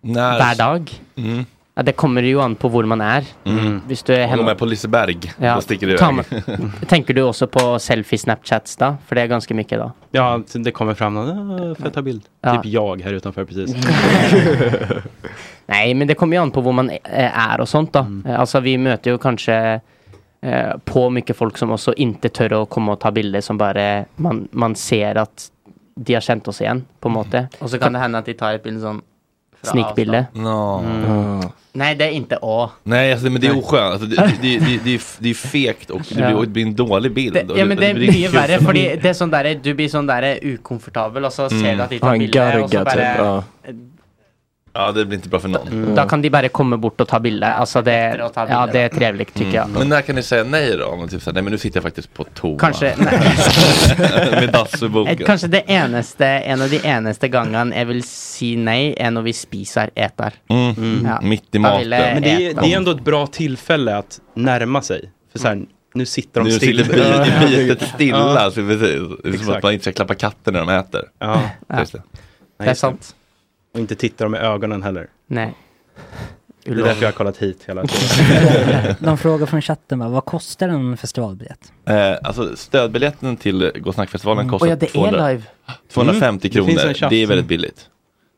När...
Hver dag?
Mm.
Ja, det kommer ju an på var man är.
Mm.
Hvis du är
Om de
hemma.
är på Liseberg, då sticker det
ta
iväg.
med- Tänker du också på selfie snapchats då? För det är ganska mycket då.
Ja, det kommer fram någon, "Ah, får jag ta bild?
Ja.
Typ jag här utanför precis.
Nej, men det kommer ju an på var man eh, är och sånt då. Eh, Alltså vi möter ju kanske eh, på mycket folk som också inte tör att komma och ta bilder som bara man, man ser att de har känt oss igen på något sätt. Och så kan det hända att de tar ett bild som Snikbilde.
No.
Mm. Nej, det är inte A.
Nej, alltså, men det är oskönt. Alltså, det, det, det, det, är- det är fegt och det blir,
Ja.
och det blir en dålig bild.
Det,
Och
ja, men det
blir
är mycket
kul.
värre för det är sån där, du blir sån där ukomfortabel och så ser
Mm.
du att de
Ja,
tar
en
bilder och så
garga
bara,
typ, ja. Ja, det blir inte bra för någon.
Då kan de bara komma bort och ta bilder. Alltså det,
ta bilder.
ja, det är trevligt tycker jag.
Mm. Men när kan ni säga nej då? Om man typ säger nej men nu sitter jag faktiskt på toa.
Kanske-
Med dassuboken.
Eh, Kanskje det eneste, en av de eneste gangene jeg vil si nei, er når vi spiser eter.
Mm. Midt i
Da
maten.
vil jeg
Men det är,
ete.
det är ändå ett bra tillfälle att närma sig. För så
Mm.
här, nu sitter de
Nu
still.
sitter bitet, bitet stilla.
Ja.
Så precis. Det är som
Exakt.
att man inte ska klappa katten när de äter.
Ja.
Just det.
Nej,
är
just
sant.
Och inte titta dem i ögonen heller.
Nej.
Det är därför jag har kollat hit hela tiden.
De frågar från chatten bara, vad kostar en festivalbiljett?
Eh, alltså stödbiljetten till Gå snackfestivalen kostar
Åh Mm. ja, det är
200
live.
250
Mm. Det finns en
kronor.
chatt.
Det är väldigt billigt.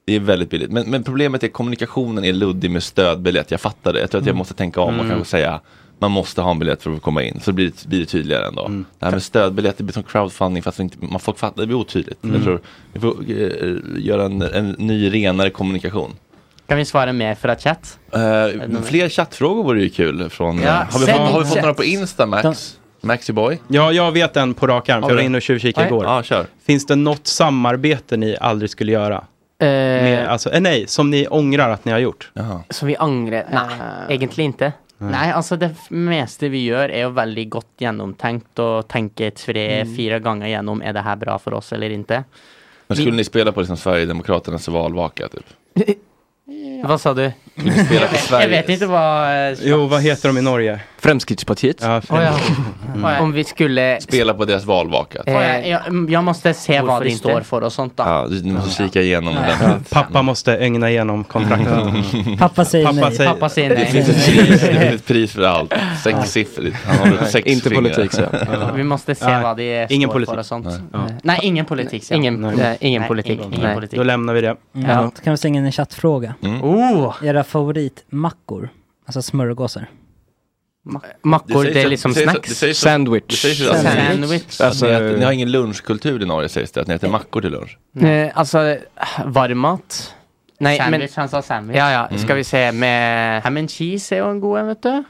Det är väldigt billigt. Men, men problemet är kommunikationen är luddig med stödbiljett. Jag fattar det. Jag tror att jag
Mm.
måste tänka om och
Mm.
kanske säga man måste ha en biljett för att komma in. Så blir det, blir det tydligare ändå.
Mm.
Det här med stödbiljett, det blir som crowdfunding fast inte, man folk fattar, det blir otydligt.
Mm.
Jag tror vi får eh, göra en, en ny renare kommunikation.
Kan vi svara mer för att chatt?
Eh, fler chattfrågor vore ju kul. Från,
Ja,
eh, har, vi fått,
säg
har vi fått
chatt.
några på Insta Max? Maxi Boy?
Ja, jag vet en på rak arm,
Har
för jag var
du?
inne och tjuvkikade
Nej.
igår.
Ja, kör.
Finns det något samarbete ni aldrig skulle göra? Med, alltså, eh, nej, som ni ångrar att ni har gjort?
Som vi angrer? Eh. Nej, egentlig inte.
Nej.
Nei, altså det f- meste vi gjør er jo veldig godt gjennomtenkt og tenker
Mm.
tre-fire ganger gjennom er det her bra for oss eller ikke.
Men skulle ni spela på liksom Sverigedemokraternas valvaka typ?
Hva sa du?
Skulle ni spela på
Jeg
Sverige?
vet ikke hva eh, slags-
Jo, vad heter de i Norge?
Typ
Fremskrittspartiet?
Ja,
Å, ja. Å, ja. Om vi skulle
Spela på deras valvaka?
Å, ja, ja, mm, Jag måste se hva
Hvorfor
de
ikke?
står for og sånt, da.
Ja, du du måste kika igenom
Ja.
det.
Pappa måste ögna igenom kontraktet.
Pappa säger
Pappa
nej.
säger-
Pappa sier
Det finns
nei.
ett pris, det finns ett pris för allt. Sexsiffrigt. Han har sex
Inte
fingrar.
politik, så.
Vi måste se
Nej.
hva de
Ingen
står
politik.
for og sånt.
Nej.
Eh, Nei, ingen politikk. sier
Ingen-
han.
eh, ingen
Nei,
politikk.
Ingen
Nej.
politikk.
Då lämnar vi det.
Ja. Då kan vi slänga in en chattfråga.
Mm.
Oh!
Era favoritmackor, alltså smörgåsar.
Mackor, det
sägs
är
att-
liksom
sägs att-
snacks.
det sägs att- Det sägs ju att-
Sandwich.
Alltså, ni, äter, ni har ingen lunchkultur i Norge sägs det, att ni äter mackor till lunch.
Eh, alltså, varmmat. Nej,
Sandwich,
men, han sa sandwich. Ja, ja,
Mm.
ska vi se med... Mm. Ham and cheese är ju en god en, vet du.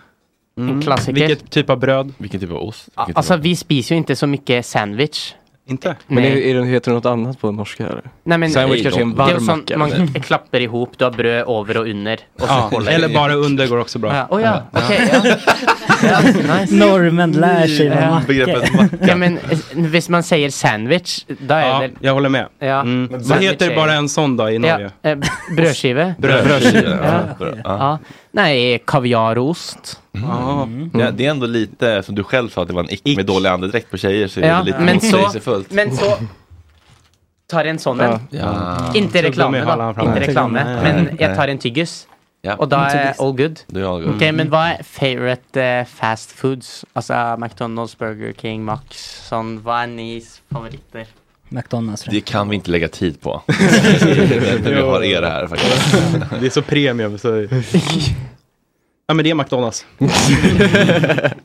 En klassiker.
Vilket typ av bröd?
Vilken typ av ost?
Ja, Alltså, vi spiser ju inte så mycket sandwich.
Inte?
Men
Nej.
är, är det, heter det något annat på norska? Eller?
Nej, men,
Sandwich kanske är en
Det ju
varm
sån-
macka?
Man
eller?
klappar ihop, du har bröd över och under. Och så
Ja,
kollar du.
eller bara under går också bra.
Ja, oh ja, okej. ja. ja, nice.
Norrmän lär sig vad
Mm.
Ja.
mackor.
Ja, men om man säger sandwich, då är
Ja,
det...
jag håller med.
Ja.
Mm.
Men
Vad heter
sandwich är-
bara en sån dag i Norge?
Ja, eh, brödskiva.
Brödskiva, ja.
Ja. Ja. Nej, kaviarost. Mm.
Ja, det är ändå lite, som du själv sa, att det var en ick, med dålig andedräkt på tjejer, så är
Ja,
det lite
men så-
motsägelsefullt.
Men så tar en sån en.
Ja.
Inte
Så
reklam,
de är halva
va?
fram.
Inte
Nej.
reklam,
Nej.
men jag
Nej.
tar en tyggis.
Ja.
Och då
En
är
tyggis.
all good.
Då är all good.
Okej, men vad är favorite eh, fast foods? Alltså McDonalds, Burger King, Max, sån. Vad är nis favoriter?
McDonalds.
Det kan vi inte lägga tid på. När vi har er här faktiskt.
Det är så premium. Så... Ja, men det är McDonalds.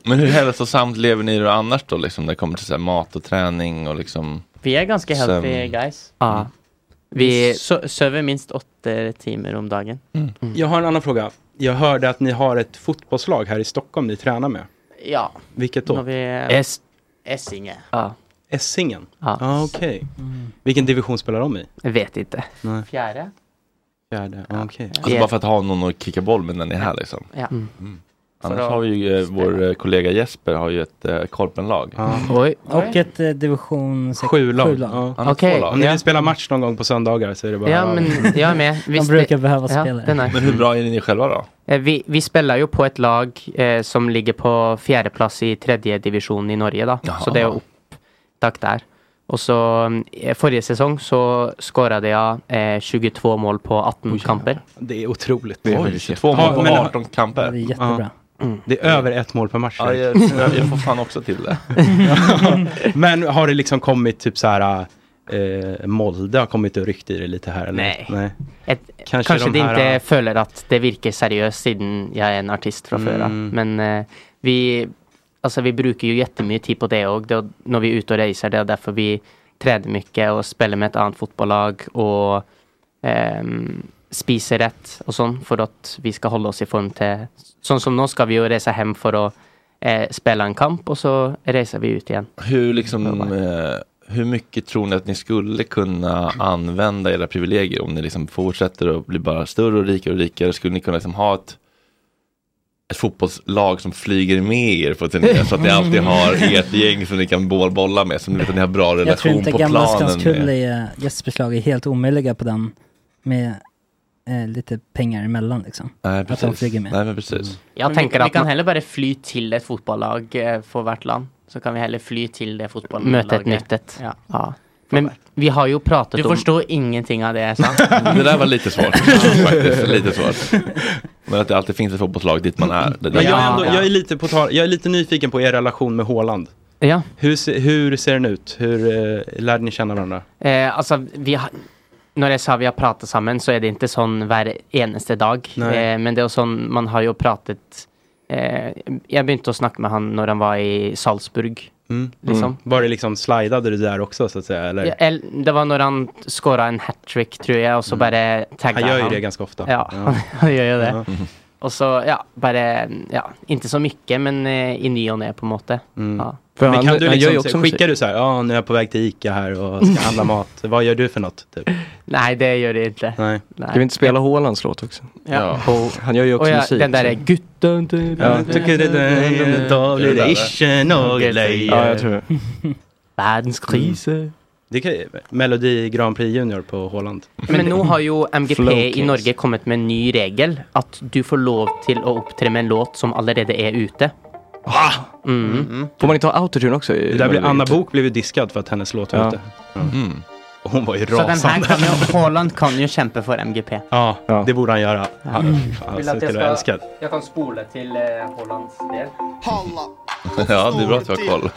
Men hur hälsosamt lever ni då annars då, liksom, när det kommer till så här mat och träning och liksom?
Vi är ganska healthy
Sömn.
guys. Ja. Vi sö- söver minst åtta timmar om dagen.
Jag har en annan fråga. Jag hörde att ni har ett fotbollslag här i Stockholm ni tränar med.
Ja.
Vilket då?
När vi...
Es-
Essinge.
Essingen?
Ja.
Ah, Okej. Vilken division spelar de i?
Jag vet inte.
Nej.
Fjärde?
Fjärde? Ah, Okej.
Alltså bara för att ha någon att kicka boll med när ni är här liksom.
Ja.
Mm. Annars
För att-
har vi ju eh, vår eh, kollega Jesper har ju ett eh, korpenlag.
Oj.
Och ett eh, division sex-
Sju-lag.
sjulag.
har två lag.
Om ni
Ja.
vill spela match någon gång på söndagar så är det bara...
Ja, men jag är med.
De brukar behöva spelare.
den är.
Men hur bra är ni själva då?
Eh, Vi, vi spelar ju på ett lag eh, som ligger på fjärde plats i tredje division i Norge då. Så det är upptak där. Och så eh, förra säsong så scorade jag eh, 22 mål på 18 kamper.
Det är otroligt.
Det är Oj, faktiskt 22 mål på
men-
18 kamper. Det är
jättebra.
Det är över ett mål per match.
Ja, jag, jag får fan också till det.
men har det liksom kommit typ så här... Eh, Molde har kommit och ryckt i det lite här eller?
Nej.
Nej.
Ett, kanske det inte följer att det virkar seriöst sedan jag är en artist från förra.
Mm.
Men eh, vi, alltså, vi brukar ju jättemycket tid på det också. När vi är ute och reser, det är därför vi tränar mycket och spelar med ett annat fotbollslag och ehm, spiser rätt och sånt för att vi ska hålla oss i form till... Sånt som nu ska vi ju resa hem för att eh, spela en kamp och så reser vi ut igen.
Hur, liksom, eh, hur mycket tror ni att ni skulle kunna använda era privilegier om ni liksom fortsätter att bli bara större och rikare och rikare? Skulle ni kunna liksom ha ett, ett fotbollslag som flyger med er på turnéer så att ni alltid har ert gäng som ni kan boll- bolla med som ni vet att ni har bra
Jag tror
relation
inte
på
gamla
planen
Skanstull
med?
är Jespers lag är helt omöjliga på den med eh, lite pengar emellan liksom.
Nej,
att de
precis.
flyger med.
Nej, men precis.
Jag
Men vi-
tänker
vi
att
kan
man heller bara fly till ett fotbollslag eh, för vart land. Så kan vi heller fly till det fotbollslaget.
Möta ett nytt
ett. Ja. Men vi har ju pratat
Du
Mm.
om... förstår ingenting av det jag
Det där var lite svårt. Faktiskt, lite svårt. Men att det alltid finns ett fotbollslag dit man är. Det-
Men jag, är ändå,
Ja.
jag, är lite på tal, jag är lite nyfiken på er relation med Haaland.
Ja.
Hur, se- hur ser den ut? Hur eh, lärde ni känna varandra?
Eh, alltså, vi har, når jeg sa vi har pratet sammen, så er det ikke sånn hver eneste dag.
Nei.
Eh, men det er jo sånn, man har jo pratet eh, Jeg begynte å snakke med han når han var i Salzburg,
Mm.
liksom.
Var det liksom, slidade du där också så att säga? Eller?
Ja, el- det var når han skåra en hat trick, tror jeg, og så bare tagga
Mm. Han gör ju det ganska ofta.
Ja,
Ja.
han gjør jo det.
Ja.
Og så, ja, bare Ja, ikke så mye, men eh, i ny og ne, på en måte.
Mm.
Ja.
Men kan du liksom, skickar du så här, ja nu är jag på väg till Ica här och ska handla mat, vad gör du för något? Typ?
Nei, det gjør jeg ikke.
Nej.
Nei.
Ska vi inte spela Haalands låt också?
Ja.
Han gör ju också
Och ja,
musik.
Den där är gutten...
Ja.
Då blir det inte något löje.
Ja, jag tror det.
Världens kris.
Det kan, Melodi Grand Prix Junior på Holland.
Men nu har ju MGP i
Flowcase.
Norge kommit med en ny regel att du får lov till att uppträda med en låt som allerede är ute. Mm.
Får man inte ha autotune också? i-
Det där blir,
eller-
Anna Bok blev ju diskad för att hennes låt var
Ja.
ute. Ja. Och hon var ju
Så den här
rasande.
kan ju, Haaland kan ju kämpa för MGP.
Ja, det borde han göra. Han, han skulle vara älskad.
jag kan spola till Hollands del.
Ja, det är bra att vi har koll.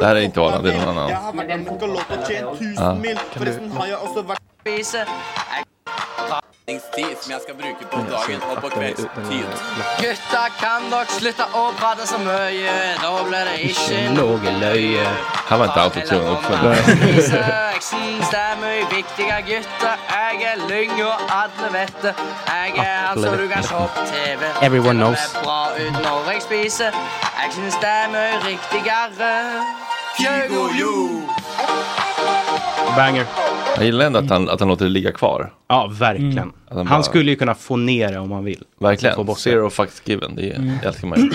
Det här är inte Arland, det är någon annan.
har vært på Galopp og tjent
Ja.
tusen mil. Forresten har jeg også vært Spise. Tid som jeg skal bruke på dagen og på kveldstid. Gutta, kan dere slutte å prate så mye? Da blir det ikke
Någon löje. Här var inte autotune
Spise
uppfunnen.
øksen, det er mye viktigere, gutter. Jeg er lyng, og alle vet det. Jeg er her så du kan se på TV.
Everyone knows.
Det er bra ut når jeg spiser. Jeg syns det er mye riktigere. Fjögo, jo.
Banger.
Jag gillar ändå att han, att han låter det ligga kvar.
Ja, verkligen.
Mm. Att han
Han,
bara-
skulle ju kunna få ner det om han vill. Få
Verkligen.
bort
Zero fucks given. Det är, det älskar man ju.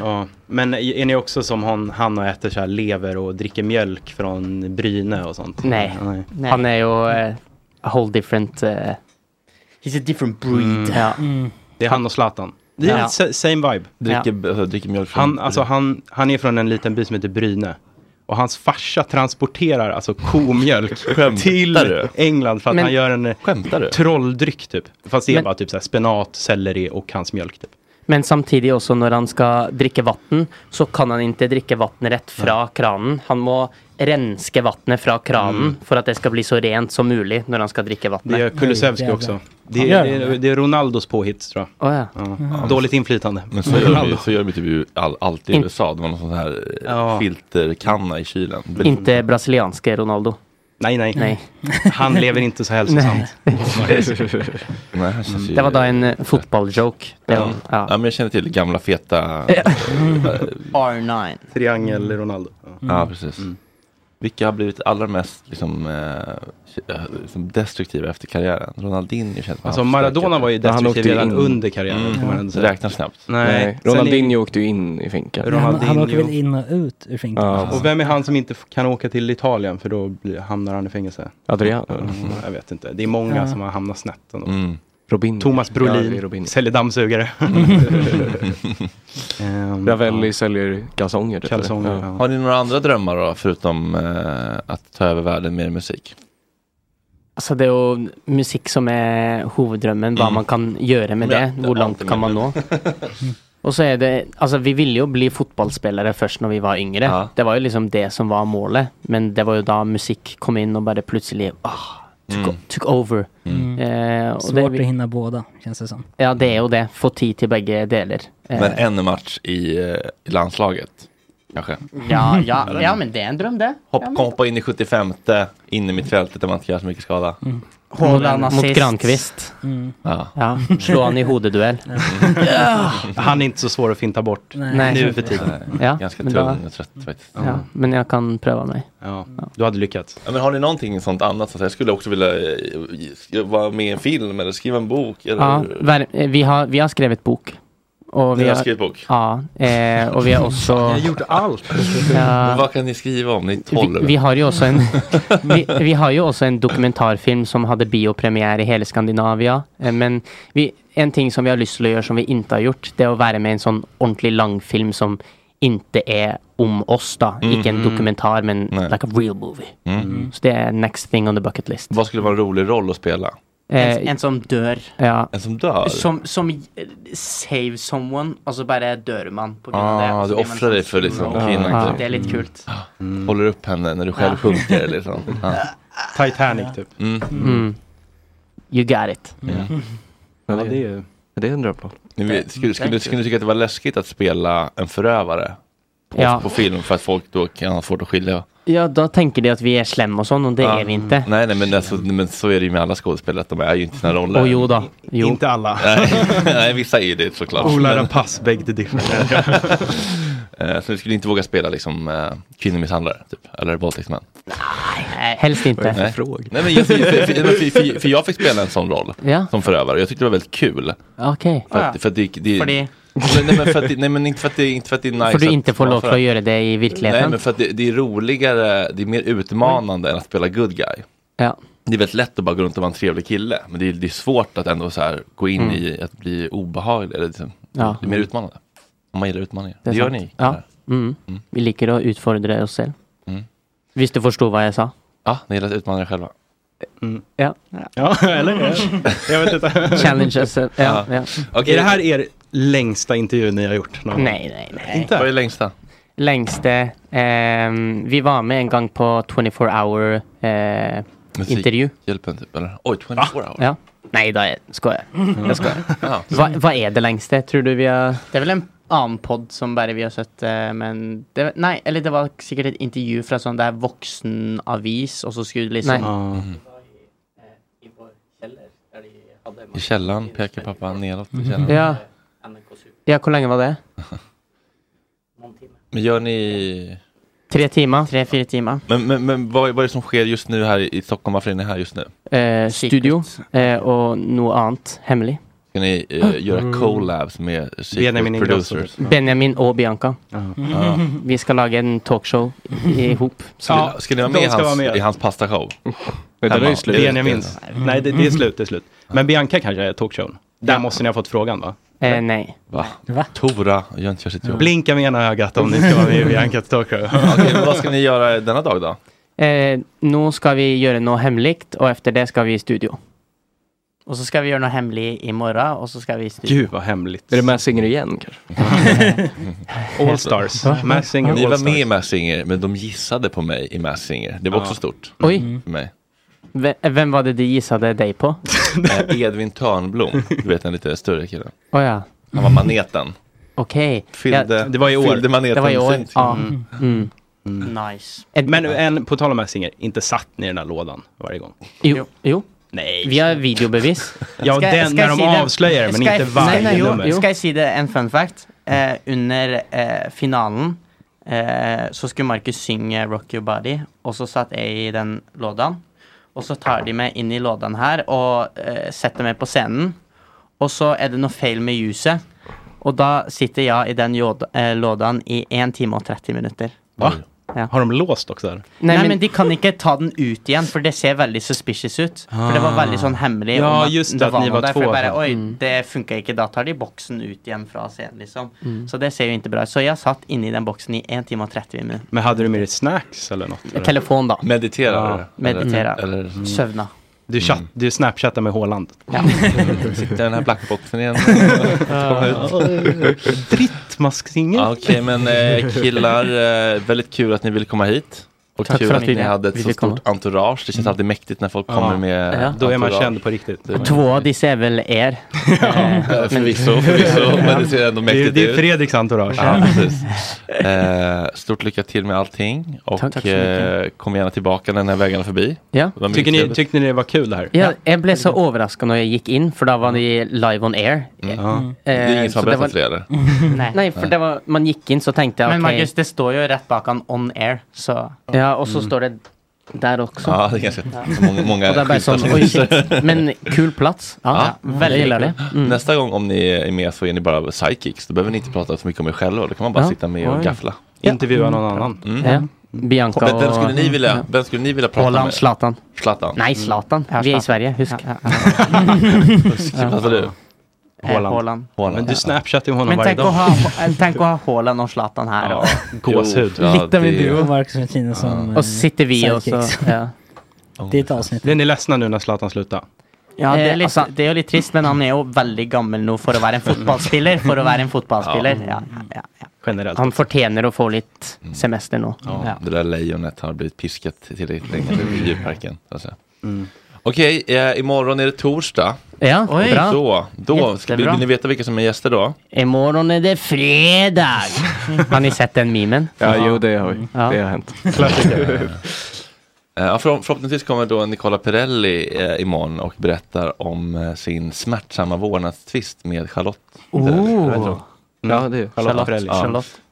Ja. Men är ni också som hon, han och äter så här lever och dricker mjölk från Bryne och sånt?
Nej. han är ju eh, a whole different... eh, he's a different breed.
Mm.
Ja.
Det är han och Zlatan. Det är
Ja.
sa- same vibe.
Dricker, ja. dricker mjölk från...
Han, alltså, han, han är från en liten by som heter Bryne. Och hans farsa transporterar alltså komjölk till
du?
England för att
Men-
han gör en eh,
du?
trolldryck typ. Fast det är
Men-
bara typ så här spenat, selleri och hans mjölk typ.
Men samtidig også når han skal drikke vann, så kan han ikke drikke vann rett fra kranen. Han må renske vannet fra kranen for at det skal bli så rent som mulig når han skal drikke
Det gör
vannet.
Kulusevski också.
Mm.
Det
Gör
är,
han
det, är, det är Ronaldos påhitt tror jag.
Åh, ja. Mm.
Ja.
Dåligt inflytande.
Men så gör, vi, så gör vi typ ju all, alltid i
In-
USA. Det var någon sån här eh,
Ja.
filterkanna i kylen.
Inte brasilianske Ronaldo.
Nej, nej.
Nej.
Han lever inte så hälsosamt.
Nej, han känns ju...
Det var da en eh, fotballjoke. Det
Ja.
var- Ja.
men jag känner till gamla feta...
Ja.
R9. Triangel Ronaldo.
Ja, precis.
Mm.
Vilka har blivit allra mest liksom, eh, eh, liksom destruktiva efter karriären? Ronaldinho känns man
Alltså, Maradona var ju
Ja, han
destruktiv
åkte
redan
in.
under karriären, får man ändå säga.
Räknas knappt.
Nej.
Nej.
Sen
Ronaldinho åkte ju in i finkan.
Han, han åker väl in och ut ur finkan?
Ja.
också.
Och vem är han som inte f- kan åka till Italien för då blir, hamnar han i fängelse?
Adriano?
Mm, jag vet inte. Det är många
Ja.
som har hamnat snett ändå.
Mm.
Robin.
Thomas
Ja, det är
Brolin
Robin.
säljer dammsugare.
Mm.
Ehm,
Ravelli säljer kalsonger. typ, eller?
Kalsonger, ja.
Har ni några andra drömmar då, förutom eh, att ta över världen med er musik?
Altså, Alltså, det er jo musikk som er hoveddrømmen,
Mm.
hva man kan gjøre med det. Hvor langt kan man nå? Og så er det Altså, vi ville jo bli fotballspillere først når vi var yngre. Det var jo liksom det som var målet, men det var jo da musikk kom inn og bare plutselig åh, ah, took,
Mm.
took over.
Mm.
Eh, og
Svårt
det,
att hinna båda, känns det som.
ja, det er jo det. Få tid til begge deler. Eh,
Men en match i eh, i landslaget, kanske?
ja, ja,
Eller?
ja, men det er en drøm, det.
Hopp,
Mm. Ja, men-
kompa in i 75, in i mittfältet där man inte gör så mycket skada.
Mm.
Haaland mot
assist.
Grankvist.
Mm.
Ja.
Ja, slå han i hodeduell. Ja.
Han är inte så svår att finta bort
Nej.
nu för tiden.
Ja,
Ganska
men
tung
da-
och trött faktiskt.
Ja, men jag kan pröva mig.
Ja, du hade lyckats.
Ja, men har ni någonting sånt annat? Så att jag skulle också vilja eh, sk- vara med i en film eller skriva en bok. Eller...
Ja, ver- eh, vi, har, vi har skrivit bok. Och
Ni har skrivit bok?
Ja, eh, och vi har också...
Fan, jag har gjort
allt.
Men
ja,
vad kan ni skriva om? Ni är
vi,
12.
vi har ju också en, vi, vi har ju också en dokumentarfilm som hade biopremiär i hela Skandinavien. Eh, Men vi, en ting som vi har lust att göra som vi inte har gjort, det är att vara med i en sån ordentlig långfilm som inte är om oss då.
Mm,
Inte en
mm.
dokumentär, men like a real movie.
Mm.
Så det är next thing on the bucket list. Eh,
Vad skulle vara en rolig roll att spela?
En, en som dør.
Ja. En som dør?
Som, som eh, save someone, og så bare dør man på grunn av det.
Ah,
og så
du
blir man
offrar dig
sånn
för liksom
stor.
kvinnan. typ.
Det er litt kult.
Mm. Håller upp henne när du själv
Ja.
sjunker liksom. Ja.
Titanic typ.
Mm.
Mm. You got it.
Ja.
Ja, det är ju... Det undrar jag på.
Ni vet, Skulle, skulle, skulle du tycka att det var läskigt att spela en förövare på,
Ja.
på film för att folk då kan ha svårt att skilja?
Ja, da tenker de at vi er slemme og sånn, og det er vi ikke.
Ah. Nej, nej men, alltså, men så är det ju med alla skådespelare, att de är ju inte sina roller.
Å jo da. Jo.
Inte alla.
Nej, nej, vissa är ju det såklart.
Ola
Men-
Rapace, beg the difference.
Eh, Så du skulle inte våga spela liksom eh, kvinnomisshandlare, typ, eller våldtäktsmän?
Helst inte.
Nej. Nej, men jag, för, för, för, för, för jag fick spela en sån roll
Ja.
som förövare och jag tyckte det var väldigt kul.
Okej.
För att, för att det, det,
Fordi-
Nej, nej, men för att, det- nej men inte för att det, inte för att det är nice
For du
att
ikke får
vara
lov til å
förövare.
gjøre det i
Nej
virkeligheten.
men för att det, det är roligare, det är mer utmanande än att spela good guy.
Ja.
Det är väldigt lätt att bara gå runt och vara en trevlig kille. Men det är, det är svårt att ändå så här gå in
Mm.
i att bli obehaglig. Eller liksom,
Ja.
Det är mer utmanande. Om man gillar utmaningar. Det,
är
gör
sant.
ni.
Ja. Mm. Vi liker å utfordre oss selv.
Mm.
Hvis du forsto hva jeg sa.
Ja, ni gillar att utmana er själva.
Ja.
Ja, eller? Jag vet inte.
Challenges. Ja, ja.
Är det här er längsta intervju ni har gjort? någon gång?
Nej, nej, nej.
Inte?
Vad är längsta?
Längste. ehm, vi var med en gång på 24 hour eh, intervju.
Hjälpen typ eller? Oj, 24 hour.
Ja. Nej, då är, skojar jag. Jag skojar.
Ja.
Va, vad är det längsta? Tror du vi har... Mm. Det är väl en annan podd som bara vi har sett, eh, men... Det, nej, eller det var säkert ett intervju från sån där vuxenavis och så skulle det liksom...
Nej. Mhm. I källaren pekar pappa neråt i källaren.
Mm.
Ja. Ja, hur länge var det?
Men gör ni...
Tre timmar? Tre, fyra timmar.
Men, men, men vad, vad är det som sker just nu här i Stockholm? Varför är ni här just nu?
Eh, studio eh, och något annat hemligt.
Ska ni eh, göra collabs med
Mm. Benjamin
Secret
Ingrosso.
Producers?
Benjamin och Bianca.
Ja.
Vi ska laga en talkshow ihop.
Ska, ni, ska ni vara med,
de
i
ska
hans,
vara med.
i hans pastashow?
Det där är
Hemma.
ju slut. Benjamins. Nej, det, det är slut, det är slut. Men Bianca kanske är talkshown. Där måste ni ha fått frågan va?
Eh, nej.
Va? Tora gör inte sitt jobb.
Blinka med ena ögat om ni ska vara med i Biancas talkshow.
Okej, men vad ska ni göra denna dag då?
Eh, nu ska vi göra något hemligt och efter det ska vi i studio. Och så ska vi göra något hemligt imorgon och så ska vi i studio.
Gud vad hemligt.
Är det Mass Singer igen kanske?
All Stars. Mass Singer
Ni
All
var
Stars.
med i Mass Singer, men de gissade på mig i Mass Singer. Det var
Ja.
också stort.
Oj.
Mm.
För mig.
Ve- Vem var det de gissade dig på?
Eh, Edvin Törnblom, du vet den lite större killen.
Oh, ja.
Han var maneten.
Okej.
Fyllde,
Ja,
Det var i år.
fyllde maneten
det var i år.
fint.
Ja.
Mm.
Mm.
Mm.
Nice.
Men en, på tal om Mass Singer, inte satt ni i den här lådan varje gång?
Jo. jo.
Nej.
Vi har videobevis.
Ja,
Ska-
den
ska
när
jag
de
si det?
avslöjar men
Ska
inte
jag- nej, nej,
varje
jo,
nummer.
Jo. Ska jag säga det, en fun fact? Eh, under eh, finalen eh, så skulle Marcus synge Rock Your Body och så satt jag i den lådan. Och så tar de mig in i lådan här och eh, sätter mig på scenen. Och så är det något fel med ljuset. Och då sitter jag i den jod- eh, lådan i en timme och 30 minuter.
Va?
Ja.
Har de låst också? Där?
Nej, men... de kan inte ta den ut igen, för det ser väldigt suspicious ut. För det var väldigt sån hemlig.
Ah. Ja,
om att
just det, att ni
någon
var
där, för jag
två.
Bara, Oj, det funkar inte. Då tar de boxen ut igen från scenen liksom.
Mm.
Så det ser ju inte bra ut. Så jag satt inne i den boxen i en timme och 30 minuter.
Men hade du med dig snacks eller något? eller?
Telefon då.
Mediterade
Ja.
du?
Meditera.
Eller, eller...
Sövna.
Du, chatt, du snapchattar med Håland.
Sitter i den här
Mm.
blackboxen igen. Komma ut.
Drittmasksingel.
Ja, Okej, men eh, killar, eh, väldigt kul att ni ville komma hit. Och
Tack
kul
för
att
att
ni
vi-
hade ett
vi
så
fick
stort
komma.
entourage. Det känns alltid mäktigt när folk kommer med
Ja.
Då är man
entourage.
känd på riktigt.
Det-
Två av dessa är väl er. Eh,
Eh, Förvisso, förvisso, men det ser ändå
Det är,
mäktigt
det är
ut.
Fredriks entourage.
Ja, precis. Eh, stort lycka till med allting och
Tack. Tack så
eh, kom gärna tillbaka när den här vägen är förbi.
Ja.
Det var mycket
Tycker ni,
trevligt.
tyckte ni det var kul det här?
Ja, jag blev så överraskad när jag gick in, för då var ni live on air.
Ja.
det är ingen som
eh, så
har
det
berättat för
var-
dig eller?
Nej. för det var, man gick in så tänkte jag
Men
okej.
Marcus, det står ju rätt bakom on air. Så.
Ja, och så
Mm.
står det där också.
Ah,
Ja, det är ganska många, många
Och det är bara
Eh, skyltar
sån,
som
oj
finns.
shit, men kul plats. Ja,
Ja.
väldigt gillar det. Mm.
Nästa gång om ni är med så är ni bara psychics. Då behöver ni inte prata så mycket om er själva. Då kan man bara
Ja.
sitta med och
Oj.
gaffla.
Intervjua någon annan.
Mm.
Ja. Bianca
Men
och...
vem skulle ni vilja, vem skulle ni vilja prata
Holland,
med? Mm.
Zlatan.
Zlatan?
Nej, Zlatan. Vi är i Sverige, husk.
Husk, Vad sa du?
Håland.
Håland. Men du snapchattar ju honom
Men
varje
tänk
dag.
att, ha, eh, tänk att ha Håland och Zlatan här. Och,
Gåshud.
Jo,
Lite med
det-
duo.
Och Marcus Martina som... eh,
och så sitter vi och så...
sidekicks.
Ja.
Det är ett avsnitt.
Blir ni ledsna nu när Zlatan slutar?
Ja, det alltså- er, litt, Eh, det er jo litt trist, men han er jo veldig gammel nå for å være en
Mm.
fotballspiller. For å være en fotballspiller. Ja, ja, ja.
Generellt.
Han fortjener å få litt semester nå.
Mm. Ja,
Ja. Mm.
Det där lejonet har blivit piskat tillräckligt länge i djurparken. Alltså.
Mm.
Okej, eh, imorgon är det torsdag.
Ja, Oj. bra.
Då, då ska, vill,
Jättebra.
vill ni veta vilka som är gäster då?
Imorgon är det fredag! Har ni sett den memen?
Ja, jo, det har vi.
Ja.
Det har hänt. Klassiker. Eh, Ja, förhopp- förhoppningsvis kommer då Nicola Perelli eh, imorgon och berättar om eh, sin smärtsamma vårdnadstvist med Charlotte.
Oh.
Perelli. Vad
Mm.
heter hon?
Ja, det är Charlotte Charlotte, Perrelli.
Ja.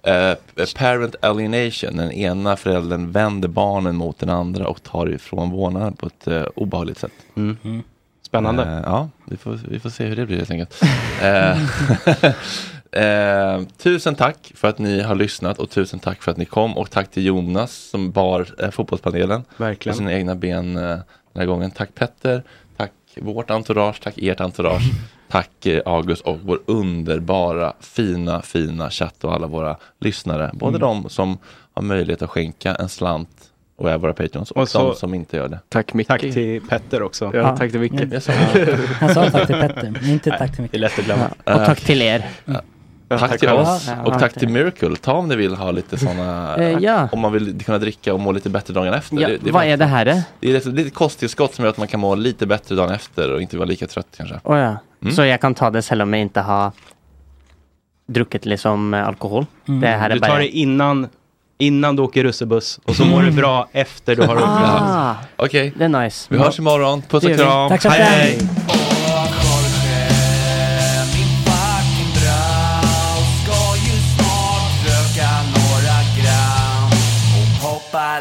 Charlotte.
Eh, parent alienation, den ena föräldern vänder barnen mot den andra och tar ifrån vårdnaden på ett eh, obehagligt sätt.
Mm. Spännande.
Eh, ja, vi får, vi får se hur det blir helt enkelt. Eh, eh, tusen tack för att ni har lyssnat och tusen tack för att ni kom och tack till Jonas som bar eh, fotbollspanelen
Verkligen.
på sina egna ben eh, den här gången. Tack Petter, tack vårt entourage, tack ert entourage, tack eh, August och vår underbara, fina, fina chatt och alla våra lyssnare. Både
Mm.
de som har möjlighet att skänka en slant och är våra patreons och,
Och så-
de som inte gör det.
Tack Micke.
Tack till Petter också.
Ja, tack till Micke. Mm.
Jag sa-
Han sa tack till Petter, men inte tack till Micke.
Det är lätt att glömma.
Ja, och tack till er.
Ja, Tack
Tack
till
själv.
oss
Ja,
och
tack
tack
till
till Miracle. Ta om ni vill ha lite sådana,
Eh, ja.
om man vill kunna dricka och må lite bättre dagen efter.
Ja, vad är det här? eh?
Det är ett litet kosttillskott som gör att man kan må lite bättre dagen efter och inte vara lika trött kanske.
Å ja.
Mm.
Så jag kan ta det selv om jag inte har druckit liksom eh, alkohol? Det här är
du
bara...
tar det innan, innan du åker russebuss och så mår du bra efter du har åkt
Ah.
russebuss.
Okej,
det är nice.
Vi hörs imorgon. Puss
Det gör
och
vi.
kram.
Tack så mycket.
Ska ju snart röka några gram och poppa